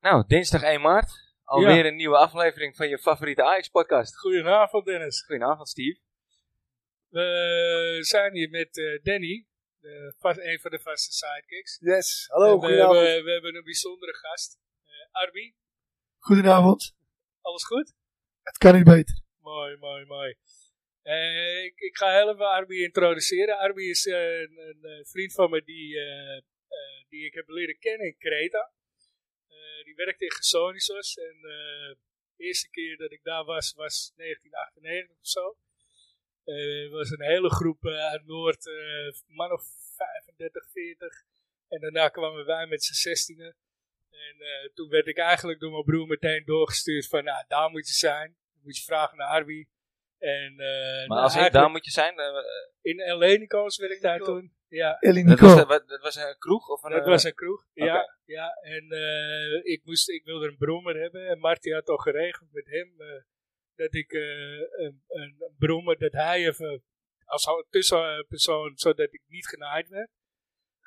Nou, dinsdag 1 maart. Alweer een nieuwe aflevering van je favoriete Ajax-podcast. Goedenavond Dennis. Goedenavond, Steve. We zijn hier met eh, Danny, de, va- een van de vaste sidekicks. Yes, En hallo, we, goedenavond. hebben, we hebben een bijzondere gast. Eh Arby, Goedenavond. alles goed? Het kan niet beter. Mooi, mooi, mooi. Eh, ik, ik ga heel even Arby introduceren. Arby is eh, een, een, eh, vriend van me die, eh, eh, die ik heb leren kennen in Kreta. Eh, die werkte in Gersonisos en eh, de eerste keer dat ik daar was, was 1998 of zo. Eh, Er was een hele groep eh, uit Noord, eh, man of 35, 40. En daarna kwamen wij met z'n zestienen. En eh, toen werd ik eigenlijk door mijn broer meteen doorgestuurd van, nou, daar moet je zijn. Dan moet je vragen naar Arby. En, eh, Maar nou, als ik eigenlijk- daar moet je zijn, eh, eh, in Elenico's werkte hij Elenico. toen. Ja, Ellie dat, was, Nico. dat, dat was een kroeg? Of een, dat eh, was een kroeg. oké. Ja, ja. En eh, ik, moest, ik wilde een brommer hebben. En Marty had al geregeld met hem eh, dat ik eh, een, een brommer, dat hij even als hou- tussenpersoon, zodat ik niet genaaid werd.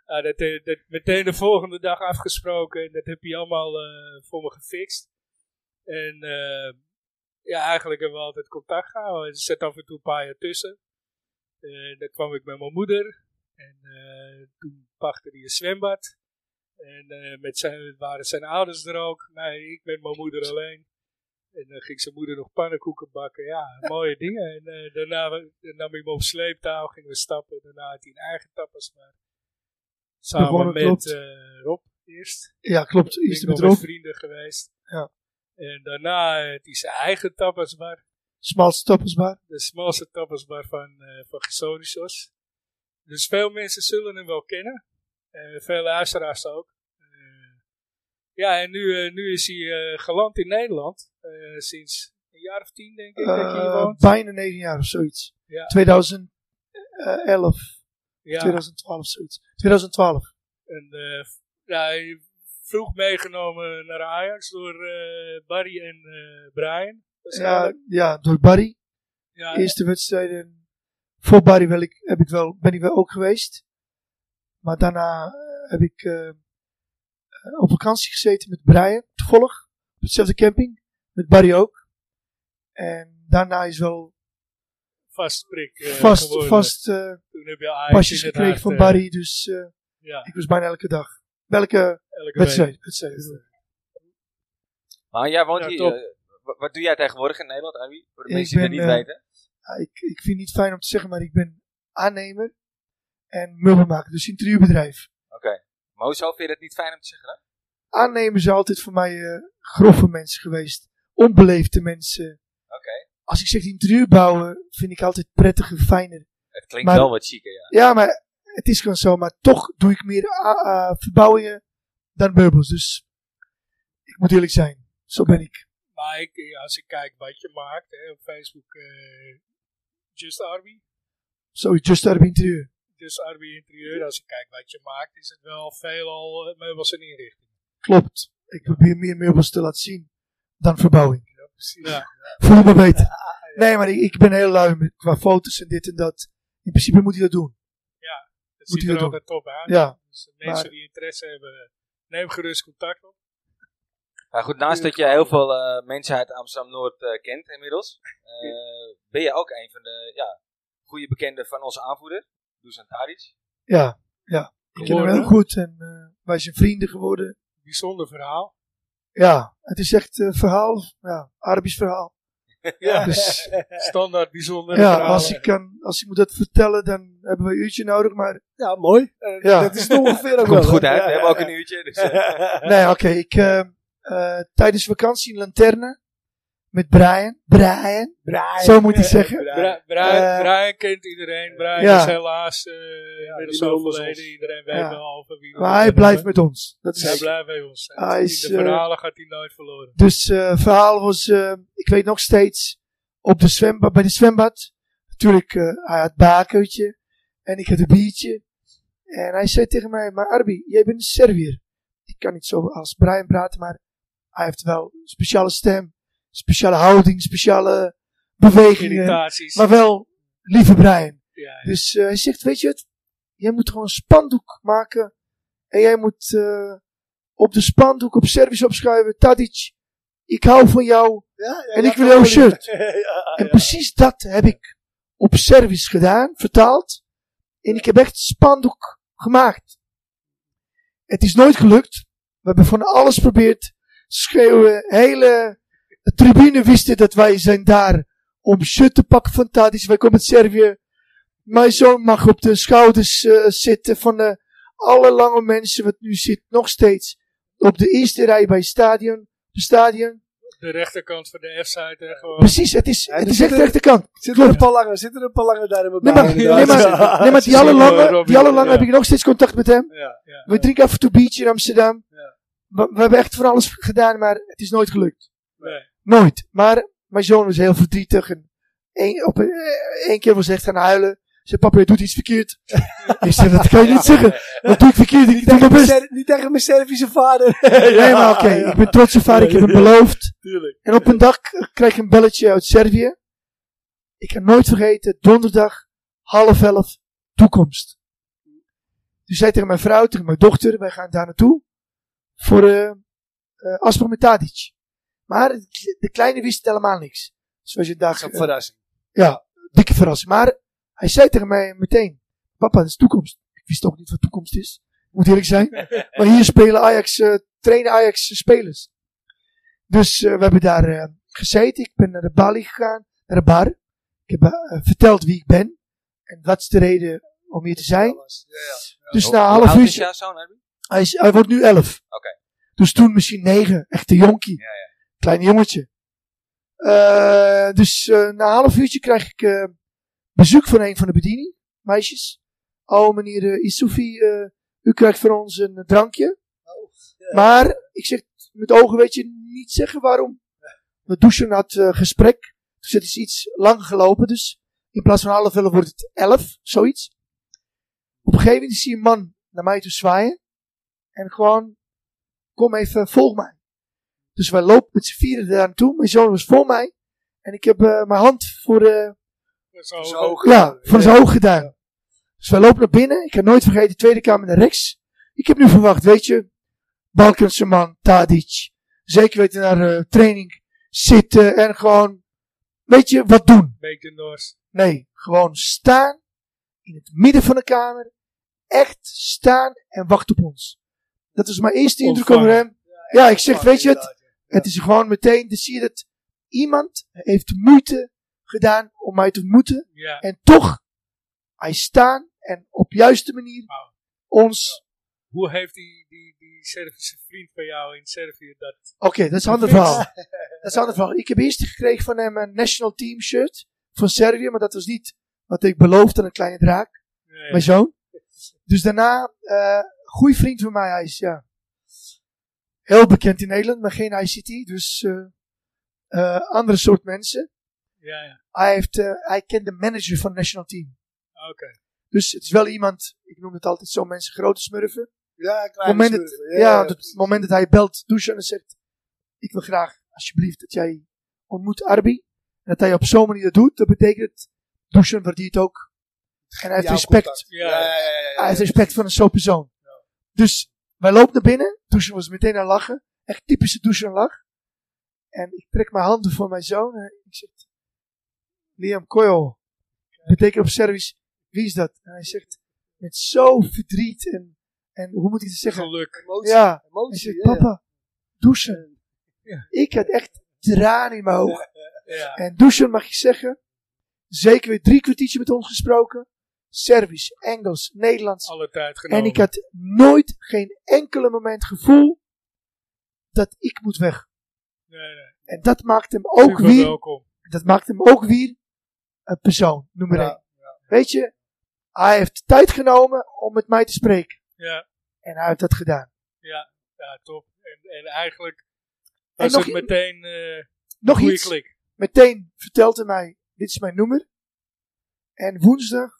Ah, dat, eh, dat meteen de volgende dag afgesproken. En dat heb hij allemaal eh, voor me gefixt. En eh, ja, eigenlijk hebben we altijd contact gehouden. Er zat af en toe een paar jaar tussen. Eh dan kwam ik met mijn moeder. En eh, toen pakte hij een zwembad. En eh, met zijn, waren zijn ouders er ook. Nee, ik met mijn moeder alleen. En dan ging zijn moeder nog pannenkoeken bakken. Ja, mooie dingen. En eh, daarna we- dan nam hij me op sleeptouw, gingen we stappen. Daarna had hij een eigen tapas. Maar samen Begonnen, klopt. met eh, Rob eerst Ja, klopt. ik Eerste ben nog met bedrog. vrienden geweest. Ja. En daarna eh, het is zijn eigen tapasbar. Smalste tappersbaar. De smalste tapasbar van, eh van Gesonisos. Dus veel mensen zullen hem wel kennen. Eh veel luisteraars ook. Eh, ja, en nu, eh, nu is hij eh, geland in Nederland. Eh, sinds een jaar of tien denk ik dat je hier Eh, woont. bijna negen jaar of zoiets. eh, Ja. 2011, Ja, 2012 zoiets. 2012. en, eh, ja, hij vroeg meegenomen naar Ajax door eh, Barry en eh, Brian. Ja, Eh, ja, door Barry. Ah, ja, Eerste wedstrijden. Voor Barry wel ik, heb ik wel, ben ik wel ook geweest. Maar daarna eh, heb ik eh, eh, op vakantie gezeten met Brian. Toevallig. Op hetzelfde camping. Met Barry ook. En daarna is wel vast prik eh, vast, geworden. vast eh, Toen heb je Ajax pasjes inderdaad, gekregen van eh, Barry. Dus eh, ja, ik was bijna elke dag. Welke elke week. wedstrijd? wedstrijd. Maar jij woont Ja, hier. top. eh, wa- wat doe jij tegenwoordig in Nederland, Arby? Voor de Ik mensen die dat ben, niet eh, weten. Ja, ik, ik vind het niet fijn om te zeggen, maar ik ben aannemer en meubelmaker. Dus interieurbedrijf. Mozo, vind je dat niet fijn om te zeggen? hè? Aannemen is altijd voor mij eh, grove mensen geweest. Onbeleefde mensen. Oké. Als ik zeg interieur bouwen, vind ik altijd prettiger, fijner. Het klinkt Maar- wel wat chiquer, ja. Ja, maar het is gewoon zo. Maar toch doe ik meer ah, ah, verbouwingen dan meubels. Dus ik moet eerlijk zijn. Zo ben ik. Maar ik, eh, als ik kijk wat je maakt hè, op Facebook, eh, Just Arby, Zo, just out of interieur. Just Arby Interieur, als ik kijk wat je maakt, is het wel veelal eh, meubels en inrichting. Klopt. Ik probeer meer meubels te laten zien dan verbouwing. Ja, precies. Ja, Voel me beter. Nee, maar ik, ik ben heel lui met- qua foto's en dit en dat. In principe moet hij dat doen. dat Moet ziet je er dat altijd top aan. Ja, Dus de mensen maar- die interesse hebben, neem gerust contact op. Maar goed, naast dat je heel veel eh, mensen uit Amsterdam-Noord eh, kent inmiddels, eh, ben je ook een van de ja, goede bekenden van onze aanvoerder, Dusan Tadic. ja, ja. Ik ken hem Geworden. heel goed en eh, wij zijn vrienden geworden. Bijzonder verhaal. Ja, het is echt eh, verhaal. Ja, Arabisch verhaal. Ja, Dus standaard bijzonder ja, verhaal. als ik, kan, als ik moet dat vertellen, dan hebben we een uurtje nodig. Maar Ja, mooi. Eh, Ja. Dat is het ongeveer ook Komt wel, goed hè? uit, Ja, we ja, hebben ook ja. een uurtje. Dus, eh, nee, oké. ik, eh, eh, tijdens vakantie in Lanterne met Brian. Brian, Brian. zo moet ik zeggen. Bra- Brian, Eh, Brian kent iedereen. Brian ja. is helaas eh inmiddels die loopt overleden. ons. Iedereen weet Ja. wel over wie we het Maar hij hebben. blijft met ons. Dat is eh, Dus Hij blijft bij ons. Hij In is, de eh, verhalen gaat hij nooit verloren. Dus eh verhaal was, eh, ik weet nog steeds, op de zwembad, bij de zwembad. Natuurlijk, eh, hij had bakertje en ik had een biertje. En hij zei tegen mij, maar Arbi, jij bent een Servier. Ik kan niet zo als Brian praten, maar hij heeft wel een speciale stem, speciale houding, speciale eh, bewegingen. Irritaties. Maar wel, lieve Brian. ja, ja. Dus eh, hij zegt, weet je het, jij moet gewoon een spandoek maken. En jij moet eh, op de spandoek op service opschuiven. Tadic, ik hou van jou. Ja, ja, En ja, ik wil jouw shirt. Ja, ja, En ja. precies dat heb ik op service gedaan, vertaald. En ik heb echt spandoek gemaakt. Het is nooit gelukt. We hebben van alles geprobeerd. Schreeuwen, hele tribune wisten dat wij zijn daar om shirt te pakken van Tadic. Wij komen uit Servië. Mijn zoon mag op de schouders eh, zitten van eh, alle lange mensen wat nu zit. Nog steeds op de eerste rij bij het stadion. De stadion. De rechterkant van de F-site. hè, gewoon. Precies, het is, Ja, het dus is echt dit- de rechterkant. Zitten er een paar lange, zitten er een paar lange daar in mijn Nee, baan, maar, nee, inderdaad. maar, nee, maar die eh, alle lange, die alle lange heb ik nog steeds contact met hem. Ja, ja. We drinken af en toe biertje in Amsterdam. We, we hebben echt van alles gedaan, maar het is nooit gelukt. Nee. Nooit. Maar mijn zoon was heel verdrietig. En één, op een, eh, één keer was hij echt gaan huilen. Zei, papa, je doet iets verkeerd. ik zei, dat kan je niet zeggen. Dat doe ik verkeerd. Ik doe mijn Mijn best. Ser- Niet tegen mijn Servische vader. Nee, maar oké. Ik ben trots op vader. Ik heb hem beloofd. Tuurlijk. En op een dag eh, krijg ik een belletje uit Servië. Ik kan nooit vergeten, donderdag, half elf, toekomst. Dus zei tegen mijn vrouw, tegen mijn dochter, wij gaan daar naartoe. Voor eh eh afspraak met Tadic. Maar de kleine wist helemaal niks. Zoals je daar eh, Dat is een verrassing. dikke verrassing. Maar hij zei tegen mij meteen: Papa, dat is toekomst. Ik wist ook niet wat toekomst is. Ik moet eerlijk zijn. maar hier spelen Ajax, eh, trainen Ajax eh, spelers. Dus eh, we hebben daar eh, gezeten. Ik ben naar de balie gegaan, naar de bar. Ik heb eh, verteld wie ik ben. En wat is de reden om hier te zijn. Alles. Ja, ja. Dus Hoe- na een hoe half oud is uurtje, jouw zoon, Erwin? hij, is- hij wordt nu elf. Oké. Dus toen misschien negen, echte jonkie. Ja, ja. Klein jongetje. Eh, dus eh, na een half uurtje krijg ik eh, bezoek van een van de bediening, meisjes. Oh, meneer eh, Isufi, eh, u krijgt van ons een drankje. Maar ik zeg met ogen, weet je, niet zeggen waarom. We douchen na het eh, gesprek. Dus het is iets lang gelopen. Dus in plaats van half elf wordt het elf, zoiets. Op een gegeven moment zie je een man naar mij toe zwaaien. En gewoon, kom even, volg mij. Dus wij lopen met z'n vieren daar naartoe. Mijn zoon was voor mij. En ik heb eh, mijn hand voor, eh, Zo, ook. Zo hoog. ja, van zijn hoog gedaan. Dus wij lopen naar binnen. Ik heb nooit vergeten, Tweede Kamer naar rechts. Ik heb nu verwacht, weet je, Balkense man, Tadic. Zeker weten naar eh, training zitten en gewoon, weet je, wat doen. Beetje Noors. Nee, gewoon staan in het midden van de kamer. Echt staan en wachten op ons. Dat was mijn eerste indruk over Ontvangen. hem. Ja, ik zeg, weet je het, het is gewoon meteen, dan zie je dat iemand heeft moeite gedaan om mij te ontmoeten. Ja. En toch, hij staan en op juiste manier Wauw. ons. Hoe heeft die, die, die Servische vriend van jou in Servië dat... Oké, dat is een ander verhaal. Dat is een ander verhaal. Ik heb eerst gekregen van hem een national team shirt van Servië, maar dat was niet wat ik beloofde aan een kleine draak, Nee. mijn zoon. Dus daarna, eh goede vriend van mij, hij is ja, heel bekend in Nederland, maar geen ICT, dus eh eh, andere soort mensen. Ja, ja. Hij, heeft, eh, hij kent de manager van het national team. Oké. Dus het is wel iemand, ik noem het altijd zo, mensen grote smurfen. Ja, kleine moment dat, smurf. ja, op het moment dat hij belt douchen en zegt: Ik wil graag, alsjeblieft, dat jij ontmoet Arbi. En dat hij op zo'n manier dat doet, dat betekent het. Douchen waardeert ook. En hij heeft Jouw respect. contact. Ja. Hij heeft respect voor een zo'n persoon. Dus wij lopen naar binnen. Douchen was meteen aan lachen. Echt typische douchen lach. En ik trek mijn handen voor mijn zoon. En ik zeg, Liam Koyo. Betekent op service, wie is dat? En hij zegt, met zo verdriet en, en hoe moet ik het zeggen? Geluk. Emotie. Ja. Hij Emotie. zegt, ja, ja. papa, douchen. Ja. Ik had echt tranen in mijn ogen. Ja. En douchen mag je zeggen. Zeker weer drie kwartiertje met ons gesproken. Servisch, Engels, Nederlands. Alle tijd genomen. En ik had nooit, geen enkele moment gevoel dat ik moet weg. Nee, nee. En dat maakt hem ook Super weer, welkom. dat maakt hem ook weer een persoon, nummer Ja, één. Weet je, hij heeft tijd genomen om met mij te spreken. Ja. En hij heeft dat gedaan. Ja, top. En, en eigenlijk En was nog, het meteen eh nog goede iets. klik. meteen vertelt hij mij, dit is mijn nummer. En woensdag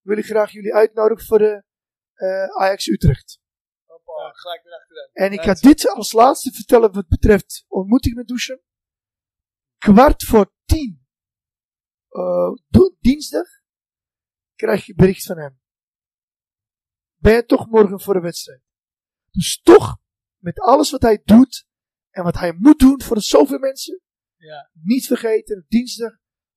wil ik graag jullie uitnodigen voor de eh, Ajax Utrecht. Hoppa, gelijk erachteraan. En ik ga dit als laatste vertellen wat betreft ontmoeting met douchen. Kwart voor tien, eh, do- dinsdag, krijg je bericht van hem. Ben je toch morgen voor de wedstrijd? Dus toch met alles wat hij doet en wat hij moet doen voor de zoveel mensen. Ja. Niet vergeten, dinsdag,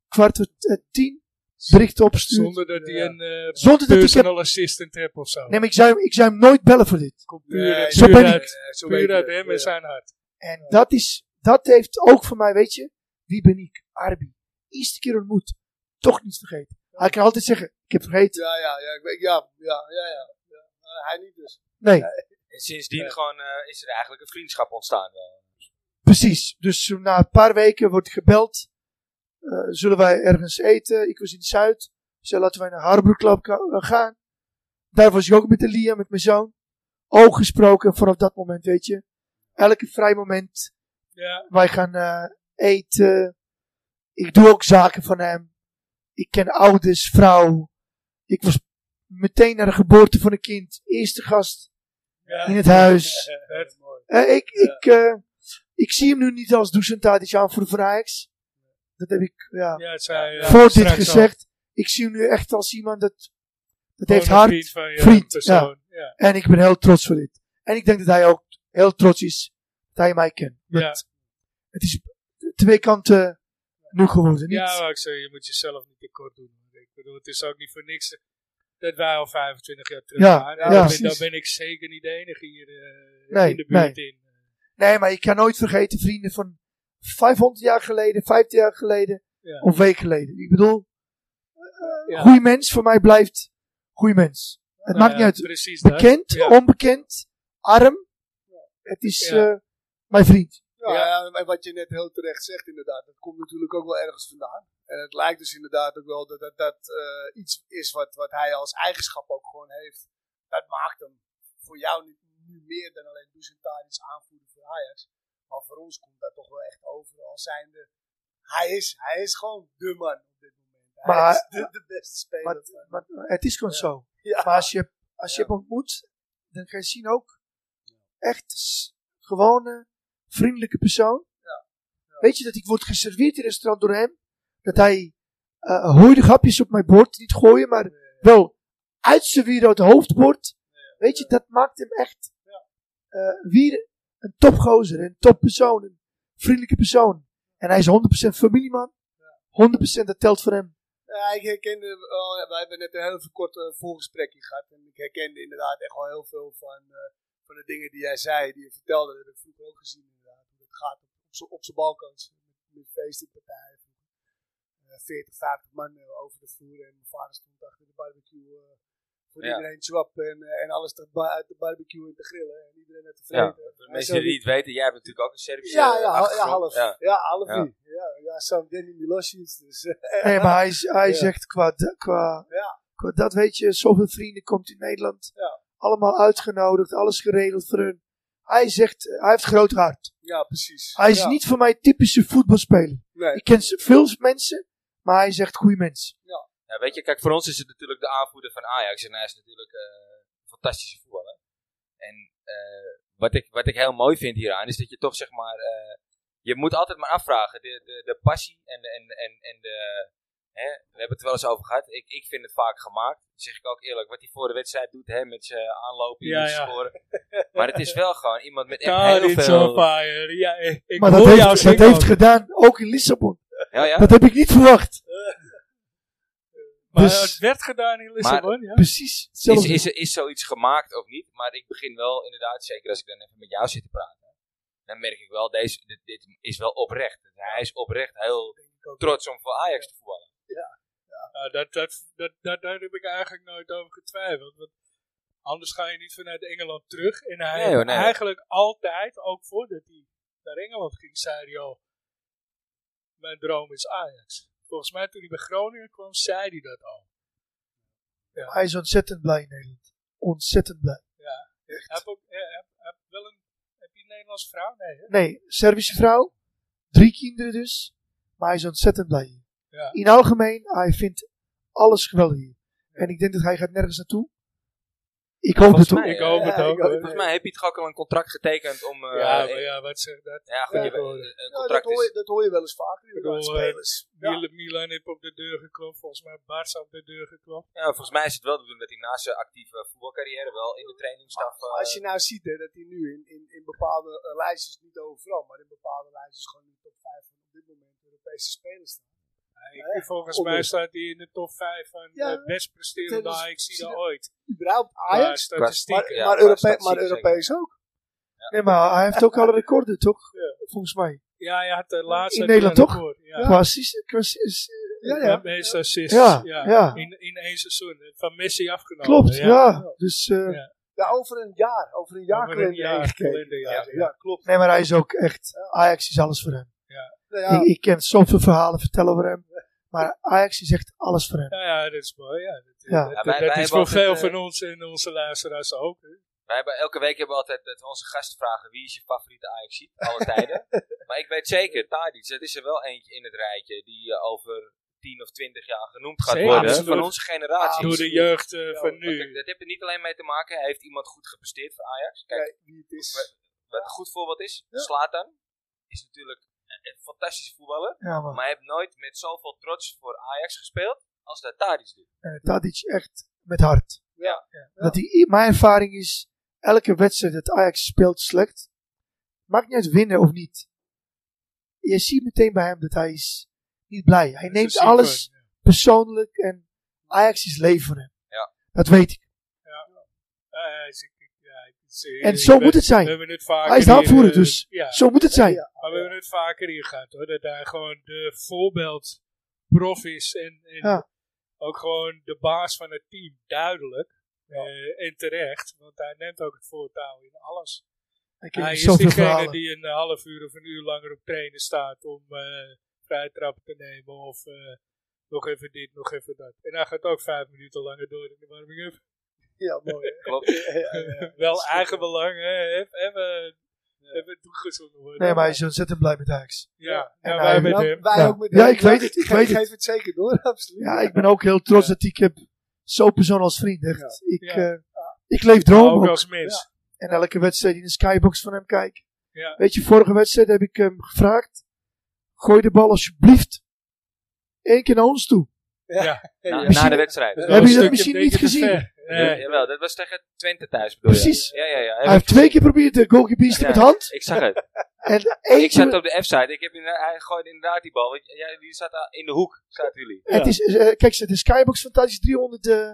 kwart voor t- eh, tien, bericht opsturen. Zonder dat hij Ja. een eh, Zonder dat ik heb... personal assistant hebt of zo. Nee, maar ik zou, hem- ik zou hem nooit bellen voor dit. Komt puur, Nee, zo puur ben ik. uit, zo puur weten uit we hem het, en ja. zijn hart. En dat is, dat heeft ook voor mij, weet je, wie ben ik? Arbi. Eerste keer ontmoet. Toch niet vergeten. Hij kan altijd zeggen, ik heb vergeten. Ja, ja, ja, ik weet- ja, ja, ja, ja. ja. Eh, hij niet dus. Nee, En sindsdien gewoon, eh, is er eigenlijk een vriendschap ontstaan. wel. precies. Dus na een paar weken wordt gebeld. eh, zullen wij ergens eten? Ik was in Zuid. Zo laten wij naar Harbor Club ka- eh, gaan. Daar was ik ook met Elia, met mijn zoon. Ook gesproken vanaf dat moment, weet je. Elke vrij moment Ja, Wij gaan eh, eten. Ik doe ook zaken van hem. Ik ken ouders, vrouw. Ik was meteen naar de geboorte van een kind. Eerste gast ja. in het huis. Dat is mooi. Eh, ik, ik, eh, ik zie hem nu niet als Dusan Tadic aanvoerder van Ajax. Dat heb ik ja, Ja, het zei, eh, voor dit straks al. gezegd. Ik zie hem nu echt als iemand dat, dat Gewoon heeft een hart. Vriend, van je vriend, persoon. Ja. En ik ben heel trots voor dit. En ik denk dat hij ook heel trots is dat hij mij kent. Ja. Want Het is twee kanten nu geworden. Niet, Ja, maar ik zeg, je moet jezelf niet tekort doen. Ik bedoel, het is ook niet voor niks dat wij al 25 jaar terug Ja, waren. ja, dan, ben, precies. dan ben ik zeker niet de enige hier eh, Nee, in de buurt in. Nee, maar ik kan nooit vergeten vrienden van 500 jaar geleden, 50 jaar geleden Ja. of week geleden. Ik bedoel, Ja. goede mens voor mij blijft goede mens. Het Nou maakt ja, niet uit. Precies dat. Bekend, Ja. onbekend, arm. Het is Ja. eh, mijn vriend. Ja, Ja. ja, en wat je net heel terecht zegt inderdaad, dat komt natuurlijk ook wel ergens vandaan. En het lijkt dus inderdaad ook wel dat dat, dat, eh, iets is wat, wat hij als eigenschap ook gewoon heeft. Dat maakt hem voor jou niet nu meer dan alleen Ducentarius aanvoerder voor Ajax. Maar voor ons komt dat toch wel echt overal zijnde. Hij is, hij is gewoon de man op dit moment. Hij Maar- is de, de beste speler. Maar, maar het is gewoon zo. ja. Maar als je, als je Ja. hem ontmoet, dan ga je zien ook echt s- gewone, vriendelijke persoon. Weet je dat ik word geserveerd in een restaurant door hem? Dat hij eh hooidige hapjes op mijn bord niet gooien, maar wel uitserveren uit het hoofdbord. Weet je, dat maakt hem echt eh, weer een topgozer, een toppersoon, een vriendelijke persoon. En hij is 100% familieman. 100% dat telt voor hem. Ja, Eh, ik herkende wel, ja, we hebben net een heel even kort eh, voorgesprekje gehad. En ik herkende inderdaad echt wel heel veel van, eh, van de dingen die jij zei, die je vertelde. Dat heb ik vroeger ook gezien inderdaad. Hoe dat gaat op, op z'n- op zijn balkans. Met feesten, partijen. Eh, 40, 50 man eh, over de vloer. En mijn vader stond achter de barbecue. eh, voor Ja. iedereen zwap en, eh, en alles te ba- uit de barbecue en te grillen. En iedereen uit de Ja. vreten. Voor de En mensen zo die het niet weten, jij hebt natuurlijk ook een Servische ja, ja, achtergrond. ja, half. Ja. Ja, half. Ja. Ja, ja, ja Sam Danny Milosic. Dus, eh, Nee, maar hij, is- hij Ja. zegt qua, da- qua, Ja. qua dat weet je, zoveel vrienden komt in Nederland. Ja. Allemaal uitgenodigd, alles geregeld voor hun. Hij zegt, eh, hij heeft groot hart. ja, precies. Hij is Ja. niet voor mij typische voetbalspeler. Nee. Ik ken z- veel mensen, maar hij zegt goede mensen. Ja, weet je, kijk, voor ons is het natuurlijk de aanvoerder van Ajax. En hij is natuurlijk eh, een fantastische voetballer. En eh, wat, ik, wat ik heel mooi vind hieraan, is dat je toch zeg maar... eh, je moet altijd maar afvragen. De, de, de passie en, de- en, en, en de... Hè, we hebben het er wel eens over gehad. Ik, ik vind het vaak gemaakt. Dat zeg ik ook eerlijk. Wat hij voor de wedstrijd doet, hè, met zijn aanlopen, Ja, ja, ja. scoren. Maar het is wel gewoon iemand met echt Ja, heel dit is veel... on fire. Ja, ik, ik maar dat hoor jou heeft, dat zingen. heeft gedaan, ook in Lissabon. Ja, ja. Dat heb ik niet verwacht. Maar dus- het werd gedaan in Lissabon, ja. Precies Is, hetzelfde. is, is zoiets gemaakt of niet? Maar ik begin wel inderdaad, zeker als ik dan even met jou zit te praten, dan merk ik wel, deze, dit, dit is wel oprecht. Dus Hij is oprecht heel trots om voor Ajax te voetballen. Nou, dat, dat, dat, dat, daar heb ik eigenlijk nooit over getwijfeld. Want anders ga je niet vanuit Engeland terug. En hij Nee, hoor, nee. eigenlijk altijd, ook voordat hij naar Engeland ging, zei hij al: Mijn droom is Ajax. Volgens mij, toen hij bij Groningen kwam, zei hij dat al. Hij is ontzettend blij in Nederland. Ontzettend blij. Heb, ook, eh, heb, heb wel een, heb je een Nederlandse vrouw? Nee, hè? Nee, Servische vrouw. Drie kinderen dus. Maar hij is ontzettend blij hier. Ja. In algemeen, hij vindt alles geweldig hier. En ik denk dat hij gaat nergens naartoe. Ik hoop het Volgens toch. mij, Ik hoop eh, het ja, ook. ik hoop- hoor. Volgens mij heeft Piet Gak al een contract getekend om... eh, ja, eh, maar ja, wat zegt dat? ja, goed, je- eh, tegenwoordig? een Ja, contract Nou, dat, hoor je, is... dat hoor je wel eens vaker inderdaad, bedoel, eh, spelers. Ja. Mil- Milan heeft op de deur geklopt. Volgens mij Barca op de deur geklopt. Ja, volgens mij is het wel te doen dat hij naast zijn actieve voetbalcarrière wel in de trainingsstaf... eh, Als je nou ziet hè, dat hij nu in, in, in bepaalde eh, lijstjes, niet overal, maar in bepaalde lijstjes gewoon in de top 5 van op dit moment Europese spelers staat. En volgens onder- mij staat hij in de top 5 van Ja. eh, best presterende Tennis- Ajaxide ooit. Überhaupt Qua Ajax, statistieken. maar, ja, maar, qua Europe- statistiek maar zeker. Europees ook. Nee, maar hij heeft ook alle recorden, toch? Volgens mij. Ja, hij had de laatste... In Nederland had toch? hij een record, Ja. Qua assist- qua eh, assist- Ja, Ja, ja. meest assists. Ja, ja. ja. In, in één seizoen. eh, Van Messi afgenomen. Klopt, ja. Dus, eh, Ja. ja, over een jaar. Over een jaar Over een kalender jaar gekeken. kalenderjaar, Ja, ja. ja, klopt. Nee, maar hij is ook echt... Ajax is alles voor hem. Nou ja, Ik, ik ken zoveel verhalen vertellen over hem. Maar Ajax is echt alles voor hem. Ja, ja, dat is mooi. Ja. Dat, eh, Ja. dat- Ja, wij- dat wij is hebben voor altijd, veel eh, van ons en onze luisteraars ook. hè. Wij hebben, elke week hebben we altijd dat we onze gasten vragen wie is je favoriete ajax alle tijden. maar ik weet zeker, Tadic, dat is er wel eentje in het rijtje die eh, over 10 of 20 jaar genoemd gaat Zeker, worden. absoluut. Van onze generatie. Door de jeugd eh, van Want kijk, nu. dat heeft er niet alleen mee te maken, heeft iemand goed gepresteerd voor Ajax. Kijk, kijk wie het is. wat een goed voorbeeld is, Ja. Slatan is natuurlijk een een fantastische voetballer. Ja, man. Maar hij heeft nooit met zoveel trots voor Ajax gespeeld als dat Tadic doet. Eh, Tadic echt met hart. Ja. Dat die, mijn ervaring is, elke wedstrijd dat Ajax speelt slecht, maakt niet uit winnen of niet. Je ziet meteen bij hem dat hij is niet blij. Hij Dat is neemt een alles symptoom, persoonlijk en Ajax is leven voor hem. Ja. Dat weet ik. ja. Ah, ja, is- ik- ja, ik- ik- En ik- zo we- moet het We zijn. hebben het vaker Hij is de hier, aanvoerder, eh, dus. Ja, Zo moet het zijn. Ja. maar we hebben het vaker hier gehad hoor. Dat hij gewoon de voorbeeld prof is en, en Ja. ook gewoon de baas van het team, duidelijk. Eh, en terecht, want hij neemt ook het voortouw in alles. Ik Hij heb is zoveel diegene verhalen. die een half uur of een uur langer op trainen staat om eh vrije trappen te nemen of eh, nog even dit, nog even dat. En hij gaat ook vijf minuten langer door in de warming-up. Ja, mooi. hè. Klopt. Ja, ja, ja. Wel Dat is eigen belang, hè? Even, even, even toegezonden worden. Nee, maar hij is ontzettend blij met Ajax. Ja, En ja, hij- wij met Nou, hem. Wij Ja. ook met Ja, hem. ik weet het, ik Geef- weet het. Geef het zeker door, absoluut. Ja, ik ben ook heel trots dat ik heb zo'n persoon als vriend. Echt. Ik, Ja. eh, ik leef Maar dromen ook ook. als mens. En elke wedstrijd in de skybox van hem kijk. Ja. Weet je, vorige wedstrijd heb ik hem gevraagd. Gooi de bal alsjeblieft één keer naar ons toe. Hey, Na, ja. na Misschien- de wedstrijd. Wel Hebben Nou, een jullie dat stukje misschien een niet beetje te gezien? ver. Ja, Nee. jawel, dat was tegen Twente thuis bedoel je? Precies. Ja, ja, ja. Hij heeft twee keer geprobeerd de goalkeeper is Ja. met hand. Ik zag het. En één Ik zat keer. op de F-site. Ik heb inderdaad, hij gooide inderdaad die bal. Want jij, jullie zaten in de hoek, zaten jullie. Het is, eh, kijk, de skybox van Thijs is 300. eh,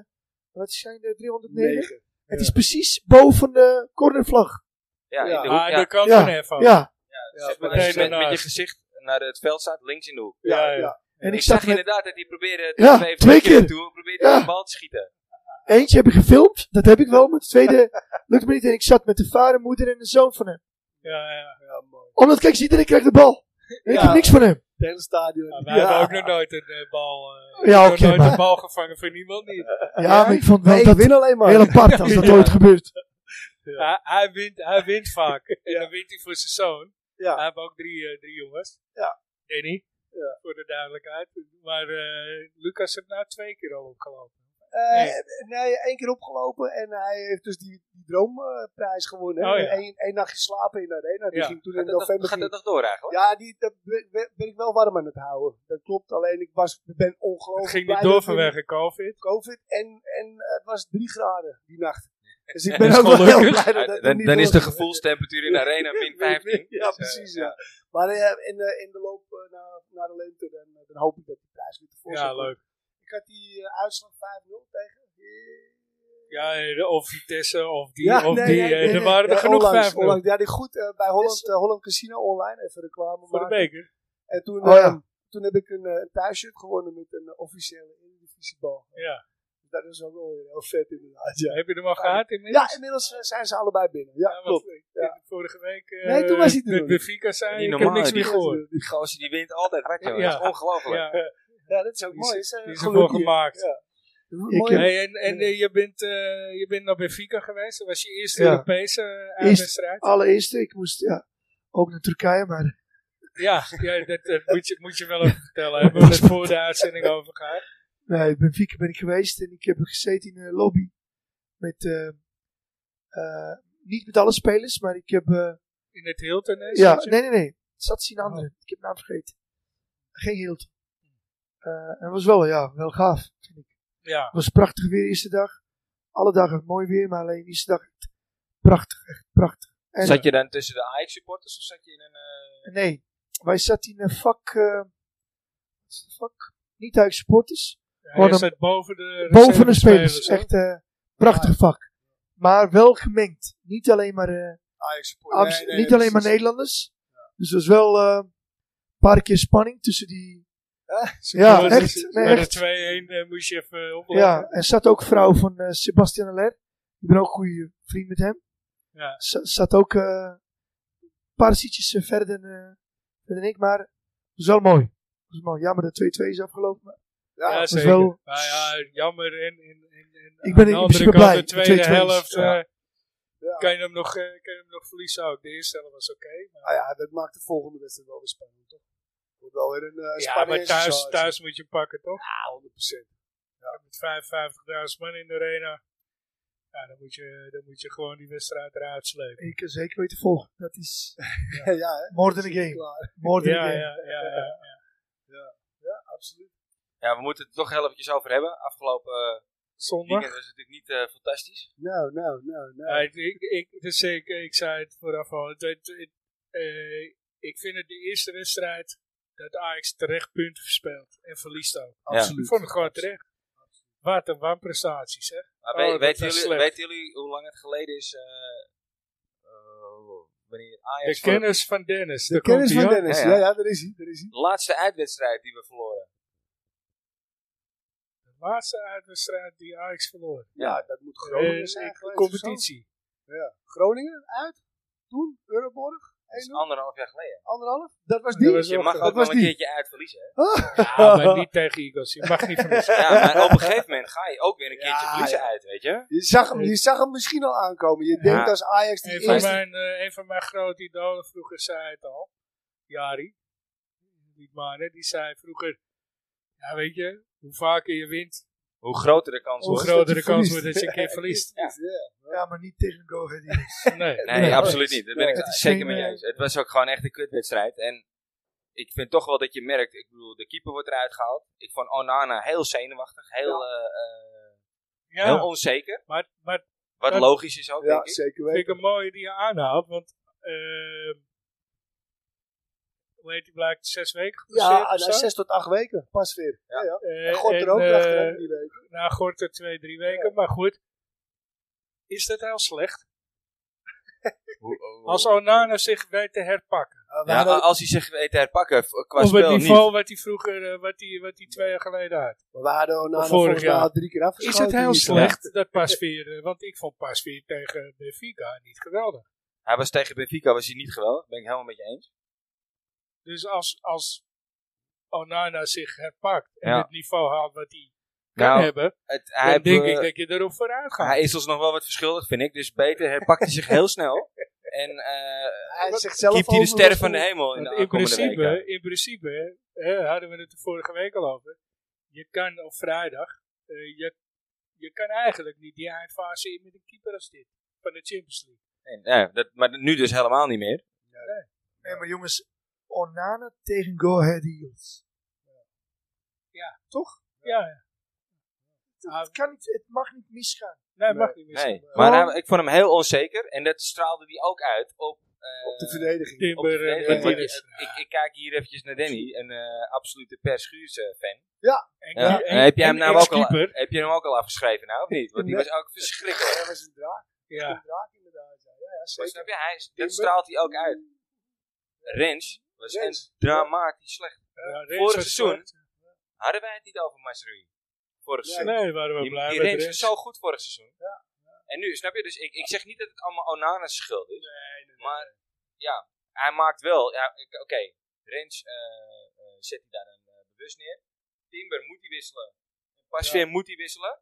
wat zijn er? 309? Negen. Het is precies boven de cornervlag. Ja, Ja. in de hoek. Ah, ja. dat kan Ja. van even. Oh. Ja. Ja, zeg maar, meteen als je met, met je daarnaast. gezicht naar het veld staat, links in de hoek. Ja, Ja, ja. ja. En ik ik zag zag met inderdaad dat hij probeerde Ja, even twee keer. toe, probeerde Ja. een bal te schieten. eentje heb ik gefilmd. Dat heb ik wel. Maar het tweede lukt me niet. En ik zat met de vader, moeder en de zoon van hem. Ja, ja. Ja, mooi. Omdat, kijk, eens, iedereen krijgt de bal. En ik Ja. heb niks van hem. Het hele stadion. Maar wij hebben ook nog nooit een eh, bal. eh, Ja, nog oké, nooit maar- een bal gevangen van niemand niet. Ja, maar ik vond wel Nee, ik dat win alleen maar. heel apart als dat Ja. ooit gebeurt. Hij, hij, wint, hij wint vaak. En dan wint hij voor zijn zoon. Ja. Hij heeft ook drie, eh, drie jongens. Ja. Danny, voor de duidelijkheid. Maar eh, Lucas heeft nou twee keer al opgelopen. Eh, nee, één keer opgelopen en hij heeft dus die, die droomprijs gewonnen. Oh, ja. Eén, één nachtje slapen in de arena. Die Ja. ging toen in Gaat dat, nog, november. gaat ging- dat nog door eigenlijk? ja, die, daar ben- ben- ben ik wel warm aan het houden. Dat klopt, alleen ik was, ben ongelooflijk Het ging blij niet dat door ik in vanwege COVID. COVID en, en eh, het was drie graden die nacht. Dus ik Dat ben is ook wel heel gelukkig. blij dat Ja, dat dan niet dan is de door- gevoelstemperatuur in de arena min 15. Ja, precies. Ja. Maar eh, in, de, in de loop eh, naar, naar de lente, dan, eh, dan hoop ik dat die prijs weer tevoorschijn Ja, komt. leuk. Ik had die eh, uitslag 5-0 tegen. Ja, eh, of Vitesse, of die, Ja, of nee, die. nee, eh, nee, er nee. waren er Ja, genoeg onlangs, vijf onlangs. Ja, die goed eh, bij Holland, Is- eh, Holland Casino online. Even reclame voor de maken. beker. En toen, Oh, ja. eh, toen heb ik een, eh, een thuisshirt gewonnen met een eh, officiële Eredivisiebal. Ja. Dat is ook wel weer heel vet inderdaad. Ja, Heb je hem al gehad inmiddels? ja inmiddels eh, zijn ze allebei binnen. Ja, want klopt. ik- Ja. Vorige week. eh, Nee, toen was hij er met nog niet. Benfica Niet zei ik, ik heb normaal, niks die meer gehoord. Die gozer die wint altijd wat, jongen. Ja. Dat is ongelooflijk. Ja, Ja, dat is ook Die mooi. is- Is, eh, die is geluk ervoor hier. gemaakt. Ja. Ik Mooi. heb- Hey, en en eh, je, bent, eh, je bent naar Benfica geweest. Dat was je eerste Ja. Europese eh, Eerst- uitwedstrijd. Ah. Allereerst, ik moest ja, ook naar Turkije, maar Ja, ja dat, dat moet, je, moet je wel even vertellen. Hebben we het voor de uitzending over gehad? nee, Benfica ben ik geweest en ik heb gezeten in de lobby met eh, Eh, niet met alle spelers, maar ik heb... eh, In het Hilton, hè? ja, zat je? nee, nee, nee. Het zat zien andere. Ik heb de naam vergeten. Geen hield. Eh, en was wel, ja, wel gaaf. Ja, Het was prachtig weer de eerste dag. Alle dagen mooi weer, maar alleen de eerste dag echt prachtig, echt prachtig. En, Zat je dan tussen de Ajax supporters of zat je in een... eh, Nee, wij zaten in een vak, eh, wat is het vak? Niet uit supporters. hij dan- staat boven de Boven de spelers. hè? Echt eh prachtig vak. Maar wel gemengd. Niet alleen maar, eh, Ajax support. Amst- niet alleen maar Nederlanders. Dus het was wel eh, een paar keer spanning tussen die. Ja, Maar echt. dat- Nee, maar echt. de 2-1 eh, moest je even eh, oplossen. Ja, en zat ook vrouw van eh, Sebastian Aller. Ik ben ook een goede vriend met hem. Ja. Z- zat ook eh, een paar zietjes eh, verder, eh, verder dan ik, maar het was wel mooi. Het was mooi. Jammer dat 2-2 is afgelopen. maar Ja, het Ja, was zeker. wel, Maar ja, jammer. En, en, en, en Ik ben aan in de andere principe kant, blij. De De tweede 2-2 is- helft eh, ja. Ja. kan, je hem nog, eh, kan je hem nog verliezen ook. De eerste helft was oké. maar- nou ja, dat maakt de volgende wedstrijd wel weer spannend, toch? Wordt wel weer een eh ja, maar spannende thuis, situatie. thuis moet je hem pakken, toch? Ja, 100%. Met 55.000 man in de arena. Ja, dan moet je, dan moet je gewoon die wedstrijd eruit slepen. ik eh, zeker weten volgen. Dat is Ja, ja hè? more than a game. Klaar. More than a Ja, game. ja, ja. ja. Ja, absoluut. Ja, we moeten het toch heel eventjes over hebben. Afgelopen eh, Zondag. weekend was het natuurlijk niet eh, fantastisch. Nou, nou, nou, nou. Ja, ik, ik, ik- dus ik, ik zei het vooraf al. Het, het- het, eh, ik vind het de eerste wedstrijd dat Ajax terecht punten verspeelt. En verliest ook. Ik absoluut. vond het gewoon terecht. Wat een wanprestaties, hè? Maar Oh, we- dat weten, was jullie, slecht. weten jullie hoe lang het geleden is... eh, eh, wanneer Ajax... De voor kennis van Dennis. De kennis van Dennis. Ja, Ja, ja. ja, daar is hij. Daar is hij. de laatste uitwedstrijd die we verloren. De laatste uitwedstrijd die Ajax verloor. Ja. Ja, dat moet Groningen Eh, zijn. ik- geweest of competitie. zo. Groningen uit. Toen, Euroborg. Dat is anderhalf jaar geleden. Anderhalf. Dat was Dat die. was Je Zo, mag dat ook was wel een die. keertje uit verliezen. hè? Ja, maar niet tegen Eagles. Je mag niet verliezen. Ja, maar op een gegeven moment ga je ook weer een keertje Ja, verliezen ja. uit, weet je? Je zag, hem, je zag hem misschien al aankomen. Je denkt als Ajax die Een van, eerste... mijn, eh, een van mijn grote idolen vroeger zei het al. Jari. Niet maar, hè, die zei vroeger. Ja, weet je, hoe vaker je wint, Hoe groter de kans hoe wordt. groter de kans je verliest. wordt dat je een keer verliest. Ja. Ja. Ja, maar niet tegen Go Ahead Eagles. Nee. Nee, Nee, absoluut niet. Dat ben nee, ik het is zeker geen, mee eh, eens. Het was ook gewoon echt een kutwedstrijd. En ik vind toch wel dat je merkt, ik bedoel, de keeper wordt eruit gehaald. Ik vond Onana heel zenuwachtig, heel, eh, eh, heel Ja, onzeker. maar, maar Wat Dat- logisch is ook, Ja, denk ik. zeker vind ik weten. een mooie die je aanhaalt, want ehm hoe heet die blijkt zes weken geblesseerd Ja, of zo? na zes tot acht weken. Pas weer. Ja, ja. Eh, En God er ook eh, achteraan die week. Nou, Gorter twee, drie weken, maar goed. Is dat heel slecht? Hoe- Oh. hoe- Als Onana zich weet te herpakken. Ah, we Ja, hadden- maar als hij zich weet te herpakken, v- qua Op het spel niveau niet. wat hij vroeger, eh, wat hij, wat hij twee jaar geleden had. We hadden Onana Vorig vorig jaar. jaar drie keer Is afgeschoten. het heel Die- slecht, dat Pasveer? eh, Want ik vond Pasveer tegen Benfica niet geweldig. Hij was tegen Benfica, was hij niet geweldig. Ben ik helemaal met je eens. Dus als, als Onana zich herpakt en Ja. het niveau haalt wat hij kan Nou, hebben, Het, dan hij, eh, denk be- eh, ik dat je erop vooruit gaat. hij is ons nog wel wat verschuldigd, vind ik. Dus beter herpakt hij zich heel snel. En eh Hij zegt zelf keept hij de over- sterren van de hemel in Want de in aankomende weken. principe, in principe hè, hadden we het de vorige week al over. Je kan op vrijdag, eh, je, je kan eigenlijk niet die eindfase in met een keeper als dit. Van de Champions League. En, ja, dat, maar nu dus helemaal niet meer. Nee, maar jongens, Onana tegen Go Ahead Eagles. Ja, ja. Ah, Het, kan niet, het mag niet misgaan. nee, mag niet meer. Nee, zeggen. maar hij- ik vond hem heel onzeker en dat straalde hij ook uit op, eh, Op de verdediging. op de Timber eh, en verdediging. Want Martinez. ik, ik, ik kijk hier eventjes naar Danny, een eh, absolute Per Schuurs, eh, fan. En- Ja. en- heb, jij hem en nou ook al, ex-keeper. heb je hem ook al afgeschreven nou, of niet? Want die was ook verschrikkelijk. Hij was een draak. Ja. Een draak inderdaad. Ja, ja, ja, Maar zeker. snap je, hij, is- dat Timber. straalt hij ook uit. Rens was Rens. een dramatisch slecht. Ja, Rens Vorig was seizoen hadden wij het niet over Masrui. Vorig Nee. goed. seizoen. Nee, waren we Die, blij die met Rens was Rens. zo goed vorig seizoen. En nu, snap je? Dus ik, ik zeg niet dat het allemaal Onana's schuld is. Maar ja, hij maakt wel. Ja, ik- Oké, Rens eh, eh, zet hij daar een eh, bewust neer. Timber moet hij wisselen. Pas weer moet hij wisselen.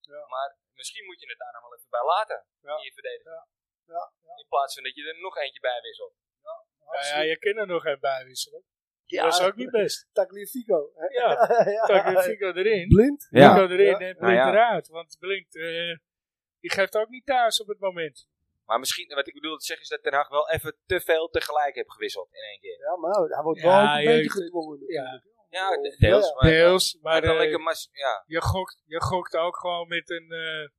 Ja. Maar misschien moet je het daar nog wel even bij laten. Ja. In je verdediging. Ja, In plaats van dat je er nog eentje bij wisselt. Nou Ja, ja, je kan er nog een bijwisselen. Ja, Dat is ook niet best. Tagliafico. hè? Ja, Ja. tak Fico erin. Blind. Fico erin en Ja. Blind Nou ja. eruit. Want Blind eh, Die geeft ook niet thuis op het moment. Maar misschien, wat ik bedoel te zeggen, is dat Ten Hag wel even te veel tegelijk heeft gewisseld in één keer. Ja, maar hij wordt Ja, wel een je- beetje gedwongen. Ja, Ja, de- Ja, deels. maar, deels. Maar Maar dan eh, lekker mas- ja. je, gokt, je gokt ook gewoon met een eh,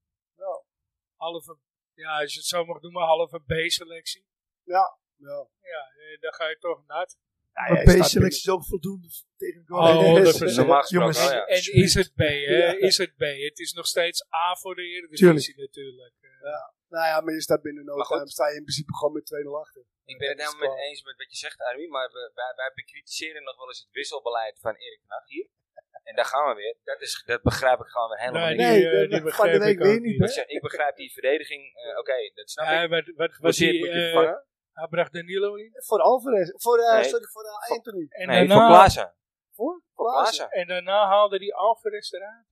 halve, ja, als je het zo mag noemen, halve B-selectie. Ja. Eh, dan ga je toch nat. Ja, Maar hij staat P-selectie is ook voldoende tegen een goal. Oh, Nee, nee, 100%. Normaal gesproken Jongens, wel, en, ja. en is het B, hè? Ja. Is het B? Het is nog steeds A voor de Eredivisie natuurlijk. binnen- Nou ja, maar je staat binnen no Maar goed. time, sta je in principe gewoon met 2-0 achter. Ik ben het Dat is helemaal mee wel- eens met wat je zegt, Armin, maar we- wij, wij bekritiseren nog wel eens het wisselbeleid van Erik ten Hag hier. En daar gaan we weer. Dat, is, dat begrijp ik gewoon weer helemaal Nee, niet. die, Nee, eh, die dat- dat- van begrijp de week ik ook weer niet, Ik, zeg, ik begrijp die verdediging, eh, oké, dat snap ik. Ja, wat, wat, wat Geblesseerd die, moet je eh, vervangen. hij bracht Danilo in. Voor Alvarez, voor, eh, Nee. sorry, voor eh, Anthony. En, nee, voor daarna, Klaassen. Voor Klaassen. en daarna haalde hij Alvarez eruit.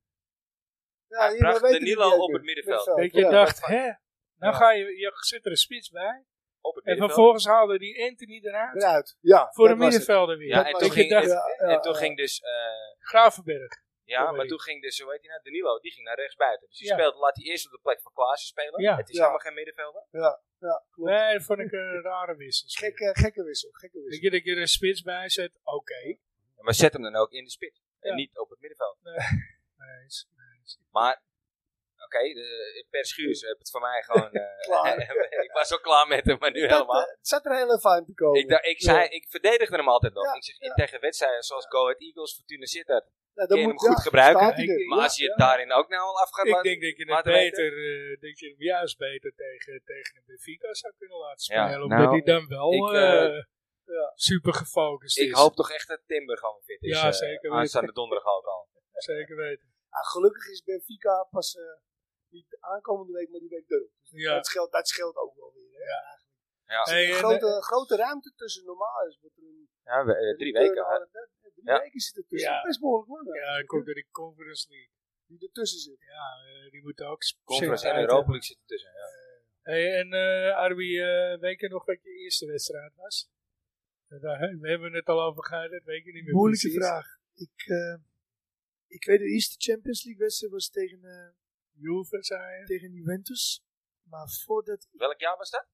Ja, Hij hier, wij bracht weten Danilo niet, op Jacob. het middenveld. Dat je ja. dacht, hè? Ja. Nou ga je, je zit er een spits bij. Op het En middenveld. vervolgens haalde die Anthony eruit. Eruit. Ja, voor dat de was het. middenvelder weer. Ja, Dat en was toen het. ging- Ik dacht, Ja, ja, en toen ja. ging dus, eh, Gravenberg. ja, Sorry. maar toen ging dus, hoe heet hij nou, Danilo, die ging naar rechts buiten. Dus die Ja. speelt, laat hij eerst op de plek van Klaassen spelen. Ja. Het is Ja. helemaal geen middenvelder. Ja, klopt. Nee, dat vond ik een rare wissel. Gekke, gekke wissel, gekke Dat wissel. je, dat je er een spits bij zet, oké. Maar zet hem dan ook in de spits. Ja. En niet op het middenveld. Nee, is- Maar, oké, de- per schuurs heb het voor mij gewoon... eh, Klaar. ik was al klaar met hem, maar nu Dat, helemaal. eh, het zat er heel even aan te eh, komen. Ik, dacht- ik, zei, ik verdedigde hem altijd nog. Ja, ik zeg, Tegen wedstrijden zoals Go Ahead Eagles, Fortuna Sittard. Kun nou, dan je hem moet goed ja, gebruiken. staat hij Ja, er. ik- Maar als je het daarin ook nou al af gaat Ik laten... denk dat je het laten weten. beter, eh, dat je hem juist beter tegen, tegen een Benfica zou kunnen laten Ja, spelen. omdat nou, hij dan wel ik, eh, ja. super gefocust Ik is. hoop toch echt dat Timber gewoon fit is. Ja, eh, zeker weten. Aanstaande donderdag ook al. Zeker weten. Ah, gelukkig is Benfica pas eh, niet aankomende week, maar die week erop. Ja. Dat, scheelt, dat scheelt ook wel weer. Hè. Ja, Hey, en, Een grote, grote ruimte tussen normaal is. wordt er een- ja we- eh, drie een- weken. hè. een- een- Drie Ja. weken zit er tussen. Ja. Best behoorlijk lang. eh, hè, ja, hij komt door die Conference League. Die ertussen zit. Ja, eh, die moet ook sp- Conference zeker en uit Europa hebben. League zitten tussen. Ja. Hey, en eh Arby, eh, weet je nog wat je eerste wedstrijd was? Eh, daar- We hebben het al over gehad, dat weet je niet meer Moeilijke precies. vraag. Ik, eh, ik weet de eerste Champions League wedstrijd was tegen, eh, Juve, zei je. tegen Juventus. Maar voordat Welk jaar was dat?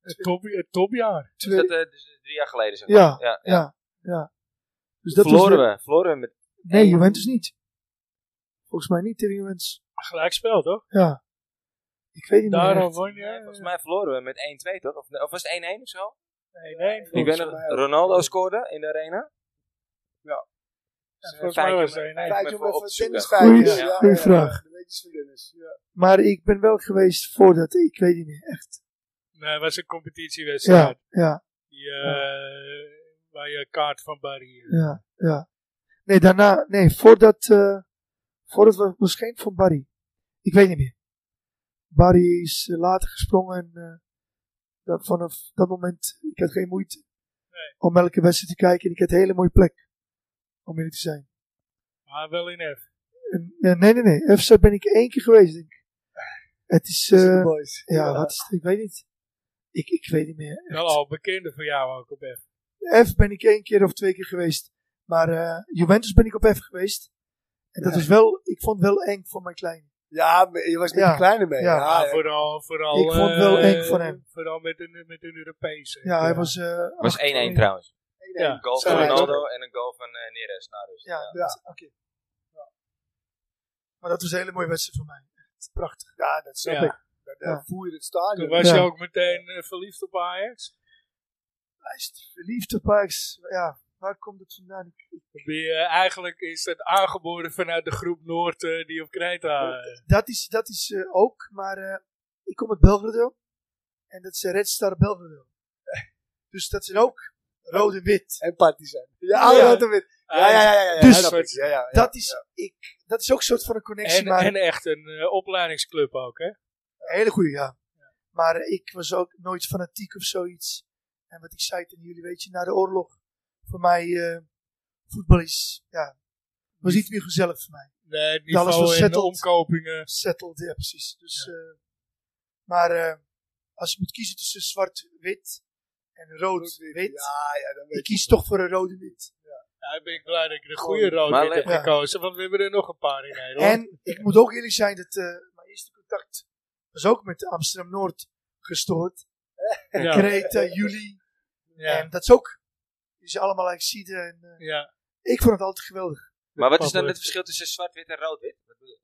Het, top, het topjaar. Is dat twee... eh, dus drie jaar geleden zeg maar? Ja, ja. ja, ja. Dus verloren was, we. Verloren we met... Nee, Juventus niet. Volgens mij niet tegen Juventus. Gelijkspel, toch? Ja. Ik weet het niet Daarom echt. won je. nee, volgens mij verloren we met 1-2 toch? Of, of was het 1-1 of zo? Nee, nee. Ik volgens weet mij- nog, mij ook. Ronaldo scoorde in de arena. Ja. Dus, eh, Volgens mij feitje was om- het 1-1. feitje om Feitje om even op even te zoeken. Dennis Goeie- feitjes. goeie vraag. De weetjes van Dennis. Ja. Maar ik ben wel geweest voordat, ik weet het niet echt. Nee, het was een competitiewedstrijd. Ja, ja, Die, eh, Waar je kaart van Barry. eh, ja, ja. Nee, daarna, nee, voordat, eh voordat we, misschien van Barry. Ik weet niet meer. Barry is eh, later gesprongen en eh, dat, vanaf dat moment, ik had geen moeite om elke wedstrijd te kijken. En ik had een hele mooie plek, om eerlijk te zijn. Maar wel in F. En, eh, nee, nee, nee, FC ben ik één keer geweest, denk ik. Het is, eh, Super boys. ja, wat is het? Ik weet niet. Ik, ik weet niet meer. Wel al bekende voor jou ook op F. F ben ik één keer of twee keer geweest. Maar eh, Juventus ben ik op F geweest. En dat was wel, ik vond wel eng voor mijn klein. Ja, maar je was met Ja. de kleine mee. Ja. Ja, Maar ja. vooral, vooral. Ik vond eh, wel eng van hem. Vooral met een, met een Europese. Ja, hij was. eh, was acht- 1-1 trouwens. Ja. Een goal Zo, van ja. Ronaldo en een goal van eh, Neres. Nou, dus, Ja, Ja. dat- oké. Ja. Maar dat was een hele mooie wedstrijd voor mij. Echt prachtig. Ja, dat snap Ja. ik. Dat, Ja. dat voer je het stadion. Toen was Ja. je ook meteen eh, verliefd op Ajax. Hij is verliefd op Ajax. Ja, waar komt het vandaan? Ik- Ben je, eh, eigenlijk is het aangeboren vanuit de groep Noord eh, die op Kreta. eh, Dat is, dat is eh, ook, maar eh, ik kom uit Belgrado. En dat is eh, Red Star Belgrado. dus dat zijn ook rood en wit. En partizan. Ja, Ja. ja. dat weet ik. Ja, ja, ja. ja, ja, Dus- snap ik. ja, ja, ja, dat, is, ik, dat is ook een soort van een connectie. En, maar en echt een eh, opleidingsclub ook, hè? Een hele goede, ja. Maar eh, ik was ook nooit fanatiek of zoiets. En wat ik zei tegen jullie, weet je, na de oorlog, voor mij, eh, voetbal is, ja, was niet meer gezellig voor mij. Nee, het Ja, alles was niveau en de settled. omkopingen. Settled, ja, precies. Dus, eh, maar eh, als je moet kiezen tussen zwart-wit en Rood-wit, rood-wit, Ja, ja, dan weet ik ik. kies toch voor een rode-wit. Ja, ben ik blij dat ik de goede rood Maar wit heb le- ja. gekozen, want we hebben er nog een paar in Nederland. En ik moet ook eerlijk zijn dat eh, mijn eerste contact was ook met Amsterdam Noord gestoord. Ja. Kreta, Juli. Ja. En dat is ook. Dus allemaal eigenlijk ziet. En, eh, ja. ik vond het altijd geweldig. Maar wat is dan Pablo. het verschil tussen zwart-wit en rood-wit? Wat bedoel je?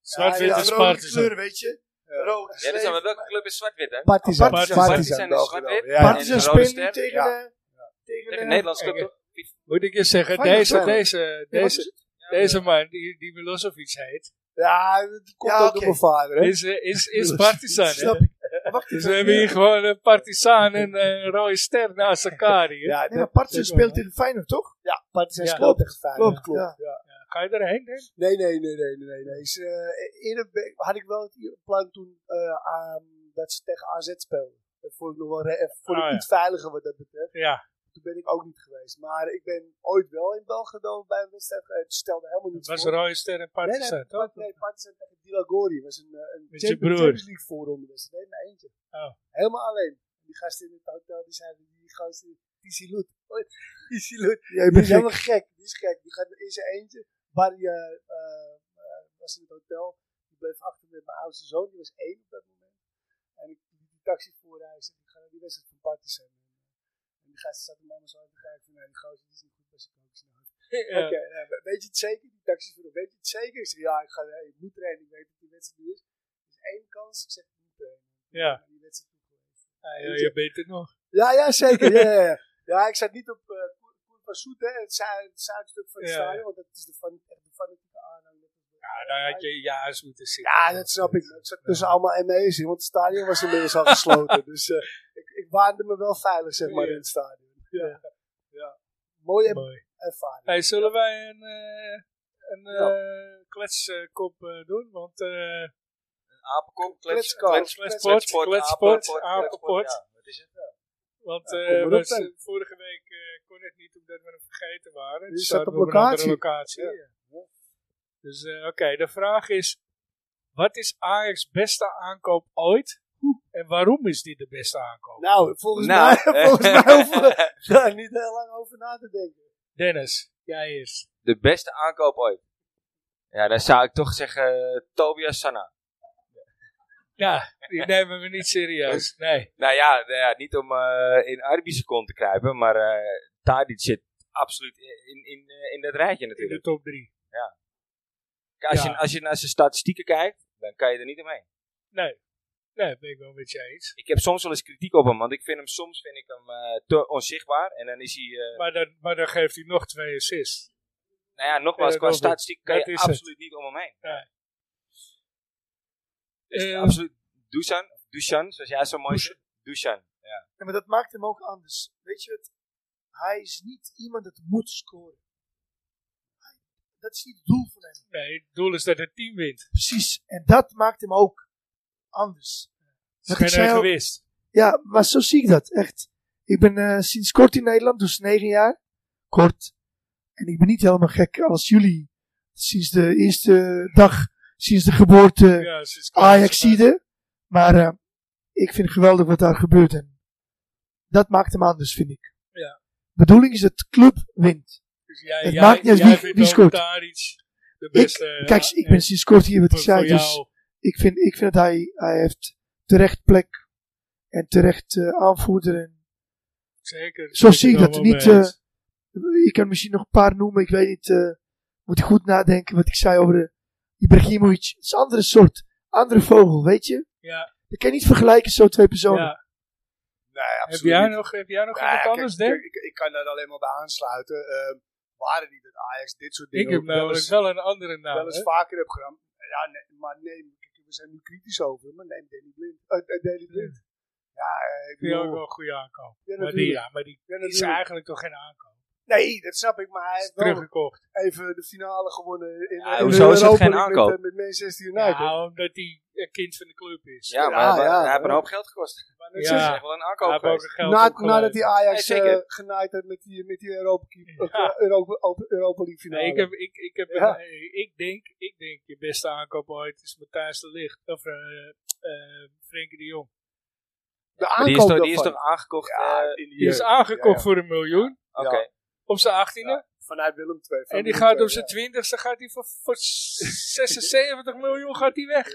Zwart-wit ja, en rode Sparta. kleuren, weet je. Ja. Rood. Ja, dat is dan, maar welke club is zwart-wit, hè? Partizan. Partizan. Partizan Partizan is Belgrado, zwart-wit. ja. en Partizan een rode speelt ster. nu tegen. Ja. eh, tegen Tegen eh, een Nederlandse club, Oké. toch? Moet ik je zeggen, Feyenoord deze, wel. deze, wat is deze, deze man die, die Milosevic heet, Ja, dat komt Ja, ook oké. door mijn vader. Hè? is, eh, is, is Partizan. hè? Snap ik. Maar Wacht Dus even. we hebben hier gewoon een Partizan en eh, een rode ster naast elkaar hier. Ja, Nee, dat, maar Partizan dat- speelt tegen Feyenoord, toch? ja Partizan Ja. speelt tegen Feyenoord. Klopt, klopt. Ga je erheen, denk ik? Nee, nee, nee, nee, nee. nee. nee. Is, eh, eerder be- had ik wel het plan toen eh, aan, dat ze tegen AZ speelden. Dat vond ik nog wel re- eh, vond ik Ah, ja. iets veiliger wat dat betreft. Ja, Toen ben ik ook niet geweest. Maar ik ben ooit wel in Belgrado bij een wedstrijd geweest. Stelde helemaal dat niet was voor. rode ster en Nee, nee, Partizan, toch? Part- nee, Partizan tegen Dilagori. was een, eh, een Met je Champions, broer. Champions League voorronde wedstrijd. Nee, maar eentje. Oh. Helemaal alleen. Die gasten in het hotel, die zeiden, die gasten, die Siloet. Die Siloet. Jij Die bent is gek. helemaal gek. Die is gek. Die gaat in zijn eentje. Barry eh, eh, eh, was in het hotel. Die bleef achter met mijn oudste zoon. Die was één op dat moment. En ik liet die taxi voorreizen. Ik ga naar die wedstrijd van Partizan. En eh, die gast zat hem allemaal zo aan te kijken. Van, nee, die gozer die is niet goed bij zijn coach. Nou, Ja. Oké, nou, we- weet je het zeker? Die taxichauffeur, weet je het zeker? Ik zeg, ja, ik, ga, eh, ik moet trainen, ik weet dat die wedstrijd nu is. Dus één kans, ik zeg, ik moet trainen. Ja. Die wedstrijd moet trainen. Ja, je weet het nog. Ja, ja, zeker. ja, ja, ja. ja, ik zat niet op eh, Koer- Koerpa Soet, hè, het, zu- het zuidstuk van het Ja. stadion, want dat is de, fan, echt de fanatieke aanhang. Ja, daar had je ja eens moeten zien. Ja, dat snap ik. Ik zat tussen allemaal ME's in, want het stadion was inmiddels al gesloten. Dus eh, ik, ik waande me wel veilig, zeg maar, Ja. in het stadion. Ja. ja. Mooie er- Mooi. ervaring. Hey, zullen wij een, eh een eh Ja. kletskop eh, doen? Want eh Apenkom, Kletskop. kletskop. kletsport, kletsport, apenpot. Ja, wat is het? Want Ja, eh, kom erop we- dan. vorige week eh, kon het niet omdat we hem vergeten waren. Je Dus zat zaten op we een andere locatie. locatie. Ja. Ja. Dus eh, oké, de vraag is: wat is Ajax beste aankoop ooit? En waarom is dit de beste aankoop? Nou, volgens, Nou, mij, volgens mij hoeven we daar niet heel lang over na te denken. Dennis, jij eerst. De beste aankoop ooit. Ja, dan zou ik toch zeggen eh, Tobias Sanna. Ja, die nemen we niet serieus. Nee. Nou ja, nou ja niet om eh, in Arabische kont te kruipen, maar eh Tadic zit absoluut in, in, eh, in dat rijtje In de natuurlijk. top 3. Kijk, Als, Ja. je, als je naar zijn statistieken kijkt, dan kan je er niet omheen. Nee, ben ik wel met je eens. Ik heb soms wel eens kritiek op hem, want ik vind hem soms vind ik hem, eh, te onzichtbaar. En dan is hij, eh, Maar dan, maar dan geeft hij nog twee assists. nou ja, nogmaals, Ja, qua dat is- statistieken kan dat je is het. absoluut niet om hem heen. Dus Eh, absoluut Dusan, Dusan, zoals jij zo mooi Dusan. zegt. Dusan. Ja, maar dat maakt hem ook anders. Weet je het? Hij is niet iemand dat moet scoren. Hij- Dat is niet het doel van hem. nee, het doel is dat het team wint. Precies. En dat maakt hem ook anders. Ze Wat zijn ik zei er al- gewist. Ja, maar zo zie ik dat, echt. Ik ben eh, sinds kort in Nederland, dus negen jaar. Kort. En ik ben niet helemaal gek als jullie. Sinds de eerste dag, sinds de geboorte Ja, ze is Ajaxide. Maar eh, ik vind het geweldig wat daar gebeurt. En dat maakt hem anders, vind ik. Ja. bedoeling is dat de club wint. Dus jij, Het jij, maakt niet uit jij wie- vindt wie ook scoort. Tadic de Ik- beste. ja, Kijk, ik en ben sinds kort hier wat ik voor- voor zei. Dus jou, ik vind, ik vind dat hij, hij heeft terecht plek. En terecht eh, aanvoerder. En zeker. zo ben zie ik dat allemaal niet, eh, mee eens. ik kan misschien nog een paar noemen. Ik weet niet. eh, moet ik goed nadenken wat ik zei over eh, Ibrahimovic. Het is een andere soort. Andere vogel, weet je. ja, Je kan niet vergelijken zo twee personen. ja. Nee, Heb, absoluut jij niet. nog, heb jij nog Nou ja, iemand kijk, anders, kijk, denk ik, ik kan daar alleen maar bij aansluiten. Ehm, waren niet dat Ajax dit soort ik? dingen heb ook wel, namelijk eens, wel een andere naam. wel eens vaker heb gedaan. Ja, nee, maar neem, kijk, we zijn nu kritisch over, maar neem Danny Blind. Eh, eh, Daley Blind. Ja, eh, ik vind je ook bedoel, wel een goede aankoop. Ja, maar die, natuurlijk. ja, maar die Ja, die is natuurlijk. Nou, eigenlijk toch geen aankoop. Nee, dat snap ik, maar hij Hij is heeft wel teruggekocht. even de finale gewonnen in, Ja, in hoezo is dat Europa geen League aankoop? Met, eh, met Manchester United. Ja, omdat hij een kind van de club is. Ja, maar, Ja, maar ja. hij heeft een hoop geld gekost. Ja. Dat is echt wel een aankoop Hij heeft ook geweest. een geld Na, opgeleverd. nadat die Ajax Nee, eh zeker. genaaid had met die, met die Europa, eh, Ja. Europa, Europa League finale. Nee, ik, heb, ik, ik, heb Ja. een- eh, ik, denk, ik denk je beste aankoop ooit is Matthijs de Ligt. Of eh eh, Frenkie de Jong. de Maar aankoop die is, toch, die is daarvan. toch aangekocht? Ja, eh, in die Die is jeugd. aangekocht Ja, ja. voor een miljoen. Oké. Ja. Op zijn 18e. Vanuit Willem II. van En die Willem gaat II, op zijn twintigste gaat hij voor, voor 76 miljoen gaat hij weg.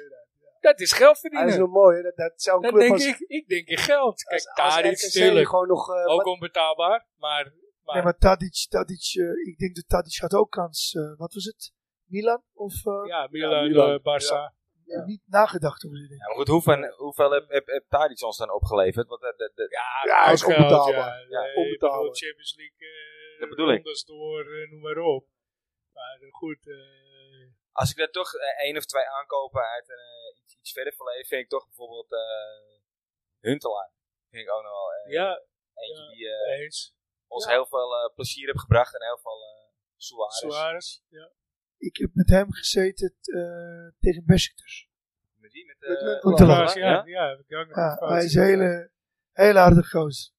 Dat is geld Dat is verdienen. nog mooi, hè? Dat, dat zou een Dan club denk als, ik, ik denk in geld. als, Kijk, als Tadic RKC natuurlijk. gewoon nog... eh, Ook wat- onbetaalbaar, maar Nee, maar Tadic, Tadic eh, ik denk dat Tadic had ook kans. eh, wat was het? Milan? Of eh, ja, Milan, Milan. eh, Barca. niet nagedacht over die dingen. Ja, maar goed, hoeveel, hoeveel heb, heb, heb Tadic ons dan opgeleverd? Want eh, dat, dat, dat- Ja, Ja, hij is ook onbetaalbaar. Ja, Ja, Eh, ik bedoel, onbetaalbaar. Champions League, eh, Dat bedoel ik. rondes door, eh, noem maar op. Maar eh, goed, eh, als ik daar toch eh, één of twee aankopen uit eh, iets, iets verder verleden, vind ik toch bijvoorbeeld eh Huntelaar. Vind ik ook nog wel eh, ja, eentje die eh, eens. ons heel veel eh, plezier heeft gebracht en heel veel eh Suarez. Suarez. Ja. Ik heb met hem gezeten eh, tegen Besiktas. Met wie? Met, eh, Met Huntelaar. Suarez, Huntelaar. ja, ja? heb ik ook nog Ja, fout hij is gezien. een hele, hele aardige gozer.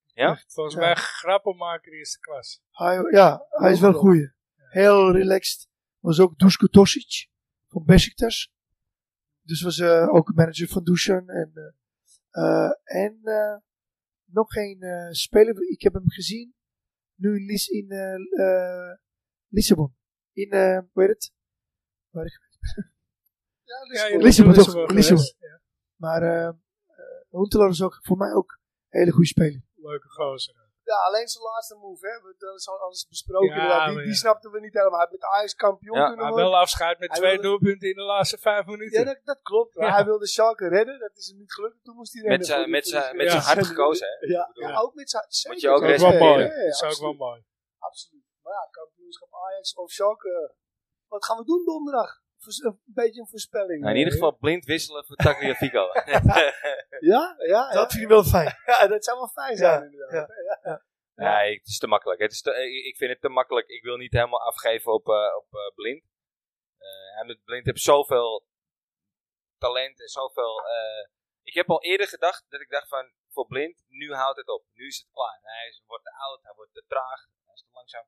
Volgens Ja. mij grappenmaker eerste klas. Hij, ja, hij is wel een goeie. Heel relaxed. Was ook Dusko Tosic van Besiktas. Dus was eh, ook manager van Dusan. En, eh, eh, en eh, nog geen eh, speler. Ik heb hem gezien. Nu in, Lis in eh, eh, Lissabon. In, eh, hoe heet het? Ja, Lisbon. Lissabon toch? Lissabon Lissabon. geweest. Maar eh ehm, eh, Huntelaar is ook voor mij ook een hele goede speler. Leuke gozer. Ja, alleen zijn laatste move, hè. We- Dat is al alles besproken. Ja, inderdaad. die, maar die ja. snapten we niet helemaal. Hij had met Ajax kampioen Ja, kunnen Maar worden. wel afscheid met Hij twee wilde- doelpunten in de laatste vijf minuten. Ja, dat, dat klopt. Maar Ja. Hij wilde Schalke redden. Dat is hem niet gelukt. Toen moest hij rennen. met zijn voor- met voor- zijn- voor- met ja. zijn hart gekozen, hè? Ja, bedoel- ja, ook met zijn zeker. Moet je ook Dat is ook wel respecteren. mooi. Ja, ja, dat is ook wel absoluut. mooi. Absoluut. Maar ja, kampioenschap Ajax of Schalke. Wat gaan we doen donderdag? Vers- Een beetje een voorspelling. Nou, in ieder geval blind wisselen voor Tagliafico. Ja, ja. Dat Dat, vind ik wel fijn. ja, dat zou wel fijn zijn Ja, inderdaad. ja. Nee, het is te makkelijk. Het is te- ik- ik vind het te makkelijk. Ik wil niet helemaal afgeven op, eh, op eh, Blind. Eh, en met Blind heb zoveel talent en zoveel... eh, ik heb al eerder gedacht dat ik dacht van, voor Blind, nu houdt het op. Nu is het klaar. Hij is- wordt te oud, hij wordt te traag, hij is te langzaam.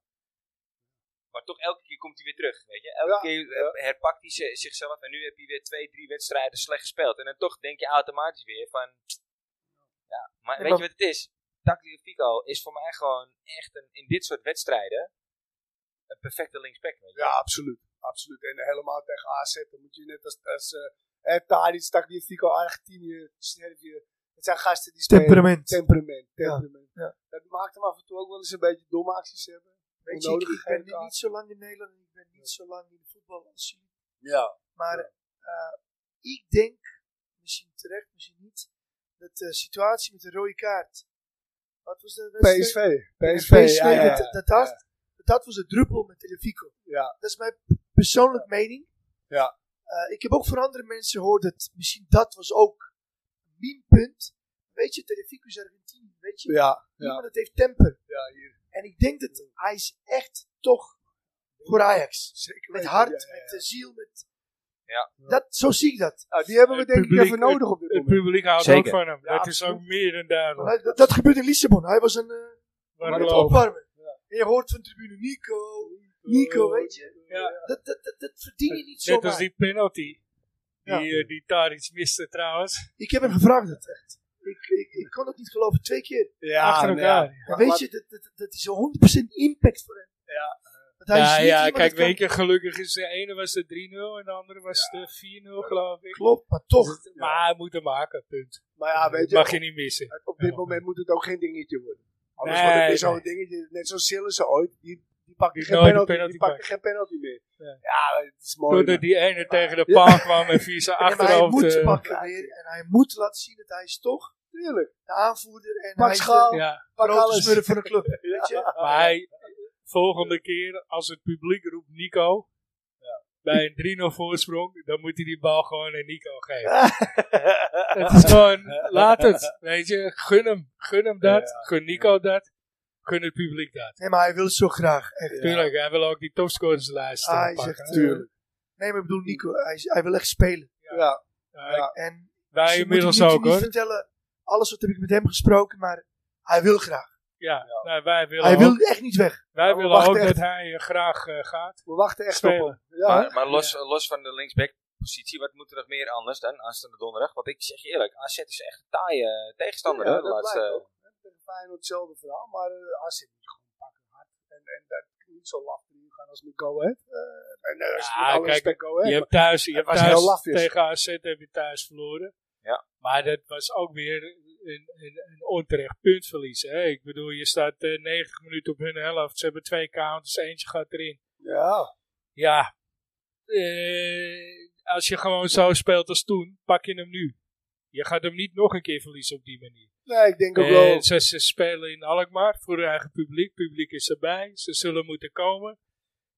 Maar toch elke keer komt hij weer terug, weet je. Elke Ja, keer eh, herpakt hij zi- zichzelf en nu heb je weer twee, drie wedstrijden slecht gespeeld. En dan toch denk je automatisch weer van... Ja, maar Ja, weet maar- je wat het is? Tagliafico is voor mij gewoon echt een, in dit soort wedstrijden een perfecte linksback. weet je. Ja, absoluut. Absoluut. En helemaal tegen AZ. Dan moet je net als, als eh, eh, Tadic, Tagliafico, Argentinië, Servië. Het zijn gasten die spelen. Temperament. Temperament. Ja, temperament. ja. Dat maakt hem af en toe ook wel eens een beetje domme acties hebben. Weet je, ik, Onnodige ik ben gele niet zo lang in Nederland. Ik ben niet zo lang in de voetbal als jullie. Ja. Maar eh, ik denk, misschien terecht, misschien niet, dat de situatie met de rode kaart. Wat was de wedstrijd? PSV. En PSV, PSV, ja, ja, ja. dat, dat, had- dat was het druppel met Telefico. Ja. Dat is mijn persoonlijke mening. Ja. Eh, ik heb ook van andere mensen gehoord dat misschien dat was ook een minpunt. Weet je, Telefico is Argentinië. Weet je, Ja, iemand ja. dat heeft temper. ja hier. En ik denk dat hij is echt toch voor Ajax. Zeker Met weten. hart, Ja, ja, ja. met de ziel. Met Ja. Dat, zo zie ik dat. Nou, die hebben we Het denk ik publiek- even nodig op dit Het moment. publiek houdt Zeker. ook van hem. Ja, dat is ook meer dan duidelijk. Maar dat, dat gebeurt in Lissabon. Hij was een eh, aan Warm het lopen. opwarmen. En je hoort van tribune Nico, Nico, weet je. Ja. Dat, dat, dat, dat verdien je niet Net zomaar. als die penalty. Die, Ja. eh, die Tadic miste trouwens. Ik heb hem gevraagd dat echt. Ik, ik, ik kon het niet geloven, twee keer. Ja, achter nou elkaar. ja. En weet je, dat, dat, dat is 100% impact voor hem. Ja. Want hij is ja, niet ja iemand kijk, dat kan- weet je, gelukkig is de ene was de 3-0 en de andere was de 4-0, geloof ik. Klopt, maar toch. Maar hij moet hem maken, punt. Maar ja, weet je, Mag je niet missen. op dit Ja. moment moet het ook geen dingetje worden. Anders Nee, wordt het weer nee. zo'n dingetje. Net zoals Sillissen ooit. Die, die pakte Die geen nooit een penalty, penalty die pakte pakt. geen penalty meer. Ja. Ja, het is mooi. Doordat die ene tegen de paal kwam en via zijn Ah, Ja, maar hij achterhoofd... moet eh, pakken weer. En hij moet laten zien dat hij is toch Tuurlijk. de aanvoerder. En Pak hij is de schaal. ja, Pak grote alles. smurf van de club. Weet je? maar hij, volgende keer als het publiek roept Nico... Bij een 3-0 voorsprong, dan moet hij die bal gewoon aan Nico geven. Het is gewoon, laat het. Weet je, gun hem. Gun hem dat. Gun Nico dat. Gun het publiek dat. Nee, maar hij wil het zo graag. Echt. Tuurlijk, hij wil ook die topscorerslijst eh, Ah, hij pakken. zegt, eh, Tuurlijk. nee, maar ik bedoel Nico, hij, is- hij wil echt spelen. Ja. Ja, ja. En Eh, Wij misschien moet ik inmiddels niet- ook niet hoor. vertellen, alles wat heb ik met hem gesproken, maar hij wil graag. Ja, nou, wij willen, hij ook, wil Oh, echt niet weg. wij we willen wachten ook echt. dat hij eh, graag eh, gaat. We wachten echt Spelen. op hem. Ja, maar maar los, los van de linksback positie, wat moet er nog meer anders dan aanstaande donderdag? Want ik zeg je eerlijk, AZ is echt een taaie eh, tegenstander. Ja, hè, de dat laatste, blijkt ook. Tegen Feyenoord hetzelfde verhaal, maar eh AZ moet gewoon pakken hard. En, en dat niet zo laf erin gaan gaan als met Go Ahead. Eh, en eh, als Ja, met alle kijk, respect Go Ahead. Je hebt thuis, je het hebt was heel thuis lafjes. tegen AZ heb je thuis verloren. Ja. Maar dat was ook weer een, een, een onterecht puntverlies. Hè? Ik bedoel, je staat eh, 90 minuten op hun helft. Ze hebben twee counters, eentje gaat erin. Ja, Ja, eh, als je gewoon zo speelt als toen, pak je hem nu. Je gaat hem niet nog een keer verliezen op die manier. nee, ik denk ook Eh, wel. ze, ze spelen in Alkmaar voor hun eigen publiek. Publiek is erbij. Ze zullen moeten komen.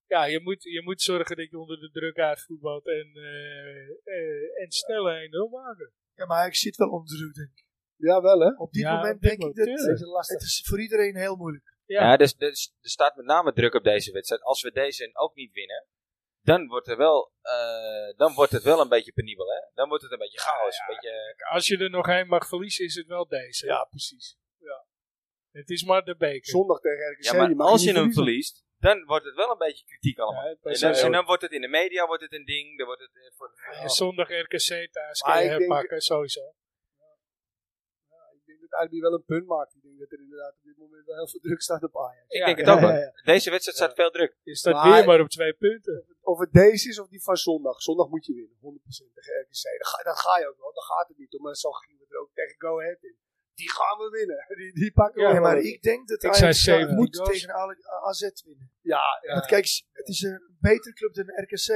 Ja, je moet, je moet zorgen dat je onder de druk uitvoetbalt en, eh eh en snel 1-0 maken. Ja, maar ik zit wel onder druk, denk ik. Ja, wel hè. Op dit Ja, moment op dit denk ik moment, dat Dat is een lastig. het is voor iedereen heel moeilijk. Ja, Ja. dus, dus er staat met name druk op deze wedstrijd. Als we deze ook niet winnen, dan wordt, er wel, eh, dan wordt het wel een beetje penibel. Hè? Dan wordt het een beetje chaos. een beetje, Als je er nog één mag verliezen, is het wel deze. Ja, precies. Het is maar de beker. Zondag tegen RKC. ja, maar mag als niet je hem verliezen. verliest, dan wordt het wel een beetje kritiek allemaal. Ja, en, dat dan, is zo. en dan wordt het in de media wordt het een ding. Dan wordt het, eh, voor, En zondag RKC thuis Maar kan je ik denk- herpakken, sowieso. Ik denk dat RB wel een punt maakt. Ik denk dat er inderdaad op dit moment wel heel veel druk staat op Ajax. ik Ja, denk het ja, ook wel. ja, ja. Deze wedstrijd staat veel druk. Je staat Maar- weer maar op twee punten. Of het deze is of die van zondag. Zondag moet je winnen, 100% tegen RKC. Dat ga, dat ga je ook wel, dat gaat het niet om. Maar zo gingen we er ook tegen Go Ahead in. Die gaan we winnen. Die, die pakken Ja, we Ja, maar wel. ik denk dat Ik Ajax zei zou- 70 moet goals. tegen Ale- AZ winnen. Ja, ja. Want kijk, het is een betere club dan RKC.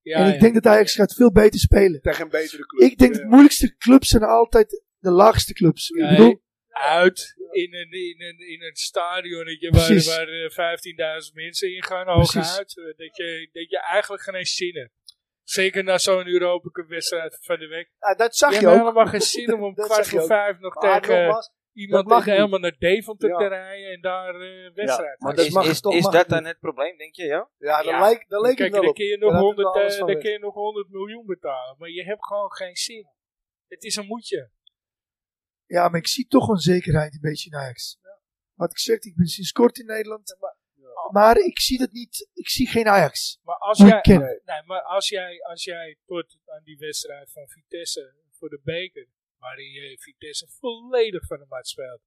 Ja, en ik ja. denk dat Ajax gaat veel beter spelen. tegen een betere club. Ik denk Ja. de moeilijkste clubs zijn altijd de laagste clubs. Ik Nee, bedoel, uit in een, in een, in een stadionnetje Precies. waar, waar eh, 15.000 mensen in gaan, Precies. hooguit. eh, Dat je, dat je eigenlijk geen eens zin hebt. Zeker na zo'n Europa Cup wedstrijd van de week. eh, nou, Ja, dat je zag je hebt ook. helemaal geen zin om om Dat kwart zag je voor ook. vijf nog Maar tegen nogmaals, iemand mag tegen niet. helemaal naar Deventer Ja. te rijden en daar eh wedstrijd. maar Maar dat is mag is, toch, is mag dat het dan het probleem, denk je? Ja? ja, dan Ja. leek, dan leek Kijk, het wel dan op. kun, je nog Daar heb ik 100, wel alles eh, van dan weg. kun je nog 100 miljoen betalen, maar je hebt gewoon geen zin. Het is een moedje. ja, maar ik zie toch onzekerheid een beetje in Ajax. Wat ik zeg, ik ben sinds kort in Nederland. Maar ik zie dat niet. Ik zie geen Ajax. Maar als Hoe jij, ik ken. nee, maar als jij, als jij tot aan die wedstrijd van Vitesse voor de beker, waarin je Vitesse volledig van de mat speelt.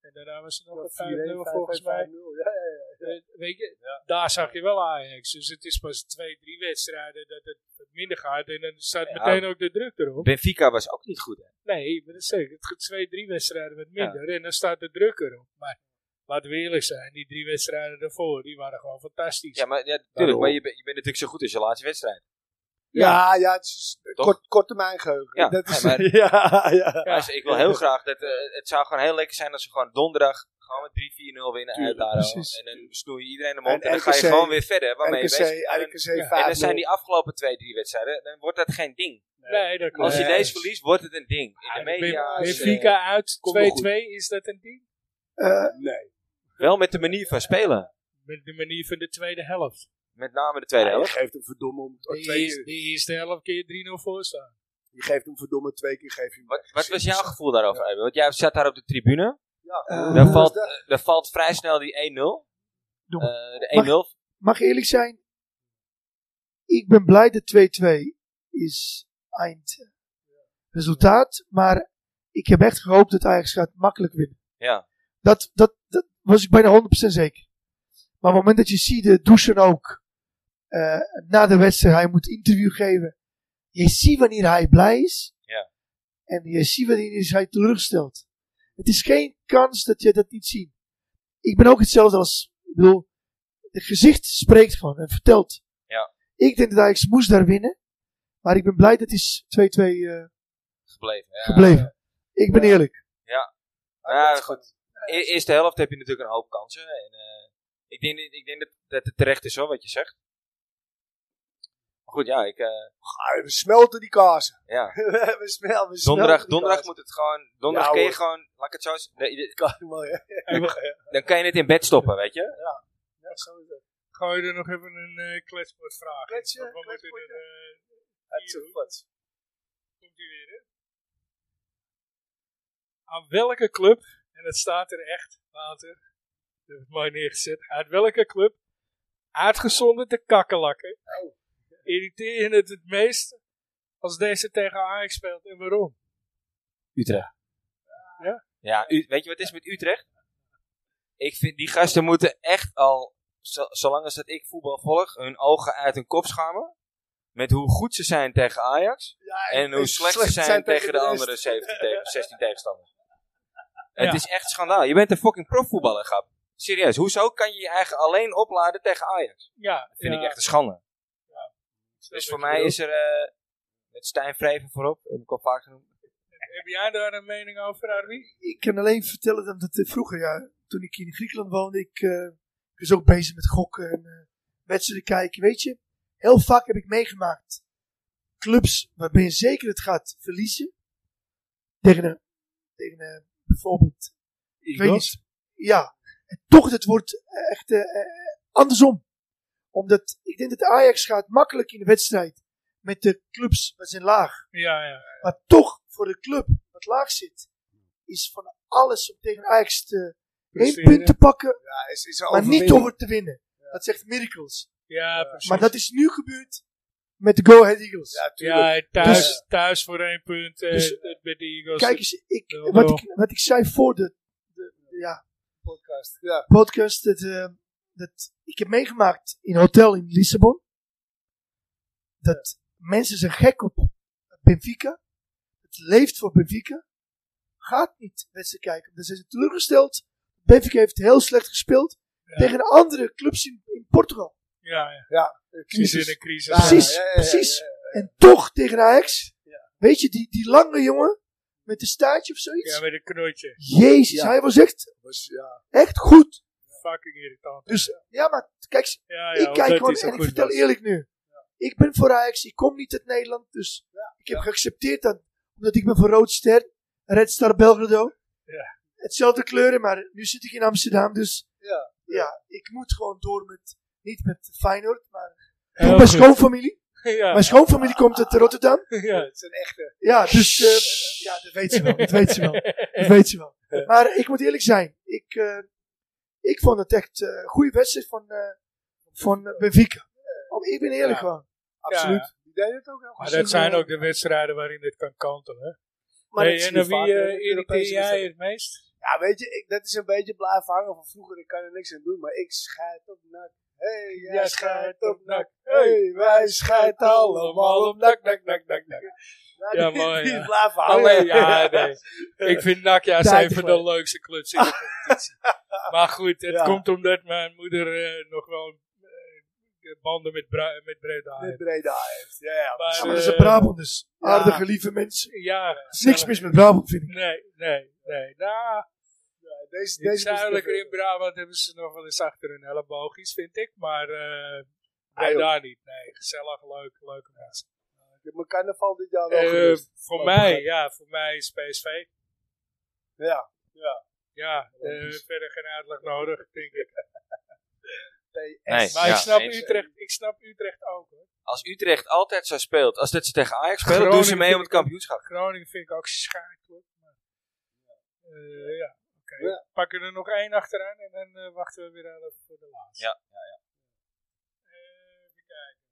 En daarna was er nog een 5-0 volgens mij. 5-0, ja, ja, ja. Eh, Weet je, daar zag je wel Ajax. Dus het is pas twee, drie wedstrijden dat het wat minder gaat. En dan staat Ja. meteen ook de druk erop. Benfica was ook niet goed. Hè? Nee, maar dat zeg ik. Het gaat twee, drie wedstrijden wat minder. En dan staat de druk erop. Maar laten we eerlijk zijn, die drie wedstrijden daarvoor, die waren gewoon fantastisch. Ja, maar, ja, tuurlijk, Daarom. maar je, bent- je bent natuurlijk zo goed als je laatste wedstrijd. Ja, ja, het is Toch? kort, kort termijn geheugen. Ja, dat is, nee, maar- ja, ja. Maar ze- ik wil heel graag dat eh, het zou gewoon heel lekker zijn als we gewoon donderdag gewoon met 3-4-0 winnen uit Tuurlijk, daar. precies. En dan snoei je iedereen de mond en, En dan ga je RKC gewoon weer verder waarmee je RKC, bezig bent. RKC 5 En dan zijn die afgelopen twee, drie wedstrijden, dan wordt dat geen ding. Nee, dat klopt. Als je Nee. deze verliest, wordt het een ding. In de media. Ben- is, eh, Benfica uit komt wel 2-2, is dat een ding? Eh, Nee. wel met de manier van spelen. Met de manier van de tweede helft. Met name de tweede Je helft. geeft hem verdomme om Die, Oh, twee is, keer. die eerste helft kun je 3-0 voor staan. Je geeft hem verdomme twee keer. Geef je hem Wat, weg. wat was jouw gevoel daarover, Eben? Want jij zat daar op de tribune. Ja, Eh, hoe daar was valt- dat? Er valt vrij snel die 1-0. Doe Eh, de 1-0. mag ik eerlijk zijn? Ik ben blij dat 2-2 is eindresultaat. Maar ik heb echt gehoopt dat Ajax gaat makkelijk winnen. Ja. Dat, dat, dat was ik bijna 100% zeker. Maar op het moment dat je ziet, de douchen ook. eh, na de wedstrijd, hij moet interview geven. Je ziet wanneer hij blij is. Ja. En je ziet wanneer hij teleurgesteld. Het is geen kans dat je dat niet ziet. Ik ben ook hetzelfde als, ik bedoel, het gezicht spreekt gewoon en vertelt. Ja. Ik denk dat Ajax moest daar winnen. Maar ik ben blij dat is 2-2 eh, Gebleven. Ja. gebleven. Ik ben eerlijk. Ja, goed. E- eerste helft heb je natuurlijk een hoop kansen. En, eh, ik denk, ik denk dat, dat het terecht is hoor, wat je zegt. Maar goed, ja, ik, eh, Ah, we smelten die kaas. ja. we smelten, we Donderdag, smelten die donderdag kaas. moet het gewoon. Donderdag Ja, kun je hoor. gewoon. Laat ik het zo eens- nee, je- Kan wel, ja. Dan kan je het in bed stoppen, weet je? Ja, zo is het. Gooi er nog even een eh kletspoortvraag in, Kletsen, want we moeten kletspoortje. er, eh, Het is een plat. komt u weer, hè? Aan welke club, en het staat er echt, later, ik heb het mooi neergezet, uit welke club, uitgezonden de kakkelakken, Oh. irriteer je het het meest als deze tegen Ajax speelt en waarom? Utrecht. Ja? Ja, U- weet je wat het is met Utrecht? Ik vind die gasten moeten echt al zo- zolang als dat ik voetbal volg, hun ogen uit hun kop schamen. Met hoe goed ze zijn tegen Ajax. en hoe slecht ze zijn, tegen de, andere 17 tegen, 16 tegenstanders. Het Ja. is echt schandaal. Je bent een fucking profvoetballer, grap. Serieus, hoezo kan je je eigen alleen opladen tegen Ajax? Ja, Dat vind ja, ik echt een schande. snap Dus wat voor je mij bedoelt. is er, eh, met Stijn Vreven voorop, heb ik al vaak genoemd. Heb jij daar een mening over, Arby? Ik kan alleen vertellen dat het, eh, vroeger, ja, toen ik hier in Griekenland woonde, ik eh, was ook bezig met gokken en eh, wedstrijden kijken. Weet je, heel vaak heb ik meegemaakt clubs waarbij je zeker het gaat verliezen. Tegen een, tegen een bijvoorbeeld, ik weet niet. Ja, en toch, het wordt eh, echt eh, eh, andersom. Omdat ik denk dat Ajax gaat makkelijk in de wedstrijd met de clubs wat zijn laag. Ja, ja. Maar toch, voor de club wat laag zit, is van alles om tegen Ajax te, één Presteren. punt te pakken, Ja, is, is een maar niet overwinning. om het te winnen. Dat zegt Miracles. Ja, precies. Maar dat is nu gebeurd met de Go Ahead Eagles. Ja, tuurlijk. ja, thuis, Dus- thuis voor één punt. eh Dus- met de Eagles. Kijk eens, ik, Nul-nul. wat, ik, wat ik zei voor de, de, de, ja, podcast. Ja. podcast, dat, eh, dat ik heb meegemaakt in een hotel in Lissabon, dat mensen zijn gek op Benfica. Het leeft voor Benfica. Gaat niet wedstrijden kijken. Dan zijn ze teleurgesteld. Benfica heeft heel slecht gespeeld tegen de andere clubs in, in Portugal. ja, ja. Die Crisis. zit in een crisis. Ja, Precies, ja, ja, ja, precies. ja, En toch tegen Ajax. Weet je, die, die lange jongen met de staartje of zoiets. Ja, met een knootje. Jezus, Ja. hij was echt, Dus, ja. echt goed. Fucking irritant. Dus ja, maar kijk, ja, ja, ik omdat kijk hij gewoon zo en ik goed vertel was. eerlijk nu. Ik ben voor Ajax, ik kom niet uit Nederland, dus ik heb geaccepteerd dat. Omdat ik ben voor Rood Ster, Red Star Belgrado. Ja. Hetzelfde kleuren, maar nu zit ik in Amsterdam, dus Ja. ja, ik moet gewoon door met, niet met Feyenoord, maar Heel mijn goed. schoonfamilie. Ja, Mijn schoonfamilie komt uit Rotterdam. ja. Het is een echte. Ja, dus eh, ja, dat weet ze wel, dat weet ze wel. Dat weet je wel. Maar ik moet eerlijk zijn. Ik, eh, ik vond het echt eh, een goede wedstrijd van, eh, van eh, Benfica. Om- ik ben eerlijk Ja. gewoon. Absoluut. Die deed het ook heel goed. Maar dat zijn ook de wedstrijden waarin dit kan kantelen. hè. Maar Hey, het is en niet aan wie vaak, hè, eh, dat irriteer Europese jij wedstrijden. het meest? Ja, weet je, ik, dat is een beetje blijven hangen van vroeger. Ik kan er niks aan doen, maar ik scheid op nak. hey, jij Jij scheidt scheidt op op nak. nak. hey, wij scheiden allemaal op nak, nak, nak, nak, nak. Ja, die, mooi, Die ja. blijven hangen. Alleen, Oh, ja, nee. Ik vind NAC juist Daar een van de voor. leukste clubs in de competitie. Maar goed, het Ja. komt omdat mijn moeder eh, nog wel eh, banden met, Bra- met Breda Met heeft. Breda heeft. Ja, ja. Maar, Ja, precies. maar dat eh, zijn Brabanders. ja. Aardige, lieve mensen. Ja, Niks mis met Brabant, vind ik. Nee, nee, nee. Nou, deze, Deze deze zuidelijker in Brabant hebben ze nog wel eens achter hun elleboogjes, vind ik. Maar eh Ah, nee, joh. daar niet. Nee, gezellig, leuk, leuke mensen. Ik heb mijn carnaval dit jaar wel Eh, gemist. voor Oh, mij, begrijp. ja, voor mij is PSV. Ja, Ja, eh, verder geen uitleg nodig, denk ik. PS. Nee. Maar Ja, ik, snap eens. Utrecht, ik snap Utrecht ook. Hoor. Als Utrecht altijd zo speelt, als dat ze tegen Ajax spelen, Groningen doen ze mee om vind het ik ook- kampioenschap. Groningen vind ik ook schakelijk. Maar, eh, ja, oké. Ja. Pakken er nog één achteraan en dan eh, wachten we weer heel even voor de laatste. Ja, Eh, even kijken.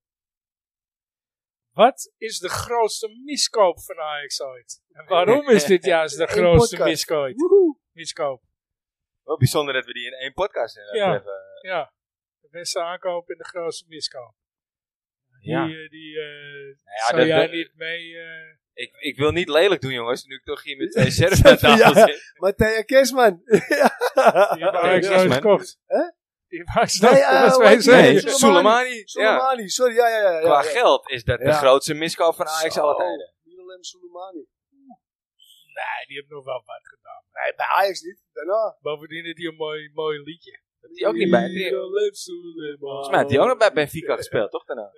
Wat is de grootste miskoop van Ajax ooit? En waarom is dit juist de Eén grootste podcast. miskoop? Woehoe. miskoop? Wel bijzonder dat we die in één podcast hebben. Ja. Ja, de beste aankoop en de grootste miskoop. Die, Ja. Nou eh, die eh, ja, zou dat- jij dat- niet mee... eh, Ik, ik wil niet lelijk doen, jongens, nu ik toch hier met twee servers aan tafel Ja. zit. Matthijs Kersman. die hebben Ja, Ajax dat is nooit mijn- gekocht. Hè? Die hebben Ajax Nee, nooit eh, gekocht. hoe wij heet die? zeggen. Nee, Soleimani. Soleimani. Ja. Soleimani, sorry. Ja, ja, ja. ja, Qua ja. geld is dat de Ja. grootste miskoop van Ajax Zo, alle tijden. Willem Soleimani. Nee, die hebben nog wel wat gedaan. Nee, bij Ajax niet. Daarna. Bovendien had hij een mooi, mooi liedje. Dat die ook niet bij. die- Volgens mij had die ook nog bij Benfica gespeeld, toch daarna?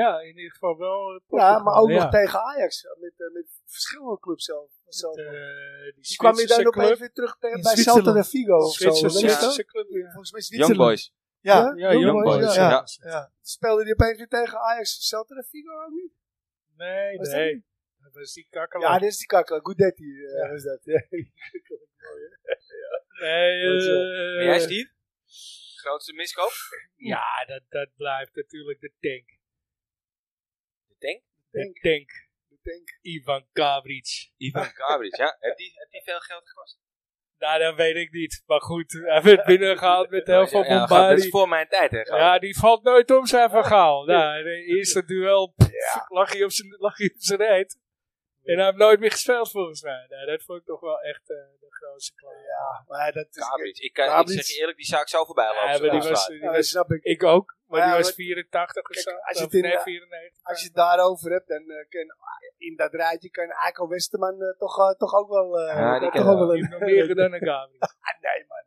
Ja, in ieder geval wel. eh, Ja, maar ook ja. nog tegen Ajax. Met, eh, met verschillende clubs zelf. zelf. Eh, Die die kwam je daar nog even even weer terug tegen, In bij Zwitserland. Celta de Vigo of zo. Zwitserse, weet je dat? Zwitserse club. Ja, Volgens mij Young Zwitserland. Boys. Ja. Ja, Young Young Boys, Boys, ja. ja. ja. Speelde die opeens weer tegen Ajax Celta de Vigo ook niet? Nee, Was dat nee. Dat was die kakkel. Ja, dit is die kakkel. Gudetti eh, is dat. Ja. nee, dat is wel- eh, En jij, Steve? Grootste miskoop? ja dat, dat blijft natuurlijk de tank. Ik denk. De tank. Ik denk, Ivan Gabric. Ivan Gabriel, ja. Heeft die, heeft die veel geld gekost? Nou, dat weet ik niet. Maar goed, hij werd binnengehaald met heel veel Ja, ja, gaat- dat is bombardie. voor mijn tijd, hè? Ja, die valt nooit om zijn van Gaal. Nou, de eerste duel pff, lag hij op zijn- lag hij op zijn reet. En hij heeft nooit meer gespeeld volgens mij. Nou, dat vond ik toch wel echt eh, de grootste klaar. Ja, maar dat is... Gabriel. Ik, kan, ik Gabriel. zeg je eerlijk, die zou ik zo voorbij lopen. Ja, maar zoals die het was, staat. die Ja, dat was, snap ik. ik ook, maar Maar ja, die was wat- 84 of Kijk, zo. als je Of het in- nee, 94. Als je het daarover hebt, dan eh, kan in dat rijtje kan Aiko Westerman eh, toch, eh, toch ook wel... eh, Ja, die toch ken ook wel. wel Die heeft nog meer gedaan dan Gabriel. Ah, nee, man.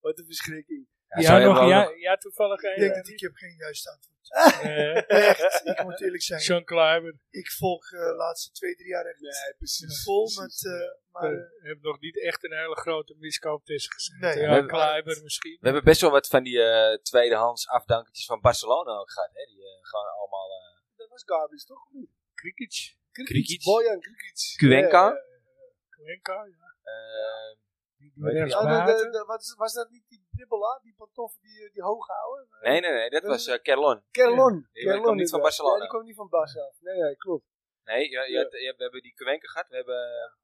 Wat een verschrikking. Ja, Ja, zou je nog, wel ja, nog- ja, toevallig Ik een. denk dat ik heb geen juist antwoord. eh, Echt, ik moet eerlijk zijn. Sean Kleiber. Ik volg eh, de laatste twee, drie jaar echt Nee, precies. vol precies. met... eh, maar eh, Heb nog niet echt een hele grote miskoop tussen gezien. Nee. ja, Nee. Kleiber misschien. We hebben best wel wat van die eh, tweedehands afdankertjes van Barcelona ook gehad. Hè? Die eh, gewoon allemaal... eh Dat was Gabriel, toch? Krikic. Krikic. Krikic. Bojan eh, Krikic. Cuenca. Ja, ja, ja. Cuenca, ja. eh, Die Weet rechts je- Oh, de- de- buiten. de- wat is- was dat niet die dribbelaar, die pantoffel die, eh, die hoog houden? nee, nee, nee. Dat was eh Kerlon. Kerlon. Die kwam niet van inderdaad. Barcelona. Nee, die kwam niet van Barcelona. Nee, nee, klopt. Nee, je, je Ja. had- je- we hebben die Cuenca gehad. We hebben eh,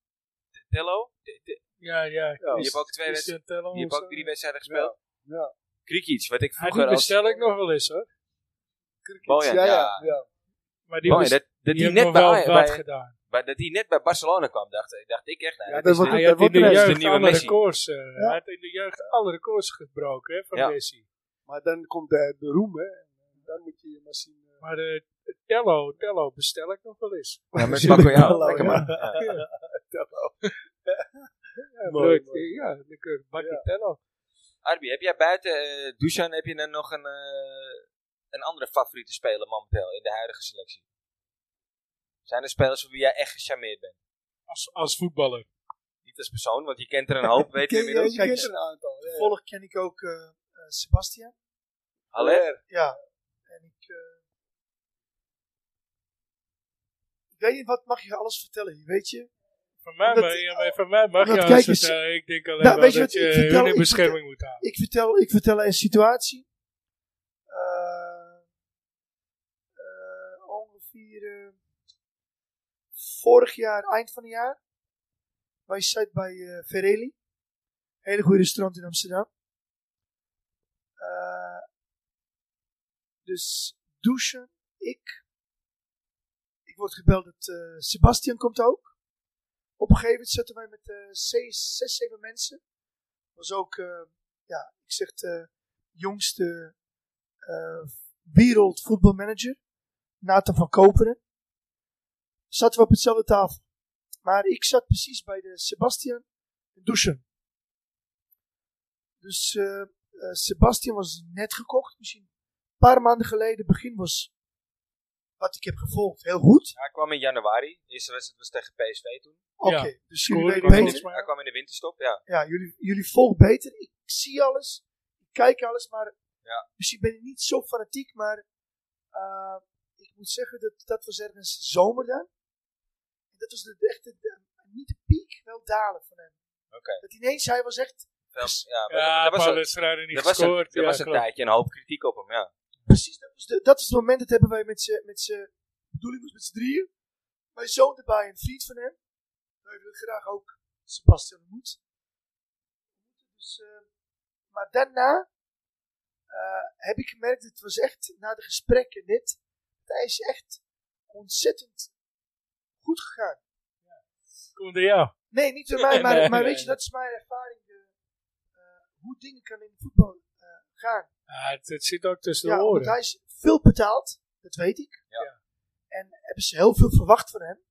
Tello. Te- te- Ja, ja. Ja. Die heeft ook, twee wedstrijden, Christian Tello. die heeft of ook zo. drie wedstrijden gespeeld. eh, Ja, ja. Krikic, wat ik Ja, vroeger die als... bestel ik nog wel eens hoor. Bojan, ja. ja. Maar die, Bojan, best- dat, dat die die heeft nog net bij, wel Ajax- wat bij, gedaan. bij- dat die net bij Barcelona kwam, dacht, dacht ik echt. Nou, Ja, dat dat is wordt de- Hij dat had in dat de wordt een- is de jeugd nieuwe alle Messi. records. eh, Ja. Hij had in de jeugd alle records gebroken hè, van Ja. Messi. Maar dan komt de, de roem, hè. En Dan moet je je maar zien. eh, Maar eh, Tello, Tello bestel ik nog wel eens. Ja, met Bakayoko. Tello, Lekker ja. man. Ja, Mooi, leuk. eh, mooi. ja lekker bakje Tello. Arby, heb jij buiten eh, Dusan, heb je dan nog een, eh, een andere favoriete speler momenteel in de huidige selectie? Zijn er spelers van wie jij echt gecharmeerd bent? Als, als voetballer. Niet als persoon, want je kent er een hoop, weet je Ken je- inmiddels. Je kent eens. er een aantal. ja, ja. volg ken ik ook eh eh, Sebastian. Haller? Ja. En ik... eh, ik weet niet, wat mag je alles vertellen hier, weet je? Van mij, Omdat- maar, ja, maar van mij mag omdat je kijk als het, eens- eh, Ik denk alleen Nou, wel weet je dat wat je ik eh, vertel? hun in Ik bescherming moet houden. Ik vertel, ik vertel een situatie. Eh, eh, ongeveer eh, vorig jaar, eind van het jaar. Wij zaten bij eh Vereli. Hele goede restaurant in Amsterdam. Eh, dus douchen, ik. Ik word gebeld dat eh, Sebastian komt ook. Op een gegeven moment zaten wij met eh zes, zes, zeven mensen. Was ook eh, ja, ik zeg de jongste eh wereld voetbalmanager, Nathan van Koperen, zaten we op hetzelfde tafel. Maar ik zat precies bij de Sebastian douchen. Dus eh, eh, Sebastian was net gekocht, misschien een paar maanden geleden. Begin was wat ik heb gevolgd heel goed. Hij kwam in januari. De eerste wedstrijd was tegen PSV toen. Oké, Ja, dus jullie scoorde weten Hij die beter. kwam, volgens mij. hij kwam in de winterstop, ja. ja, jullie, jullie volgen beter. Ik zie alles, ik kijk alles, maar Ja. misschien ben ik niet zo fanatiek, maar eh, ik moet zeggen dat dat was ergens zomer dan. En dat was de, echt de- de- niet de piek, wel dalen van hem. Oké. Dat ineens, hij was echt Wel, ja, maar Ja, dat- een dat was, paar een, wedstrijden niet dat was, een, gescoord. dat ja, was een klopt. tijdje een hoop kritiek op hem, ja. precies, dat, was de, dat is het moment dat hebben wij met z'n, met z'n bedoeling was met z'n drieën. Mijn zoon erbij, een vriend van hem. Wij willen graag ook Sebastian Moed. Dus, eh, maar daarna eh, heb ik gemerkt, het was echt na de gesprekken net, hij is echt ontzettend goed gegaan. Kom door jou. Nee, niet door mij, maar, Nee, maar nee, weet je, nee. dat is mijn ervaring. de, eh, hoe dingen kan in voetbal eh, gaan. Ja, het, het zit ook tussen Ja, de want oren. hij is veel betaald, dat weet ik. Ja. En hebben ze heel veel verwacht van hem.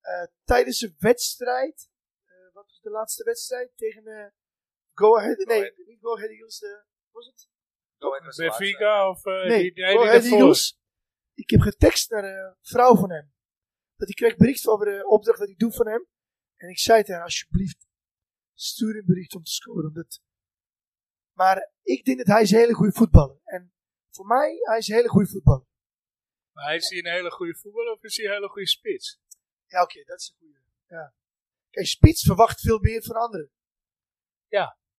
Eh, tijdens een wedstrijd, eh, wat was de laatste wedstrijd tegen eh, Go Ahead? Nee, Ahead. niet Go Ahead Eagles. eh, was het? Go Ahead was de laatste. Benfica of eh, nee, oh, die, die, Go die Ahead daarvoor. Eagles. Ik heb getekst naar een vrouw van hem. Dat ik kreeg bericht over de opdracht dat ik doe van hem. En ik zei tegen haar, alsjeblieft, stuur een bericht om te scoren. Omdat... Maar ik denk dat hij is een hele goede voetballer. En voor mij, hij is een hele goede voetballer. Maar hij is hij een hele goede voetballer of is hij een hele goede spits? Ja, oké, dat is een goede. Ja. Kijk, spits verwacht veel meer van anderen.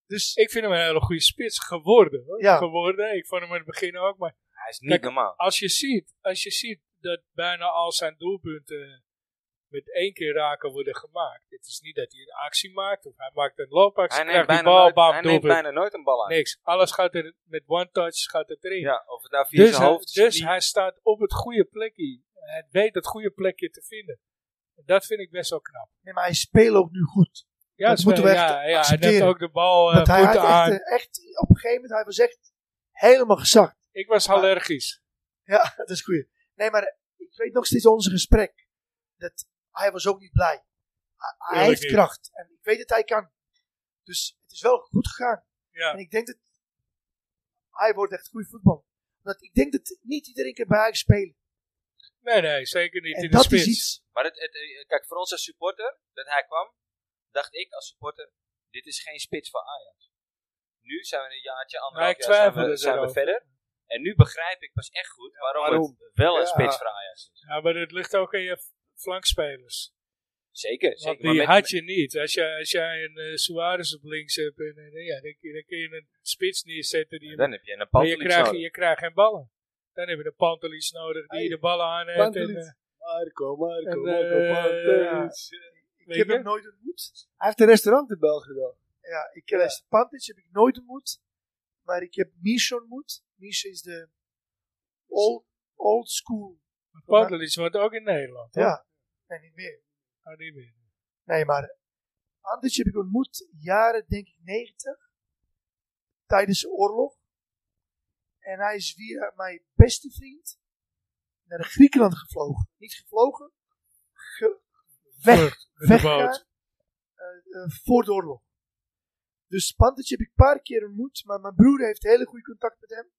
Dus ik vind hem een hele goede spits geworden. Hoor. Ja. geworden. Ik vond hem in het begin ook. Maar Hij is Kijk, niet normaal. als je ziet, als je ziet dat bijna al zijn doelpunten met één keer raken worden gemaakt. Het is niet dat hij een actie maakt of hij maakt een loopactie. Hij Hij neemt, krijgt die bijna bal, nooit, bam, hij neemt doelpunt. bijna nooit een bal aan. Niks. Alles gaat er met one touch gaat het erin. Ja, of het nou via dus zijn hij, hoofd dus knie- hij staat op het goede plekje. Hij weet het goede plekje te vinden. En dat vind ik best wel knap. Nee, maar hij speelt ook nu goed. Ja, Dat het moeten we spel- echt ja, ja, hij neemt accepteren. ook de bal eh, Want hij goed had aan. echt, eh, echt, op een gegeven moment, hij was echt helemaal gezakt. ik was allergisch. Ja, dat is goed. Nee, maar ik weet nog steeds onze gesprek. Dat hij was ook niet blij. Hij- Hij Tuurlijk heeft niet. kracht. En ik weet dat hij kan. Dus het is wel goed gegaan. Ja. En ik denk dat hij wordt echt goed voetbal. Want ik denk dat niet iedereen kan bij Ajax spelen. Nee, nee, zeker niet en in de dat spits. is iets. Maar het, het, eh, kijk, voor ons als supporter, dat hij kwam, dacht ik als supporter, dit is geen spits voor Ajax. Nu zijn we een jaartje, anderhalf Nou, ik dus jaar zijn we, twijfelde zijn we erover. verder. En nu begrijp ik pas echt goed waarom, waarom? het wel een Ja. spits voor Ajax is. Ja, maar het ligt ook aan je flankspelers. Zeker, Want zeker. die Maar met- had je niet. Als jij, als jij een eh, Suarez op links hebt, en, en, ja, dan, kun- dan kun je een spits neerzetten. Die dan heb je een maar je Pantelic krijgt, nodig. je krijgt geen ballen. Dan heb je een Pantelis nodig die Hey, de ballen aan heeft. En, Pantelic. eh, Marco, Marco, En, Marco, eh, Pantelic. Ik weet heb je? hem nooit ontmoet. Hij heeft een restaurant in België dan. Ja, ik ken ja. Pantic heb ik nooit ontmoet. Maar ik heb Misha ontmoet. Misha is de old, old school. Pantelis wordt ook in Nederland. hoor. Ja. Nee, niet meer. Ah, niet meer. Nee, maar Anders heb ik ontmoet jaren, denk ik, 90. Tijdens de oorlog. En hij is via mijn beste vriend naar Griekenland gevlogen. Niet gevlogen. Ge weg. Vlucht, met de Weggegaan. boot. eh, eh, voor de oorlog. Dus Pantic heb ik een paar keer ontmoet. Maar mijn broer heeft hele goede contact met hem.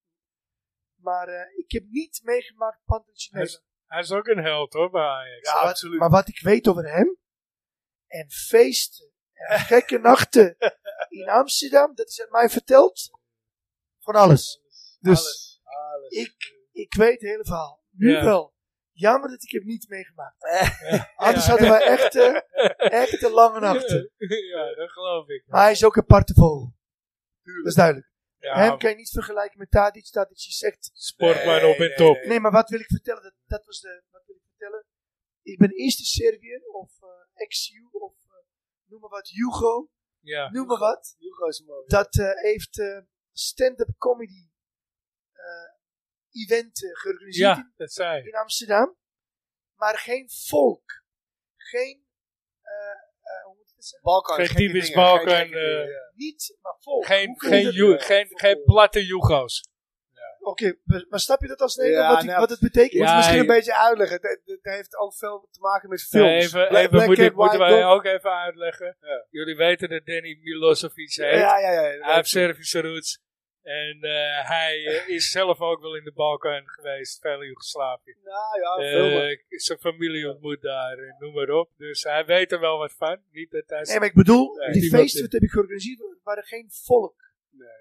Maar eh, ik heb niet meegemaakt Pantic in Hij Nederland. is, hij is ook een held hoor bij Ajax. Ja, Maar wat ik weet over hem. En feesten. En gekke nachten. In Amsterdam. Dat is aan mij verteld. Van alles. Dus Alles, alles. Ik, ik weet het hele verhaal. Nu Ja. wel. Jammer dat ik hem niet meegemaakt. Anders Ja. hadden wij echt, eh, echt een lange nachten. ja, dat geloof ik. Maar hij is ook een aparte vogel. Dat is duidelijk. ja, Hem kan je niet vergelijken met Tadic. Tadic je zegt... sportman op en top. Nee, maar wat wil ik vertellen? Dat, dat was de... Wat wil ik vertellen? Ik ben eerst in Servië. Of eh XU. Of eh, noem maar wat. Hugo. Ja. Noem maar wat. Hugo is mooi. Dat eh, heeft eh, stand-up comedy eh event eh, georganiseerd ja, dat zei in, hij. in Amsterdam. Maar geen volk. Geen, eh, eh, hoe moet ik dat zeggen? Balkan. Geen gekke typisch dingen, Balkan, geen gekke dingen, eh, ja. Niet, maar volk. Geen, Hoe kun geen, je dat- Ju- geen, geen platte Jugo's. Oké, maar- maar snap je dat als Nederland, Ja, wat, ik- nou, wat het betekent? Moet Ja, je misschien je- een beetje uitleggen. Het, het heeft ook veel te maken met films. Ja, even, Black- even Black moet ik, Cat, moeten White wij Dog. ook even uitleggen. Jullie weten dat Danny Milosevic heet. Ja, ja, ja. ja. Hij heeft Servische roots. En eh, hij eh, is zelf ook wel in de Balkan geweest, veel Joegoslavië. Nou ja, filmen. Eh zijn familie ontmoet daar, en noem maar op. Dus hij weet er wel wat van. Niet dat hij... Nee, maar ik bedoel, Nee, die niemand feesten in. wat heb ik georganiseerd, waren geen volk.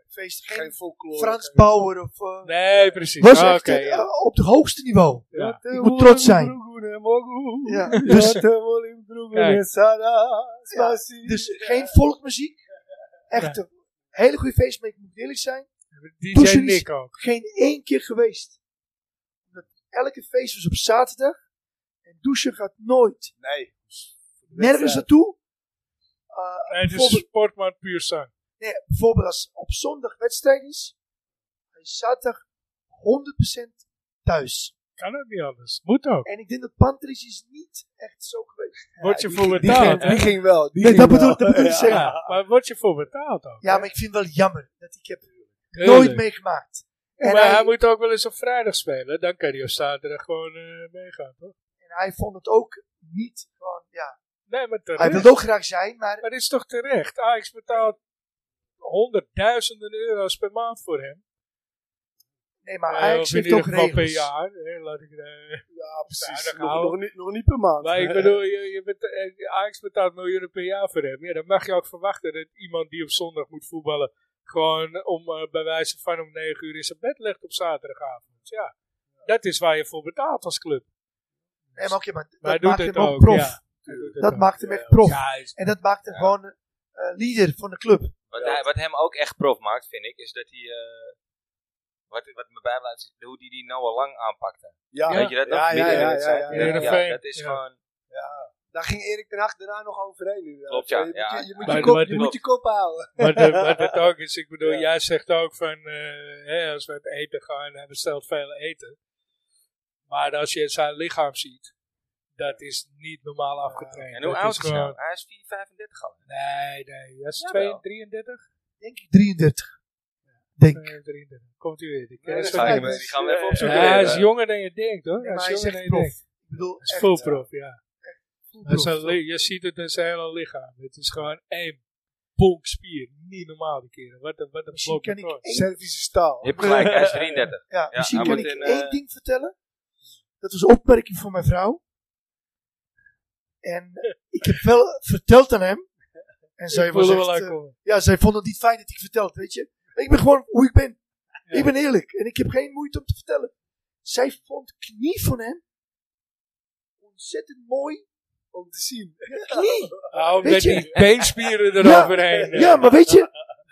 Feesten, geen, Geen folklore. Frans Bauer of... eh, Nee, precies. Ah, was Oké, echt eh, ja. eh, op het hoogste niveau. Ja. Ik moet trots zijn. Ja, dus- Kijk. Dus geen volkmuziek. Echt een hele goede feest, maar ik moet eerlijk zijn. DJ Poeseries. Nick ook. Geen één keer geweest. Omdat elke feest was op zaterdag. En douchen gaat nooit. Nee. Nergens naartoe. Eh, Nee, het is Bijvoorbeeld- sportman puur zang. nee, bijvoorbeeld als op zondag wedstrijd is. Hij is zaterdag 100% thuis. Kan ook niet anders. Moet ook. En ik denk dat Pantelis is niet echt zo geweest. Word je voor Die ging, betaald, hè? die ging wel. Oh, Die Nee, ging dat bedoel, wel. dat bedoel ik Ja. zeggen. Ja, maar word je voor betaald ook? Ja, maar ik vind het wel jammer. Dat ik heb Tuurlijk. nooit meegemaakt. En maar hij, hij, moet ook wel eens op vrijdag spelen. Dan kan hij op zaterdag gewoon eh, meegaan, toch? en hij vond het ook niet gewoon, ja. Nee, maar terecht. Hij wil ook graag zijn, maar Maar dit is toch terecht? Ajax betaalt honderdduizenden euro's per maand voor hem. nee, maar Eh, Ajax of in heeft ook ieder geval per regels. jaar. hè, laat ik, eh, Ja, precies. Zuinig Nog, houden. nog, niet, nog niet per maand. maar ik bedoel, je, je beta- eh, Ajax betaalt miljoenen per jaar voor hem. Ja, dan mag je ook verwachten dat iemand die op zondag moet voetballen... gewoon om, eh, bij wijze van om negen uur in zijn bed legt op zaterdagavond. Ja, dat is waar je voor betaalt als club. Nee, maar oké, maar dat Maar hij doet maakt het hem ook ook, prof. ja. Hij doet het Dat ook. maakt hem Ja, echt prof. Ja, hij is- En dat maakt hem gewoon eh, leader van de club. Wat, hij, wat hem ook echt prof maakt, vind ik, is dat hij... eh, wat, wat me bijblijft, is hoe hij die Noah Lang aanpakte. Ja. Weet je dat nog? Ja, ja, Midden in de ja, wedstrijd. ja, ja, ja. dat is Ja. gewoon... Daar ging Erik ten Hag daarna nog overheen. Nu. Klopt, ja, Je, moet ja. je, je moet Maar- je, kop, maar- je moet je kop houden. Maar de- wat het ook is, ik bedoel, Ja. jij zegt ook van, eh, hè, als we uit eten gaan, hij bestelt veel eten. Maar als je zijn lichaam ziet, dat is niet normaal afgetraind. En hoe Dat oud is hij gewoon- nou? Hij is 4, 35 al. Nee, nee, hij is Jawel. 2, 33? Denk ik 33. Denk ik. 33. Komt u weer. Die Nee, kennis dat ga van ik die mee. die mensen. gaan we even Ja, opzoeken. Ja, hij eh. is jonger dan je denkt hoor. Nee, hij is maar hij is jonger dan je echt prof. denkt. Ik bedoel, Hij is echt, full ja, prof, ja. full Hij is prof. een li- je ziet het in zijn hele lichaam. Het is gewoon één bonk spier. Niet normaal die keren. Wat een, wat een Misschien blok kan ik toren. één- Servische staal. Je hebt gelijk, hij is 33. Ja, Ja, misschien hij kan ik moet in, één eh, ding vertellen. Dat was een opmerking van mijn vrouw. En eh, ik heb wel verteld aan hem. En zij Ik wil was er wel echt, aan eh, komen. ja, zij vond het niet fijn dat ik verteld, weet je. Maar ik ben gewoon hoe ik ben. Ja. Ik ben eerlijk en ik heb geen moeite om te vertellen. Zij vond knie van hem ontzettend mooi om te zien. Knie. Ah, Weet omdat je- die beenspieren eroverheen. eh, Ja, maar weet je,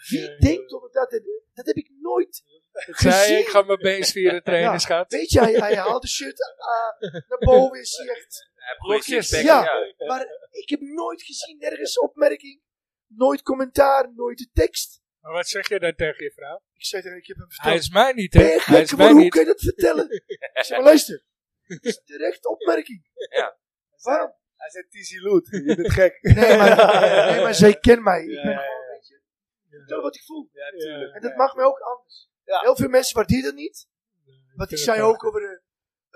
wie Ja. denkt om dat te Dat heb ik nooit zei, gezien. ik ga mijn beenspieren trainen, Ja. schat. Weet je, hij, hij haalt de shirt eh, naar boven en zie je echt Hij heeft goede Blokjes. sixpack, Ja. ja. Maar ik heb nooit gezien, nergens opmerking, nooit commentaar, nooit de tekst. Maar wat zeg je dan tegen je vrouw? Ik zei tegen haar, ik heb hem Hij verteld. is mij niet, hè? Ben je Hij gek, is maar mij hoe niet. kan je dat vertellen? Ik zei, maar luister, het is terecht opmerking. Ja. Waarom? Hij zei Tizi Loet. Je bent gek. Nee, maar, nee, maar zij kent mij. Ik Ja, ben ja, gewoon, weet je, ik vertel wat ik voel. Ja, tuurlijk. En dat mag mij ook anders. Ja. Heel veel mensen waarderen dat niet. Want ik zei ook over de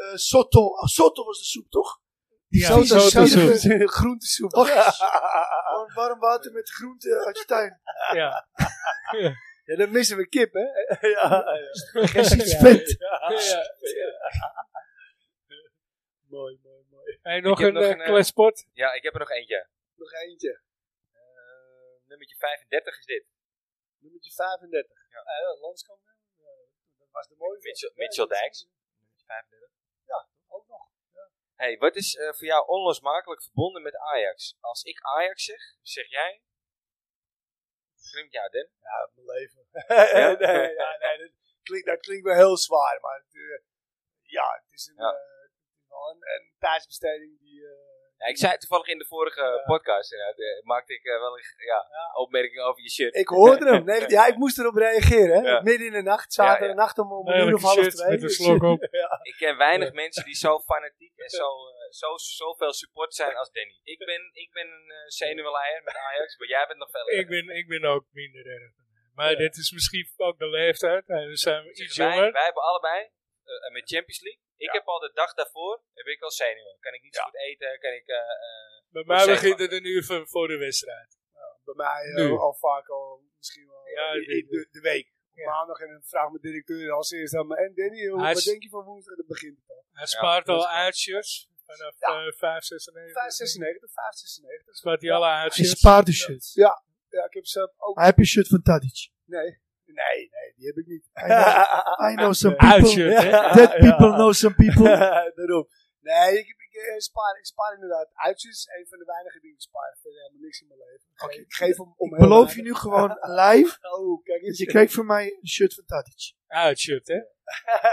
eh, Sotto. Ah, Sotto was de soep, toch? Ja, Zo'n zo zout- te doen. Groentesoep. Och, Gewoon warm water met groenten uit je tuin. Ja. Ja, dan missen we kip, hè? ja, ja. Precies, vet. Ja. Mooi, mooi, mooi. Hey, nog heb een nog eh, een, eh, kletspot? Ja, ik heb er nog eentje. Nog eentje. Eh, Nummertje 35 is dit. Nummertje 35. Ja. landskampioen. Ja, dat was de mooie. Mitchell, Ja, Mitchell dat is- Dijks. Nummertje 35. Ook nog. Hey, wat is eh, voor jou onlosmakelijk verbonden met Ajax? Als ik Ajax zeg, zeg jij? Klinkt jou, Den? Ja, mijn leven. Ja? nee, ja, nee, dat, klinkt, dat klinkt wel heel zwaar, maar het, eh, ja, het is een, Ja. eh, het is wel een, een tijdsbesteding die... eh, Ja, ik zei het toevallig in de vorige eh, podcast. inderdaad, eh, maakte ik eh, wel een ja, opmerking over je shirt. ik hoorde hem. Nee, ja, ik moest erop reageren. Hè? Ja. Midden in de nacht, Ja, ja. zaterdagnacht om, om een uur Lelijke of half shit twee. dus- met een slok op. Ik ken weinig mensen die zo fanatiek en zo, eh, zo, zoveel support zijn als Danny. Ik ben, ik ben een eh, zenuwleier met Ajax, maar jij bent nog veel Ik ben, ik ben ook minder erg. dan hij. Maar dit is misschien ook de leeftijd. eh, We zijn iets Dus wij, jonger. wij hebben allebei eh, met Champions League. Ik heb al de dag daarvoor heb ik al zenuwen. Kan ik niet zo goed eten? Kan ik, eh, eh, Bij mij Zeg begint het een uur voor, voor de wedstrijd. Bij mij eh, Nu. al vaak al misschien wel Ja, i- ik i- weet de, de week. Op Maandag en dan vraagt mijn directeur als eerst aan me. En Danny, eh, hoe- Hij wat is- denk je van woensdag? Dat begint het al. Hij spaart dat is al waar. uitshirts. Vanaf Ja. eh, 5, 96. 596, 596. Spaart hij alle Hij uitshirts. spaart de shirt. Ja, ik heb zelf ook... Hij heeft een shirt van Tadic. Nee, nee, nee, die heb ik niet. I know, I know some people. Eh, Uitshirt, hè? Dead people know some people. Daarom. Nee, ik, ik, eh, spaar, ik spaar inderdaad. Uitjes is een van de weinige dingen die ik spaar. Ik vind helemaal niks in mijn leven. Oké, Ik geef hem om Ik heel beloof je weinig. nu gewoon live. Oh, kijk Dus eens. je krijgt van mij een shirt van Tadic. Uitshirt, hè?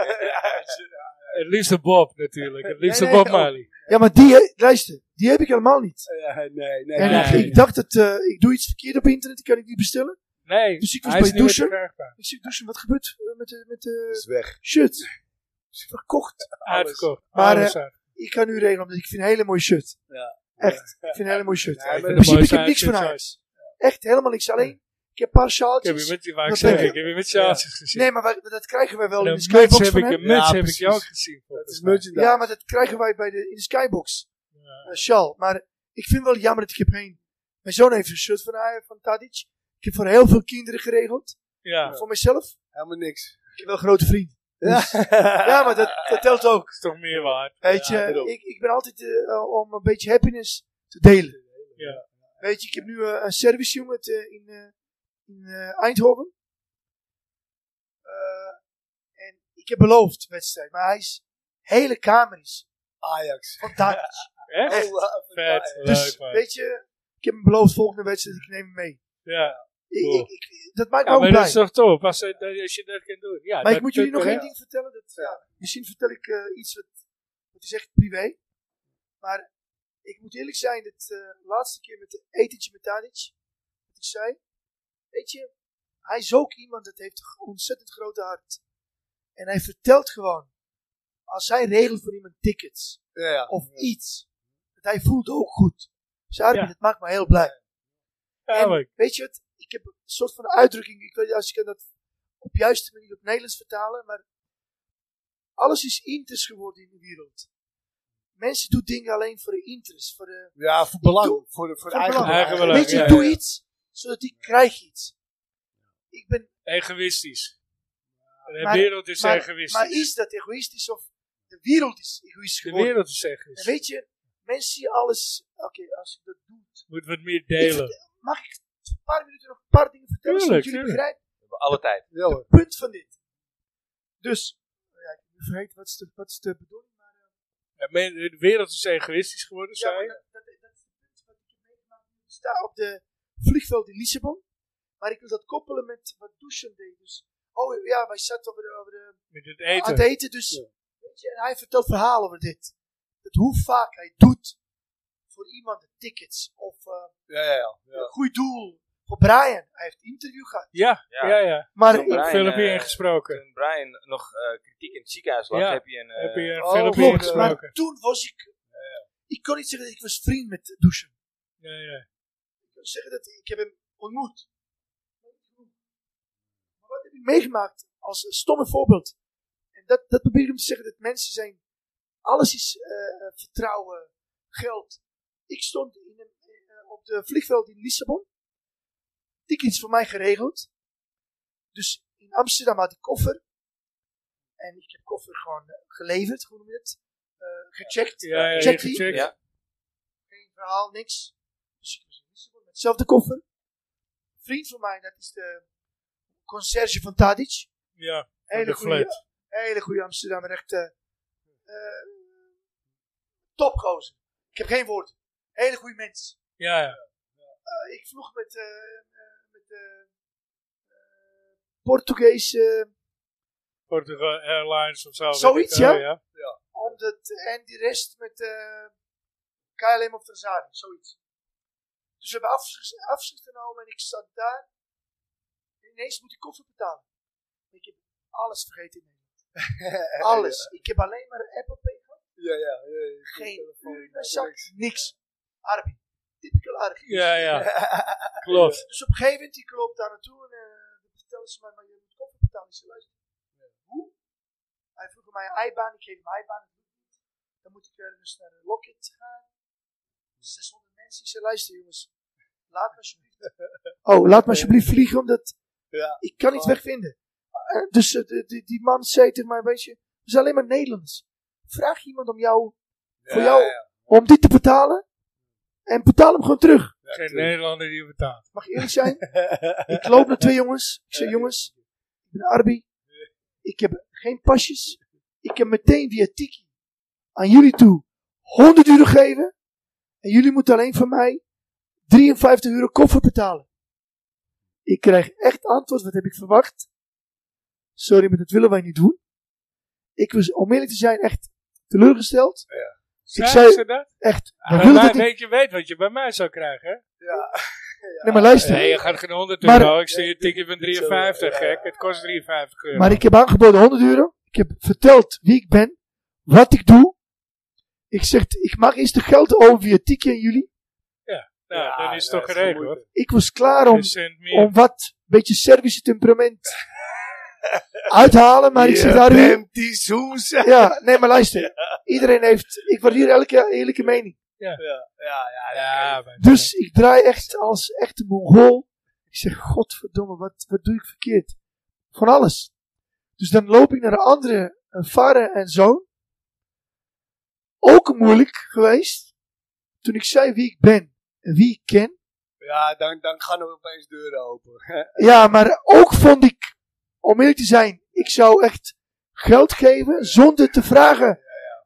Uitjes. Het liefste Bob, natuurlijk. Het liefste nee, Bob oh. Marley. Ja, maar die, he- luister, die heb ik helemaal niet. Ja, nee, nee. En nee. ik, ik dacht dat eh, ik doe iets verkeerd op internet, die kan ik niet bestellen. Nee, Dus ik was hij is bij niet meer douchen. verkrijgbaar. Ik zeg, douchen, wat gebeurt eh, met de, met de is weg. shirt? Is verkocht. Uitverkocht. Maar, Alles eh, uit. Ik kan nu regelen, omdat ik vind een hele mooie shirt. Ja. Echt, ik vind een hele mooie shirt. Ja, maar In de principe, ik mooiste heb niks van uitshirts Ajax. Echt, helemaal niks. Alleen, ik heb een paar ik heb je sjaaltjes. met die waar ik Dat zeg, heb ik. ik heb je met sjaaltjes gezien. Nee, maar wij- dat krijgen wij wel En in een de muts skybox heb van ik, hem. een muts Ja, heb ik precies. jou ook gezien. Dat volgens is mij. merchandise. Ja, maar dat krijgen wij bij de, in de skybox. Ja. eh sjaal. Maar ik vind wel jammer dat ik heb geen... Mijn zoon heeft een shirt van, Ajax, van Tadic. Ik heb voor heel veel kinderen geregeld. Ja, Voor mezelf. Helemaal niks. Ik heb wel een grote vriend. Dus- Ja, maar dat, dat telt ook. is toch meer waard. Weet Ja, je, daarom. ik, ik ben altijd eh, om een beetje happiness te delen. Ja. Weet je, ik heb nu eh, een servicejongen te- in, eh, in eh, Eindhoven. Eh, en ik heb beloofd wedstrijd. Maar hij is hele kamer is Ajax. van Tadic. Echt? Oh, love it, Vet, Ajax. Dus leuk man. weet je, ik heb hem beloofd volgende wedstrijd. Ik neem hem mee. Ja, Ik- Cool. ik, ik- dat maakt me Ja, ook maar Oh, blij. dat is toch top, als, eh, dat- als je dat kan doen. Ja, maar ik dat- moet jullie dat- nog één ja. ding vertellen. Dat, ja, misschien vertel ik eh, iets wat, wat is echt privé. Maar Ik moet eerlijk zijn, het eh, laatste keer met Etentje met Tadic, wat ik zei, weet je, hij is ook iemand dat heeft een g- ontzettend grote hart. En hij vertelt gewoon, als hij regelt voor iemand tickets Ja, ja. of iets, dat hij voelt ook goed. Sarbi, Ja. dat maakt me heel blij. Ja, En- maar ik- Weet je het? Ik heb een soort van uitdrukking. Ik weet niet als ik dat op juiste manier op Nederlands vertalen. Maar alles is interest geworden in de wereld. Mensen doen dingen alleen voor de interest. Voor de, ja, voor belang. Doe- Voor, de- voor, voor eigen belang. Eigen belang, Weet je, ja, doe iets zodat ik krijg iets. Ik ben, egoïstisch. De Maar- wereld is maar- egoïstisch. maar is dat egoïstisch of de wereld is egoïstisch de geworden? wereld is En egoïstisch. weet je, mensen zien alles. Oké, als ik dat doe. Moet wat meer delen. Mag ik een paar minuten nog een paar dingen vertellen zodat Tuurlijk, jullie tuurlijk. begrijpen? hebben alle tijd. Ja, hoor. punt van dit. Dus, ja, ik ben vergeten wat is de, wat is de bedoeling. Maar, Ja, men- de wereld is egoïstisch geworden, ja, zei maar je? dat, dat, dat is het punt wat ik heb meegemaakt. Ik sta op de vliegveld in Lissabon. Maar ik wil dat koppelen met wat Dusan deed. Dus, oh ja, wij zaten over de, over de, Met het aan eten. het eten. Dus, weet je, en hij vertelt verhalen over dit. Dat hoe vaak hij doet voor iemand de tickets of eh, ja, ja, ja. ja. een goed doel. Voor Brian, hij heeft een interview gehad. Ja, Ja. ja, ja. Maar Voor ik- Brian, Filmpje eh, ingesproken. Toen Brian nog eh, kritiek in het ziekenhuis lag, Ja. heb je een... eh, Heb je oh, een filmpje klopt, klopt, maar ingesproken? toen was ik... Ik kon niet zeggen dat ik was vriend met Dusan. Ja, ja. wil zeggen dat ik heb hem ontmoet. Maar wat heb ik meegemaakt als een stomme voorbeeld? En dat, dat probeer ik hem te zeggen, dat mensen zijn... Alles is eh, eh, vertrouwen, geld. Ik stond in een, eh, op de vliegveld in Lissabon. Tickets voor mij geregeld. Dus in Amsterdam had ik koffer. En ik heb koffer gewoon eh, geleverd, hoe noem je het? Eh, gecheckt. Ja, ja, Checkt je ie? gecheckt. Ja. geen verhaal, niks. Dus ik was in Lissabon met hetzelfde koffer. Een vriend van mij, dat is de conciërge van Tadic. Ja, Hele de goede, flat. hele goede Amsterdammer, echt eh eh, topgozer. Ik heb geen woord. Hele goede mens. Ja, ja. Eh, ik vroeg met, eh eh, met eh eh, Portugees eh, Portugal Airlines of zo. weet Zoiets, ik wel, ja. Omdat, en die rest met eh KLM of Tanzania, zoiets. Dus we hebben afs- afscheid genomen en ik zat daar. En ineens moet ik koffer betalen. Ik heb alles vergeten in Nederland. alles. Ik heb alleen maar Apple Pay gehad. Ja, ja, ja, ja. Geen telefoon, uur in ja, mijn zak. niks. Niks. Arby. Typical Arby. Ja, ja. Klopt. Dus op een gegeven moment, ik loop daar naartoe en eh dan vertellen ze mij, maar je moet koffer betalen. Ik zei, luister, hoe? Hij vroeg om mijn IBAN, ik geef hem IBAN. Dan moet ik eh, dus naar een Locket gaan. Hmm. 600 mensen. Ik zei, luister jongens, laat me alsjeblieft. Oh, laat me alsjeblieft vliegen, omdat Ja. Oh. ik kan niet wegvinden. Eh, dus eh, de- die, die man zei tegen mij, weet je, we zijn alleen maar Nederlands. Vraag iemand om jou, voor Ja, jou, ja, om dit te betalen. En betaal hem gewoon terug. ja, Geen tuurlijk. Nederlander die betaalt. Mag ik eerlijk zijn? ik loop naar twee jongens. Ik zeg, jongens, ik ben Arbi. Ik heb geen pasjes. Ik heb meteen via Tiki aan jullie toe 100 euro gegeven. En jullie moeten alleen van mij 53 euro koffer betalen. Ik krijg echt antwoord, wat heb ik verwacht? Sorry, maar dat willen wij niet doen. Ik was, om eerlijk te zijn, echt teleurgesteld. Zijn zei- ze dat? Echt, Bij wij willen mij dat niet. weet je weet wat je bij mij zou krijgen, hè? Nee, maar luister. Nee, je gaat geen 100 Maar- euro. Ik zie een ticket van 53, Ja, ja. gek. Het kost 53 euro. Maar ik heb aangeboden 100 euro. Ik heb verteld wie ik ben, wat ik doe. Ik zeg, ik mag eerst de geld over via Tiki en jullie. nou, Ja, dan is het ja, toch is geregeld, gemoeid. hoor. Ik was klaar om, Een cent meer. om wat, beetje service temperament uithalen, maar ik zeg daar weer. bent die Soesa. Ja, nee, maar luister. Iedereen heeft, ik waardeer elke eerlijke mening. Ja, ja, ja. Ja, maar- Dus ik draai echt als echte Mongool. Ik zeg, godverdomme, wat, wat doe ik verkeerd? Van alles. Dus dan loop ik naar de andere eh, vader en zoon. Ook moeilijk geweest. Toen ik zei wie ik ben en wie ik ken. Ja, dan, dan gaan er opeens deuren open. Ja, maar ook vond ik, om eerlijk te zijn, ik zou echt geld geven zonder te vragen.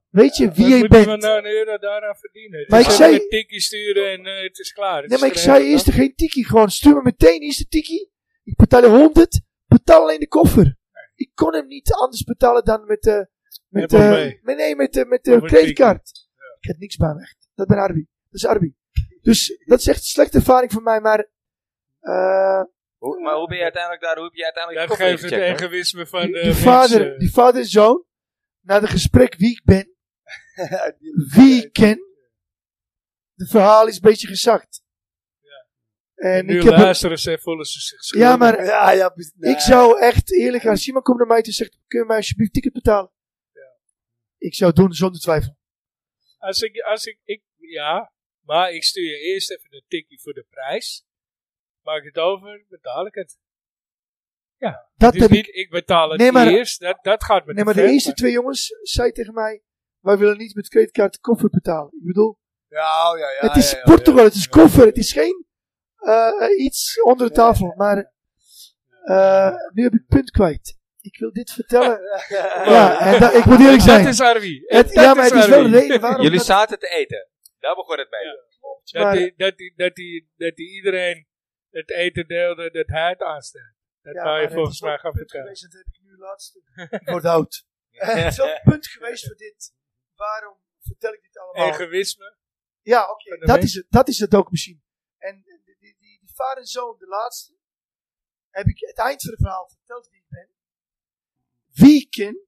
Weet je wie Wat je moeten we bent? nou een euro daaraan verdienen? Maar Dus ik even zei- een tikkie sturen en eh, het is klaar. Het Nee, is maar ik zei geregeld, eerst hoor. geen tikkie. Gewoon stuur me meteen eerst een tikkie. Ik betaal je 100. Betaal alleen de koffer. Ik kon hem niet anders betalen dan met de... Met, Apple eh, Pay. met- nee, met de, met Of de met creditcard. Ik had niks bij me echt. Dat ben Arby. is Arbi. Dus dat is echt een slechte ervaring voor mij, maar eh, Hoe, maar hoe ben je uiteindelijk daar? Hoe heb je uiteindelijk Dat je koffie geeft het gecheckt? hè? egoïsme van die, eh, die mensen. vader, die vader en zoon, na het gesprek wie ik ben, wie ik ken, de verhaal is een beetje gezakt. En nu ik heb, luisteren ze en voelen ze zich schuldig. Ja, maar- ja, ja, precies. Ik zou echt eerlijk gaan. Simon komt naar mij toe en zegt: Kun je mij alsjeblieft ticket betalen? Ik zou het doen zonder twijfel. Als ik, als ik, ik, ja, maar ik stuur je eerst even een tikkie voor de prijs. Maak het over, betaal ik het. Dat Het is heb Dus ik. niet, ik betaal het Nee, maar- eerst, dat, dat gaat met Nee, maar de ver, eerste twee jongens zei tegen mij: Wij willen niet met creditcard de koffer betalen. Ik bedoel, Ja, oh, ja, ja. het is ja, ja, Portugal, ja. het is koffer, het is geen eh, iets onder de tafel. Maar eh, nu heb ik punt kwijt. Ik wil dit vertellen. ja, en da- ik moet eerlijk zijn. Dat is Arwi. Het- Dat ja, maar het is wel de Arwi. reden waarom. Jullie dat- zaten te eten. Daar begon het mee. Dat, Maar- die, dat, die, dat, die, dat die iedereen het eten deelde, dat hij het aanstelde. Dat Ja, wou je maar volgens het is mij ook gaan een punt vertellen. geweest, Dat heb ik nu laatst. Ik word oud. Het is ook een punt geweest voor dit. Waarom vertel ik dit allemaal? Egoïsme. ja, oké. van de Dat, mens. is het, dat is het ook misschien. En die, die, die, die vader en zoon, de laatste, heb ik het eind van het verhaal verteld wie ik ben. Wie ik ken.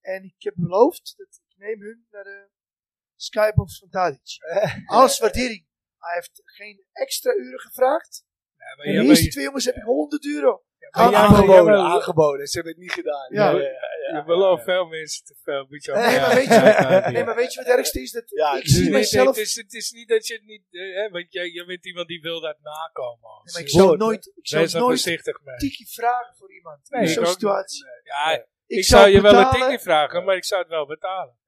En ik heb beloofd dat ik neem hun naar de skybox van Tadic. Als waardering. Hij heeft geen extra uren gevraagd. Ja, maar En ja, de maar eerste je- twee jongens heb ik 100 euro. Ah, maar ja, maar- aangeboden, ja, maar- aangeboden. Ze hebben het niet gedaan. Ja. ja, Je belooft veel mensen te veel. Moet je Nee, maar allemaal- weet je, Ja, Dus nee, maar weet je wat het ergste is? Dat Ja, ik het is zie Nee, nee, mezelf... het, is, het is niet dat je het niet... eh, hè, want jij, jij bent iemand die wil dat nakomen. Nee, maar ik Zo, zou nooit, ik Wees zou daar nooit een voorzichtig mee. tikkie vragen voor iemand Nee, in ik zo'n ook situatie. Ja, ik, Ik, zou, je wel een betalen, tikje vragen, maar ik zou het wel betalen.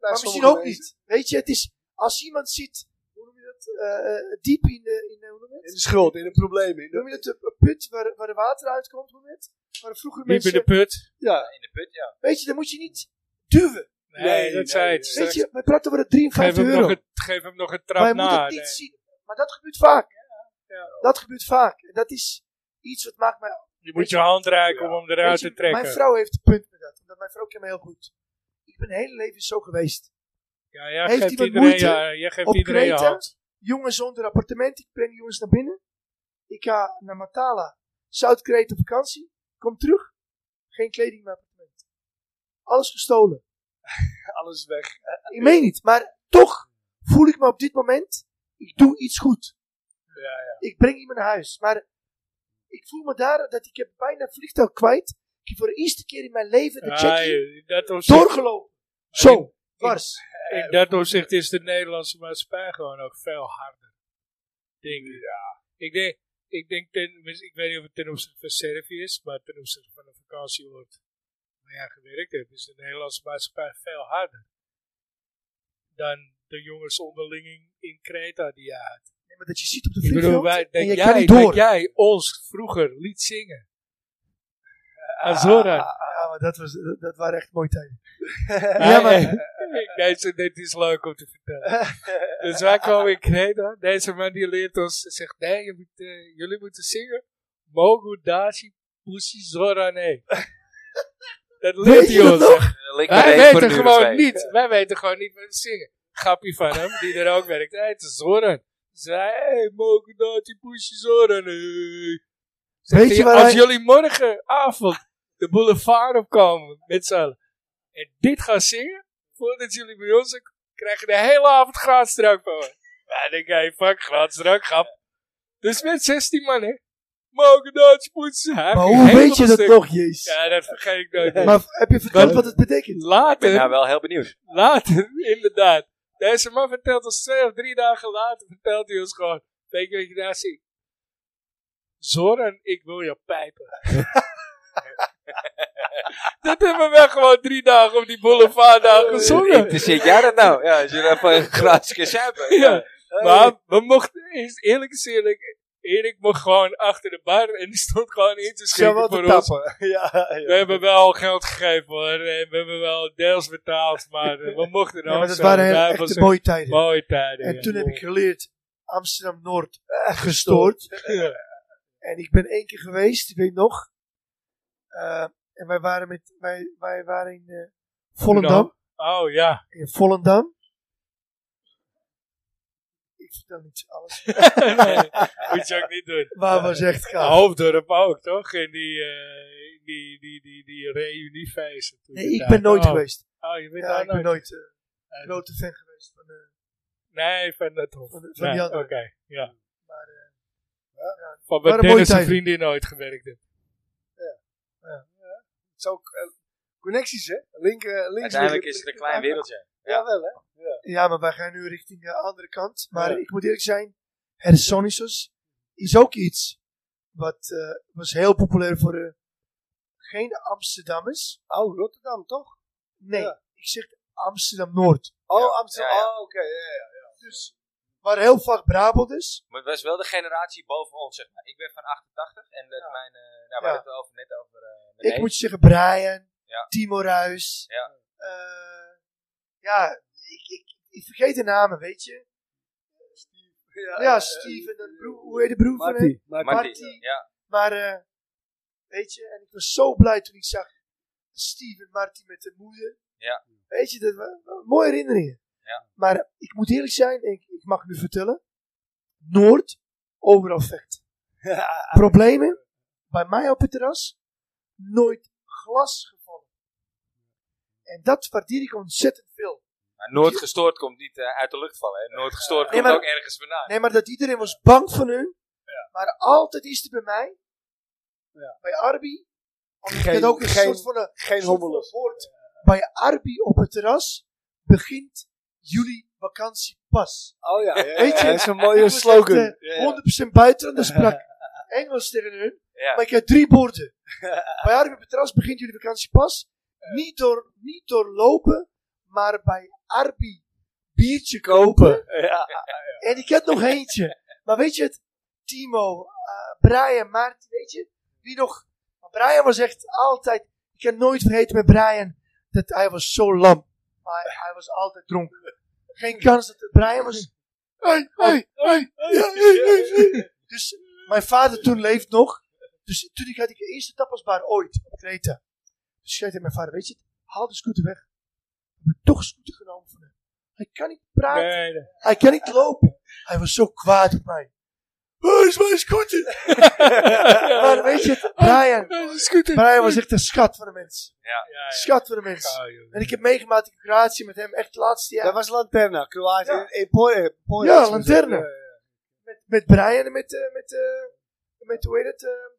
maar misschien ook niet. Weet je, het is... Als iemand ziet, hoe noem je dat, eh, eh, diep in de, in de, hoe noem je In dat? de schuld, in de problemen. In Hoe de, noem je dat, een- een put waar, waar de water uitkomt, hoe noem je het? Waar vroeger Diep in mensen... de put. ja, Weet je, dan moet je niet duwen. Nee, Nee, dat nee, zei het. nee. straks. Weet je, we praten over de geef, 53 hem euro. nog een, geef hem nog een trap Wij moeten na. het niet nee. zien. Maar dat gebeurt vaak. Dat gebeurt vaak. En dat is iets wat maakt mij Je moet je hand reiken om hem eruit Weet je, te trekken. Mijn vrouw heeft een punt met dat. Omdat mijn vrouw kent me heel goed. Ik ben mijn hele leven zo geweest. ja, jij heeft geeft iemand iedereen, moeite ja, jij geeft op iedereen je Kreta? hand. Jongens zonder appartement. Ik breng die jongens naar binnen. Ik ga naar Matala. Zuid-Kreta op vakantie. Kom terug. Geen kleding meer appartement. Alles gestolen. alles weg. Ik meen niet. Maar toch voel ik me op dit moment. Ik doe iets goed. Ik breng iemand naar huis. Maar ik voel me daar dat ik heb bijna het vliegtuig kwijt. Ik heb voor de eerste keer in mijn leven de Ja, check je- in dat opzicht- doorgelopen. Zo. Dwars. in dat opzicht is de Nederlandse maatschappij gewoon ook veel harder. Denk ik. Ik denk, ik denk ten, ik weet niet of het ten opzichte van Servië is, maar ten opzichte van een vakantieoord waar jij gewerkt hebt, is de Nederlandse maatschappij veel harder dan de jongens onderling in Kreta die jij had. Maar dat je ziet op de Ik bedoel, vliegveld wij, en dat, je jij, kan niet door. dat jij ons vroeger liet zingen. Ah, Azora. Ja, Ah, maar dat, was, dat, dat waren echt mooie tijden. ja, Ja, maar... maar- Deze, dit is leuk om te vertellen. dus wij komen in Kreta. Deze man die leert ons, zegt, nee, je moet, eh, jullie moeten zingen. Mogu Dashi Pussy Zora Nee. dat leert Weet je hij dat ons. nog? echt. Eh, Link Wij erheen voor weten de gewoon Uruguay. niet. Wij weten gewoon niet wat we zingen. Grappie van hem, die er ook werkt. Hij heet Zoran. Zij, hey, nou Mogu Dashi Pussy Zora Nee. Zegt Weet je hij, waar als hij- jullie morgenavond de boulevard opkomen met z'n allen en dit gaan zingen, voordat jullie bij ons zijn, krijgen de hele avond gratis drank van me. Ja, denk ik, fuck, gratis drank, grap. Dus met 16 man, hè. Mogen dat poetsen. Hij Maar ging hoe helemaal weet je dat stuk. nog, jezus? Ja, dat vergeet ik nooit. Maar heb je verteld Wat- wat het betekent? Ik ben Later, nou wel heel benieuwd. Later, inderdaad. Deze man vertelt ons twee of drie dagen later, vertelt hij ons gewoon, weet je wat je daar ziet? Zoran, ik wil je pijpen. dat hebben we gewoon drie dagen op die boulevard daar Eh, gezongen. Interesseert jij dat nou? Ja, als je daar van een gratis keer zuipen. Ja. Maar we mochten, eerst eerlijk is eerlijk, Erik mocht gewoon achter de bar en die stond gewoon in te Zo schieten wat voor te ons. tappen. ja, We ja. hebben wel geld gegeven hoor, en we hebben wel deels betaald, maar eh, we mochten er Ja, ook maar dat zo. waren Wij heel- echt was de een mooie tijden. mooie tijden. En ja. toen heb ik geleerd Amsterdam-Noord eh, gestoord. Ja. En ik ben één keer geweest, ik weet nog. Eh, en wij waren, met, wij, wij waren in eh, Volendam. Oh ja. In Volendam. ik vertel niet alles. nee, moet je ook niet doen. Waar was echt gaaf. Oh. Hoofddorp ook, toch? In die, eh in die, die, die, die reuniefase. toen Nee, ik daar- ben nooit Oh. geweest. Oh, je bent Ja, daar ik ben nooit. nooit eh, grote fan geweest van, eh, Nee, van dat hof. van, van Nee, die Oké, andere. ja. Maar, eh, Van maar wat een mooie Dennis' tijd. vriendin nooit gewerkt heeft. Het is ook eh, connecties, hè? Link, eh, links Uiteindelijk liggen- is het een klein wereldje. Jawel, hè? Ja, maar wij gaan nu richting de andere kant. Maar Ja. ik moet eerlijk zijn, Hersonisos is ook iets wat eh, was heel populair voor eh, geen Amsterdammers. Oh, Rotterdam, toch? Nee, Ja. ik zeg Amsterdam-Noord. Oh, Ja, Amsterdam. ja, ja. Oh, oké. ja, ja, ja. Dus, maar heel vaak Brabanders. Maar het was wel de generatie boven ons, zeg maar. Ik ben van 88 en dat mijn, eh, nou, we hadden het over, net over eh, mijn Ik neef. moet zeggen, Brian, Ja. Timo Ruijs. Ja. eh, ja, ik, ik, ik vergeet de namen, weet je. Ja, eh, Steven, de broer, hoe heet de broer van hem? Marty. Marty. Maar die- Marty. ja, Maar, eh, weet je, en ik was zo blij toen ik zag Steve en Marty met de moeder. Ja. Weet je, dat waren wa- mooie herinneringen. Ja. Maar ik moet eerlijk zijn, ik, ik mag nu vertellen, Noord, overal vechten. Ja, Problemen, bij mij op het terras, nooit glas gevallen. En dat waardeer ik ontzettend veel. maar nooit gestoord komt niet eh, uit de lucht vallen. Hè. Nooit gestoord Nee, komt maar- ook ergens vandaan. Nee, maar dat iedereen was bang van hun. Maar altijd is er bij mij, bij Arby, ik Geen- had ook een geen- soort van een geen Soort hommelen. van woord. Bij Arby op het terras begint jullie vakantie pas. Oh ja, ja, ja, Weet je, ja, dat is een mooie Ik was slogan. echt, Ja, eh, ja. 100% buitenlander sprak Engels tegen hun. Ja. Maar ik had drie borden. Bij Arby op het terras begint jullie vakantie pas. Niet door, niet door lopen, maar bij Arby biertje kopen. Ja, En ik had nog eentje. Maar weet je het? Timo, eh, Brian, Maarten, weet je? Wie nog? Maar Brian was echt altijd... Ik kan nooit vergeten met Brian dat hij was zo lam. Maar hij, hij was altijd dronken. Geen kans dat het Brian was... Hey, hey, hey. ja, hey, hey, hey. Dus mijn vader toen leeft nog. Dus toen ik had ik de eerste tapasbar ooit op Kreta. Dus ik zei tegen mijn vader, weet je het? Haal de scooter weg. Ik heb toch scooter genomen van hem. Hij kan niet praten. Nee, nee. Hij kan niet lopen. Hij was zo kwaad op mij. Waar is mijn scooter? maar weet je, het, Brian, Dat is goed. Brian was echt een schat van de mens. Ja, ja. Schat van de mens. Gauw, joh. En ik heb meegemaakt in Kroatië met hem, echt het laatste dat jaar. was Lanterna, Kroatië. Ja. Eh, Poi- Poi- Ja, Lanterne. Met, met Brian en met, eh, met, eh, met, hoe heet het? eh,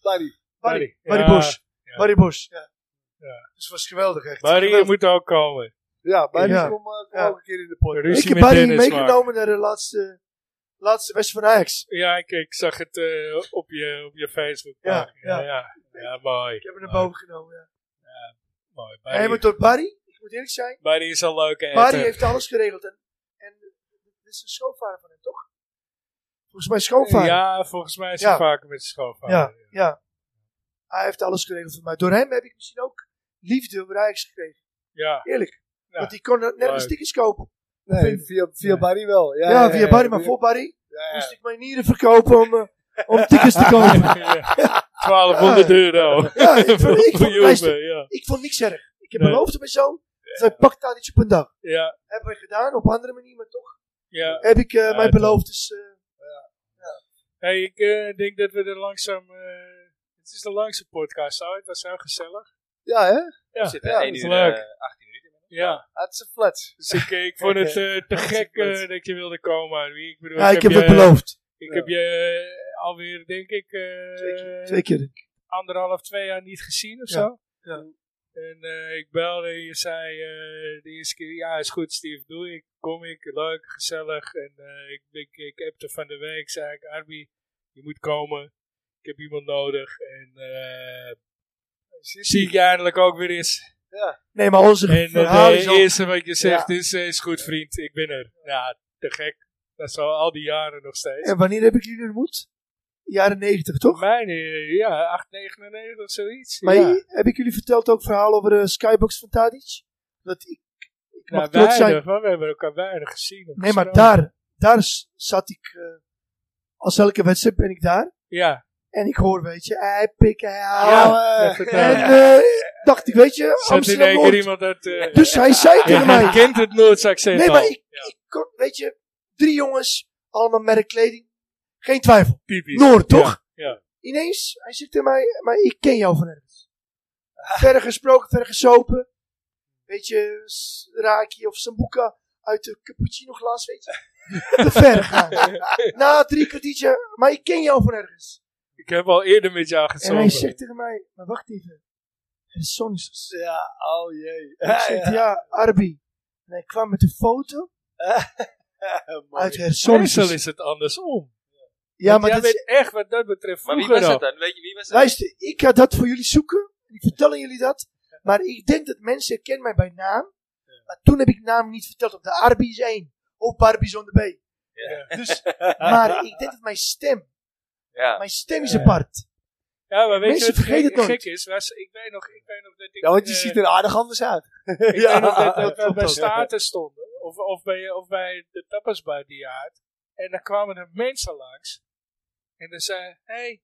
Barry. Barry. Ja. Barry Bosch. ja. Barry Bosch. Ja. Ja. Dus het was geweldig echt. Barry, je Geweldig. moet ook komen. Ja, Barry Ja. kom, eh, kom Ja. ook een keer in de podcast. Ruzie Ik heb met Barry Dennis maken. meegenomen naar de laatste, laatste wedstrijd van Ajax. Ja, ik, ik zag het eh, op, je, op je Facebook. Ja, ja. ja. Ja, mooi. Ik heb hem naar Mooi, boven genomen, ja. mooi. Nee, maar Ah. Barry, door Barry, ik moet eerlijk zijn. Barry is een leuke Barry etter. heeft alles geregeld. En, en dit is een schoonvader van hem, toch? Volgens mij schoonvader. Ja, volgens mij is hij Ja. vaker met zijn schoonvader. Ja, ja. Hij heeft alles geregeld voor mij. Door hem heb ik misschien ook liefde over Ajax gekregen. Ja, Eerlijk. Ja. Want ik kon er nergens Leuk. tickets kopen. Nee, via, via Nee. Barry wel. Ja, Ja, ja, via ja, Barry, maar via- voor Barry ja, ja. moest ik mijn nieren verkopen om, eh, om tickets te kopen. 1200 euro. Ja, ik vond, Oh. ik Voor vond, luister, Juve, ja. ik vond niks erg. Ik heb Nee. beloofd aan mijn zoon, dat hij pakt daar iets op een dag. Ja, Hebben we gedaan, op andere manier, maar toch ja. heb ik eh, Ja, mijn toch. beloftes... eh, Hey, ik eh, denk dat we er langzaam... eh, het is de langste podcast ooit. Dat is heel gezellig. Ja, hè? We zitten ja, 1 dat is uur leuk. eh, 18 minuten. Ja, Ah, Het is een flat. dus ik, ik vond het eh, te gek Hartstikke eh, dat je wilde komen. Arwie. Ik eh, bedoel, ja, ik heb je- het beloofd. Ik Ja. heb je eh, alweer, denk ik, eh, Twee keer. Twee keer. anderhalf, twee jaar niet gezien of Ja, zo. ja. En eh, ik belde en je zei eh, de eerste keer, ja is goed Steve, doe ik, kom ik, leuk, gezellig. En eh, ik, ik, ik appte van de week, zei ik, Arby, je moet komen, ik heb iemand nodig. En eh, zie ik je eindelijk ook weer eens. Nee, maar onze En het verhaal is al... eerste wat je zegt is, eh, is goed vriend, ik ben er. Ja, te gek. Dat is al, al die jaren nog steeds. En wanneer heb ik jullie ontmoet? Jaren 90, toch? Mijn, eh, ja, 899 of zoiets. maar ja. heb ik jullie verteld ook verhaal over de skybox van Tadic? Dat ik, ik mag Nou, trots zijn. weinig, maar we hebben elkaar weinig gezien. of Nee, maar gesproken. daar, daar s- zat ik... eh, als elke wedstrijd ben ik daar. Ja, En ik hoor, weet je, hij pikken, hij houden. Ja, dat vertel En ik. eh, dacht ik, weet je, Zat in Amsterdam één keer Noord. iemand uit... eh, Dus hij zei tegen Je mij. kent het Noords accent Nee, al. maar ik, Ja. ik kon- weet je, drie jongens, allemaal merkkleding. Geen twijfel. Typisch. Noord, Ja, toch? ja. Ineens, hij zegt tegen mij, maar ik ken jou van ergens. Verder gesproken, verder gesopen. Weet je, s- Raki of Sambuca uit de cappuccino glas, weet je. Te ver gaan. Na drie kwartiertje, maar ik ken jou van ergens. Ik heb al eerder met jou En hij gezongen. zegt tegen mij, maar wacht even. Het is Sonny's. Ja, oh jee. Ik zeg, ja, Arbi. En hij kwam met een foto uit Meestal Hersonis. is het andersom. Ja, maar Jij dat is- weet echt wat dat betreft Maar wie vroeger was al. het dan? Weet je wie was het? luister, ik ga dat voor jullie zoeken. Ik vertel jullie dat. Maar ik denk dat mensen kennen mij bij naam. Maar toen heb ik naam niet verteld. Op de Arbi is één. Of Barbie is on the B. Dus, maar ik denk dat mijn stem, Ja. mijn stem is Ja. apart. Ja, maar weet Mensen je wat vergeten gek, het nooit. gek is? Was, ik, weet nog, ik weet nog dat ik... Ja, want je eh, ziet er aardig anders uit. Ik weet nog dat, dat we klopt bij ook. Staten stonden. Of, of, bij, of bij de tapasbar die je had. En dan kwamen er mensen langs. En dan zei hé, hey,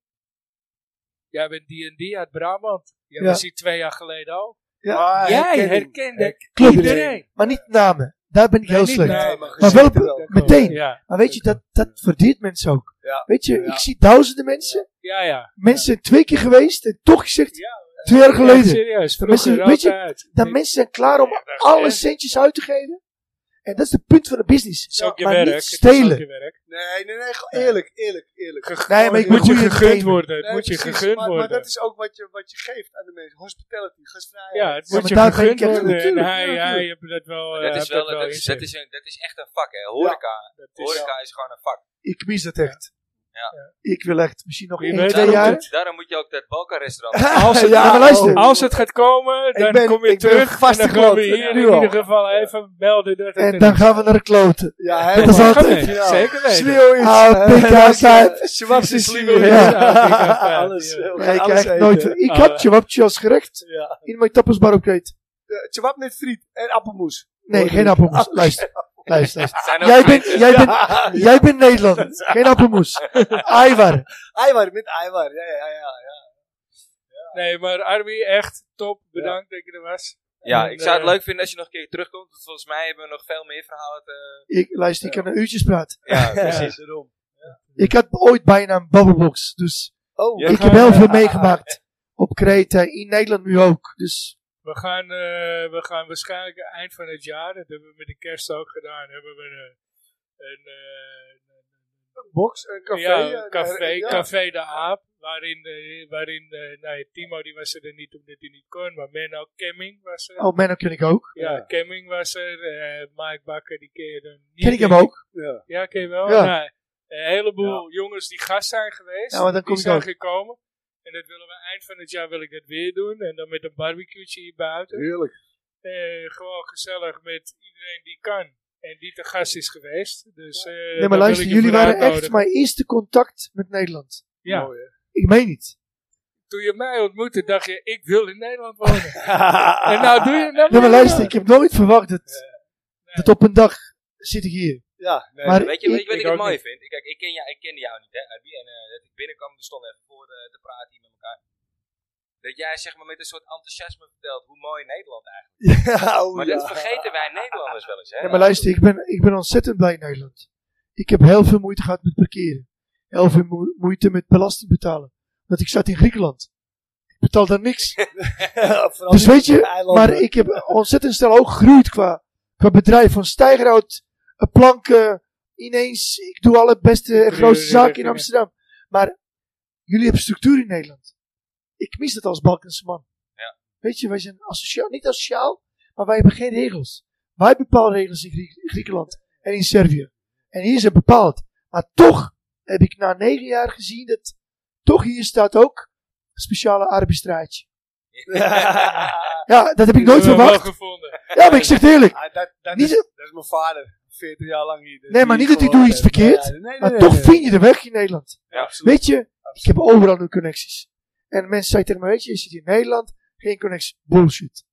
jij bent die en die uit Brabant. Jij Ja. was hier twee jaar geleden al. Ja. Maar Jij herken- herkende Klopt. iedereen. Maar niet namen. Daar ben ik Nee, heel niet slecht. namen. Nee, Maar wel gezicht be- meteen. Ja, Maar weet je, dat, dat verdient mensen ook. Ja. Weet je, Ja. ik zie duizenden mensen. ja, ja. Mensen zijn twee keer geweest en toch gezegd, Ja. twee jaar Ja, geleden. serieus, Mensen- vroeger weet je, altijd. dat Dit- mensen zijn klaar om Ja, dat is alle echt. centjes uit te geven. En dat is het punt van de business. is ook je maar werk. niet het is ook stelen. je werk. Nee, nee, nee. gewoon Eerlijk, eerlijk, eerlijk. Nee, maar ik Moet je goede gegund geven. worden. Het Nee, moet je precies, gegund maar, worden. Maar dat is ook wat je, wat je geeft aan de mensen. Hospitality, gastvrijheid. ja, het Ja, moet maar daar je ben ik gegund echt- worden. En natuurlijk, hij, natuurlijk. hij heeft dat wel... eh, Dat is, heeft wel, dat, in is, zich. dat, is een, dat is echt een vak, hè? Horeca. Dat is- Horeca is gewoon een vak. Ik mis dat echt. Ja. Ik wil echt misschien nog Wie één, weet twee daarom jaar. doet- Daarom moet je ook dat Balkan-restaurant. Als Ja, maar luister. oh. Als het gaat komen, dan ben- kom je ik ben terug. vast en dan geklopt. gaan we hier Nu in al. ieder geval even melden. Dat het er en is. dan gaan we naar de kloten. ja Dat is helemaal. Gaan we, altijd. Ja. Zeker weten. Schreeuw is. Ah, pik uit, uit. Schwarz is Slimme slimme. Ja. Ja. Alles. Ja. eh, we Ja, gaan ik alles krijg eten. nooit. Ik Ah, ja. had je als gerecht Ja. in mijn tapasbar opgegeten. Eh, Kebab met friet en appelmoes. Nee, geen appelmoes. Oh, Luister, luister, luister. Zijn ook Jij bent, mensen- jij bent, Ja. jij bent Nederlander. Geen appelmoes. Aivar. Aiwar, met Aiwar. Ja, ja, ja. Nee, maar Arby, echt top. Bedankt dat je er was. Ja, En, ik zou het eh, leuk vinden als je nog een keer terugkomt. Want volgens mij hebben we nog veel meer verhalen te... Ik, luister, ik kan een uurtjes praten. Ja, Precies. Ik had ooit bijna een babbelbox. Dus Oh, Ja. ik gaan, heb heel eh, veel meegemaakt. Op Kreta, in Nederland nu ook. Dus We gaan, eh, we gaan waarschijnlijk eind van het jaar, dat hebben we met de kerst ook gedaan, hebben we een, een, eh, box, een café. ja, eh, café, ja. café de Aap, waarin, eh, waarin eh, nou ja, Timo die was er niet omdat hij niet kon, maar Menno Kemming was er. Oh, Menno ken ik ook. Ja, Kemming was er, eh, Mike Bakker die ken je dan niet. Ken ik hem denk ook. Ja. Ja, ken je wel. Ja. Nou, een heleboel jongens die gast zijn geweest, Ja, maar dan die kom ik zijn ook. gekomen. En dat willen we eind van het jaar wil ik dat weer doen. En dan met een barbecue hier buiten. Heerlijk. Eh, gewoon gezellig met iedereen die kan. En die te gast is geweest. Dus, eh, Nee, daar maar wil luister, ik je jullie voor waren echt uitnodigen. mijn eerste contact met Nederland. Ja. Mooi, hè? Ik meen niet. Toen je mij ontmoette, dacht je, ik wil in Nederland wonen. en en nou doe je dat Nee, maar weer. luister, ik heb nooit verwacht dat, dat op een dag zit ik hier. Ja, nee. Maar Weet je, weet je wat Ik ik het ook mooi niet. vind? Ik- Kijk, ik, ken jou, ik kende jou niet, hè, Abby. En eh, dat ik binnenkwam, we stonden even voor eh, te praten hier met elkaar. Dat jij zeg maar met een soort enthousiasme vertelt hoe mooi Nederland eigenlijk Ja, is. oh, Maar ja. dat vergeten wij Nederlanders wel eens, hè? Nee, maar luister, ik ben, ik ben ontzettend blij in Nederland. Ik heb heel veel moeite gehad met parkeren. Heel veel moe- moeite met belasting betalen. Want ik zat in Griekenland. Ik betaal daar niks. Vooral Dus die weet je, eilanden. Maar ik heb ontzettend snel ook gegroeid qua, qua bedrijf. Van stijgerhout, eh, planken, ineens. Ik doe alle beste en grootste ja, zaken in ja. Amsterdam. Maar jullie hebben structuur in Nederland. Ik mis dat als Balkense man. Ja. Weet je, wij zijn asociaal, niet asociaal, maar wij hebben geen regels. Wij bepalen regels in Griek- Griekenland en in Servië. En hier zijn bepaald. Maar toch heb ik na negen jaar gezien dat toch hier staat ook een speciale arbeidsstraatje. Ja, dat heb ik nooit hebben we verwacht. Wel gevonden. Ja, maar ik zeg het eerlijk. Ah, dat, dat, Niet is, dat is mijn vader. 40 jaar lang hier. Nee, maar niet dat hij gewoon- doet iets verkeerd, Ja, nee, nee, Maar nee, toch nee. vind je de weg in Nederland. Ja, absoluut. Weet je, ik heb overal nu connecties. En mensen zeiden tegen me, weet je, je zit in Nederland, geen connecties. Bullshit.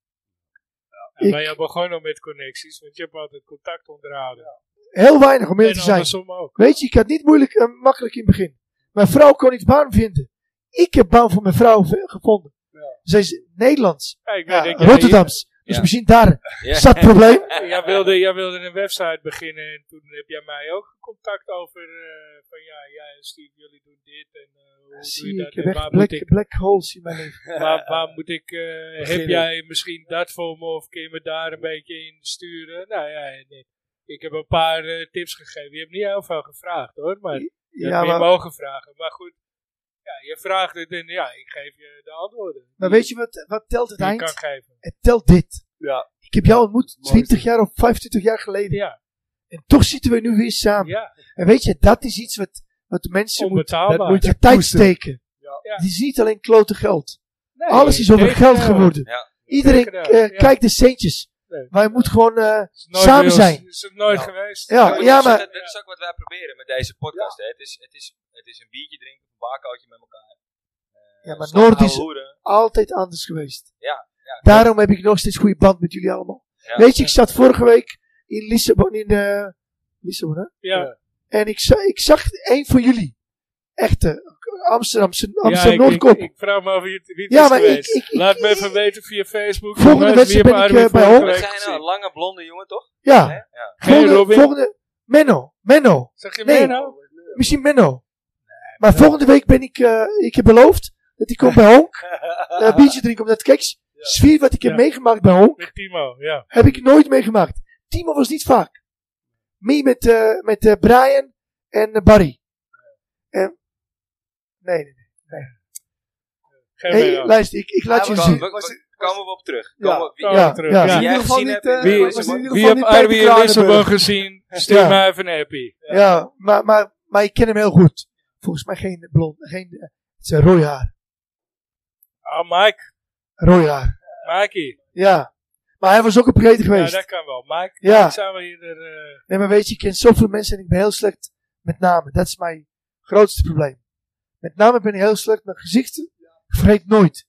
Ja, Ik- Maar jij begon al met connecties, want je hebt altijd contact onderhouden. Heel weinig om eerlijk en te zijn. andersom nou, ook. eh, Weet je, ik had niet moeilijk en makkelijk in het begin. Mijn vrouw kon niet baan vinden. Ik heb baan voor mijn vrouw v- gevonden. Ja. Zij is Nederlands, Ja, ik ja, denk, Rotterdams. Dus Ja. misschien daar Ja. zat het probleem. jij, wilde, jij wilde een website beginnen en toen heb jij mij ook contact over eh, van ja, ja, Steve, jullie doen dit en eh, hoe doe Zie je je, ik dat heb en echt waar moet black, ik, black holes in mijn leven. waar, waar moet ik eh, heb Beginnen. jij misschien dat voor me of kun je me daar een beetje in sturen? Nou ja, en, eh, ik heb een paar eh, tips gegeven. Je hebt niet heel veel gevraagd hoor, maar je Ja, hebt meer maar, mogen vragen. Maar goed, ja, je vraagt het en ja, ik geef je de antwoorden. maar weet je wat, wat telt het die ik kan eind? geven. Het telt dit. Ja. Ik heb jou ontmoet Mooi. 20 jaar of 25 jaar geleden. Ja, En toch zitten we nu weer samen. ja En weet je, dat is iets wat, wat de mensen moeten onbetaalbaar. moet je tijd koesteren. steken. Ja. Het is niet alleen klote geld. Nee, eh, Alles is over tegen- geld geworden. Ja. Iedereen Tegendeel, eh, ja. kijkt de centjes. Nee. Maar je moet gewoon... eh, Is nooit Samen bij ons- zijn. Is het nooit Ja. geweest. Ja, maar ja, dat is- maar- dat, dat is ook wat wij proberen met deze podcast. Hè. Het, is, het, is, het is een biertje drinken, een barcootje met elkaar. ja, maar Slaan, Noord ouwe is hoeren. altijd anders geweest. nou Ja, ja. Daarom heb ik nog steeds goede band met jullie allemaal. Ja. Weet je, ik zat vorige week in Lissabon. In, eh, Lissabon hè? Ja. En ik, za- ik zag een van jullie. Echte. Amsterdamse Ja, ik- Amsterdam ik, Noordkop. ik vraag me af wie het, wie het Ja, is maar ik- geweest. ik- ik- Laat me even weten via Facebook. Volgende jongens, wedstrijd wie hebben ben ik, Armin eh, bij vorige Wat week zijn nou? gezien? Een lange blonde jongen, toch? ja. Hè? Ja. Volgende, Robin. volgende. Menno. Menno. Zeg je Nee. mee nou? Misschien Menno. Maar volgende week ben ik... eh, ik heb beloofd dat ik kom bij Honk. eh, biertje drinken omdat keks. Sfeer wat ik heb Ja. meegemaakt bij Honk. Met Timo, ja. Heb ik nooit meegemaakt. Timo was niet vaak. Mee met, eh, met eh, Brian en eh, Barry. En, nee, nee. Geen Hey, mee nou. luister, ik, ik laat je Ja, we, maar- zien. we- Was we- het- komen we op terug. Ja. Komen we- wie- Kom ja, maar terug. Ja. ja. Die In ieder jij geval gezien niet, hebt, eh, wie- was in ieder Wie geval heeft niet Peter Armin in Lissabon Kranenburg. gezien? Stuur Ja. mij even een appie. Ja, maar, maar, maar ik ken hem heel goed. Volgens mij geen blond, geen, eh, het is een rooi haar. Ah, Mike. Rooi haar, Mikey. ja. Maar hij was ook op reden Ja, geweest. dat kan wel. Mike. Ja. dan Zijn we hier er, eh, Nee, maar weet je, ik ken zoveel mensen en ik ben heel slecht met namen. Dat is mijn grootste probleem. Met namen ben ik heel slecht met gezichten. Ik vergeet nooit.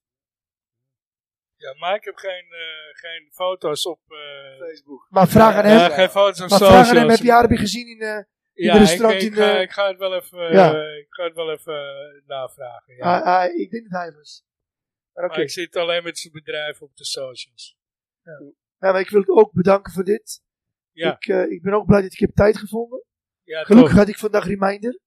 ja, Mike heeft geen, eh, geen foto's op... eh, Facebook. Maar vraag aan eh, hem. geen foto's op Maar socials. vraag aan hem, heb je Arabi gezien in... eh, Ja, Iedere ik, strand ik, in de- ga, ik ga het wel even, eh, Ja. ik ga het wel even eh, navragen. Ja. ah, ah, ik denk dat hij was. Maar oké. Maar ik zit alleen met zijn bedrijf op de socials. Ja, maar ik wil het ook bedanken voor dit. Ja. Ik, eh, ik ben ook blij dat ik heb tijd gevonden. Ja, Gelukkig toch. had ik vandaag reminder.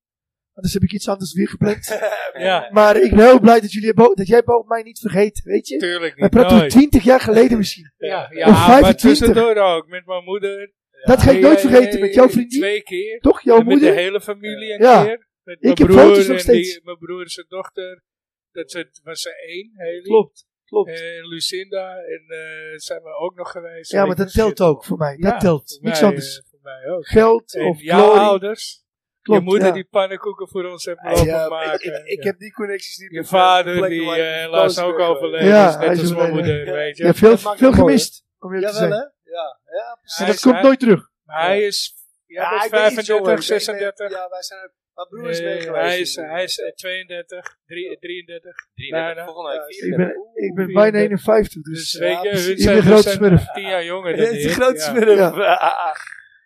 Anders heb ik iets anders weer gepland. Ja, maar ik ben heel blij dat, jullie hebben, ook- dat jij hebt ook mij niet vergeet, weet je? tuurlijk We niet. praten Nooit. twintig jaar geleden misschien. Ja, Of ja maar 25. tussendoor ook. Met mijn moeder. Dat ga ik Ja, nooit ja, vergeten ja, met jouw ja, vriendin. Twee keer. Toch? Jouw En met de moeder? hele familie een Ja. keer. Met mijn heb broer foto's nog en steeds. Die, mijn broer en zijn dochter. Dat ze- was ze één. Haley. Klopt, klopt. En Eh, Lucinda. En eh, zijn we ook nog geweest. Ja, maar dat telt ook voor mij. Ja, Dat telt. Voor Niks mij, anders. eh, voor mij ook. Geld En of jouw glory. ouders. Klopt, je moeder ja. die pannenkoeken voor ons heeft Ja, lopen maar ik, maken. ik, ik Ja. heb die connecties niet Je met, eh, vader plekken die waar ik eh, op helaas vakantie ook ben overleden geweest. Ja, is, net hij is als mijn overleden. moeder, weet je. Je hebt veel, dat maakt veel het mooi, gemist, om eerlijk te Jawel, zijn. hè? Ja, ja precies. En Hij dat is- komt hij- nooit terug. Maar hij is ja, hij is ik ben iets jonger. 35, Ik ben- ik ben- 36. Ja, wij zijn... Mijn broer is mee eh, geweest. Hij is, hij is eh, 32, drie- 33. Nou, 33, nou. volgende week Ja, Ik 34. ben, ik ben bijna 51, Dus dus... ja, weet je, precies. hun Ik ben zijn, hun groot zijn smurf. 10 jaar jonger Dit dan is een ik. grote ja. smurf. Ja.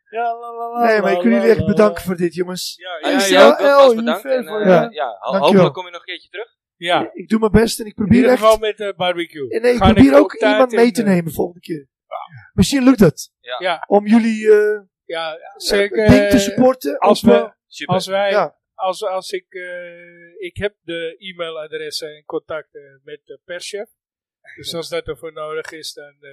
Ja, la, la, la, Nee, maar ik la, wil jullie la, echt la, bedanken voor dit, jongens. Ja, Ja, ja, ja, ja, ook nogmaals oh, bedankt. hier En, ver eh, voor- ja, ho- Dankjewel. hopelijk kom je nog een keertje terug. ja. Ik doe mijn best en ik In probeer ieder echt... geval met de barbecue. En nee, ik Gaan probeer er ook taart iemand in, mee te eh, nemen volgende keer. Misschien lukt dat. Ja. Ja. Om jullie eh Ja, zeker. het ding te eh, supporten. als of, we- eh, Super. Als wij, Ja. als, als ik, eh, ik heb de e-mailadressen en contacten met de perschef. Dus als dat ervoor nodig is, dan eh,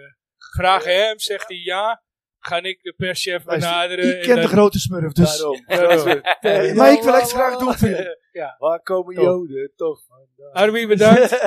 vraag hem, zegt hij ja. Ga ik de perschef luister, benaderen. ik ken de grote smurf, dus... eh, Daarom. grote. Ja, maar ik la, wil la, echt graag la, doen la. voor jullie. Waar komen Toch. joden toch vandaan? Armin, bedankt.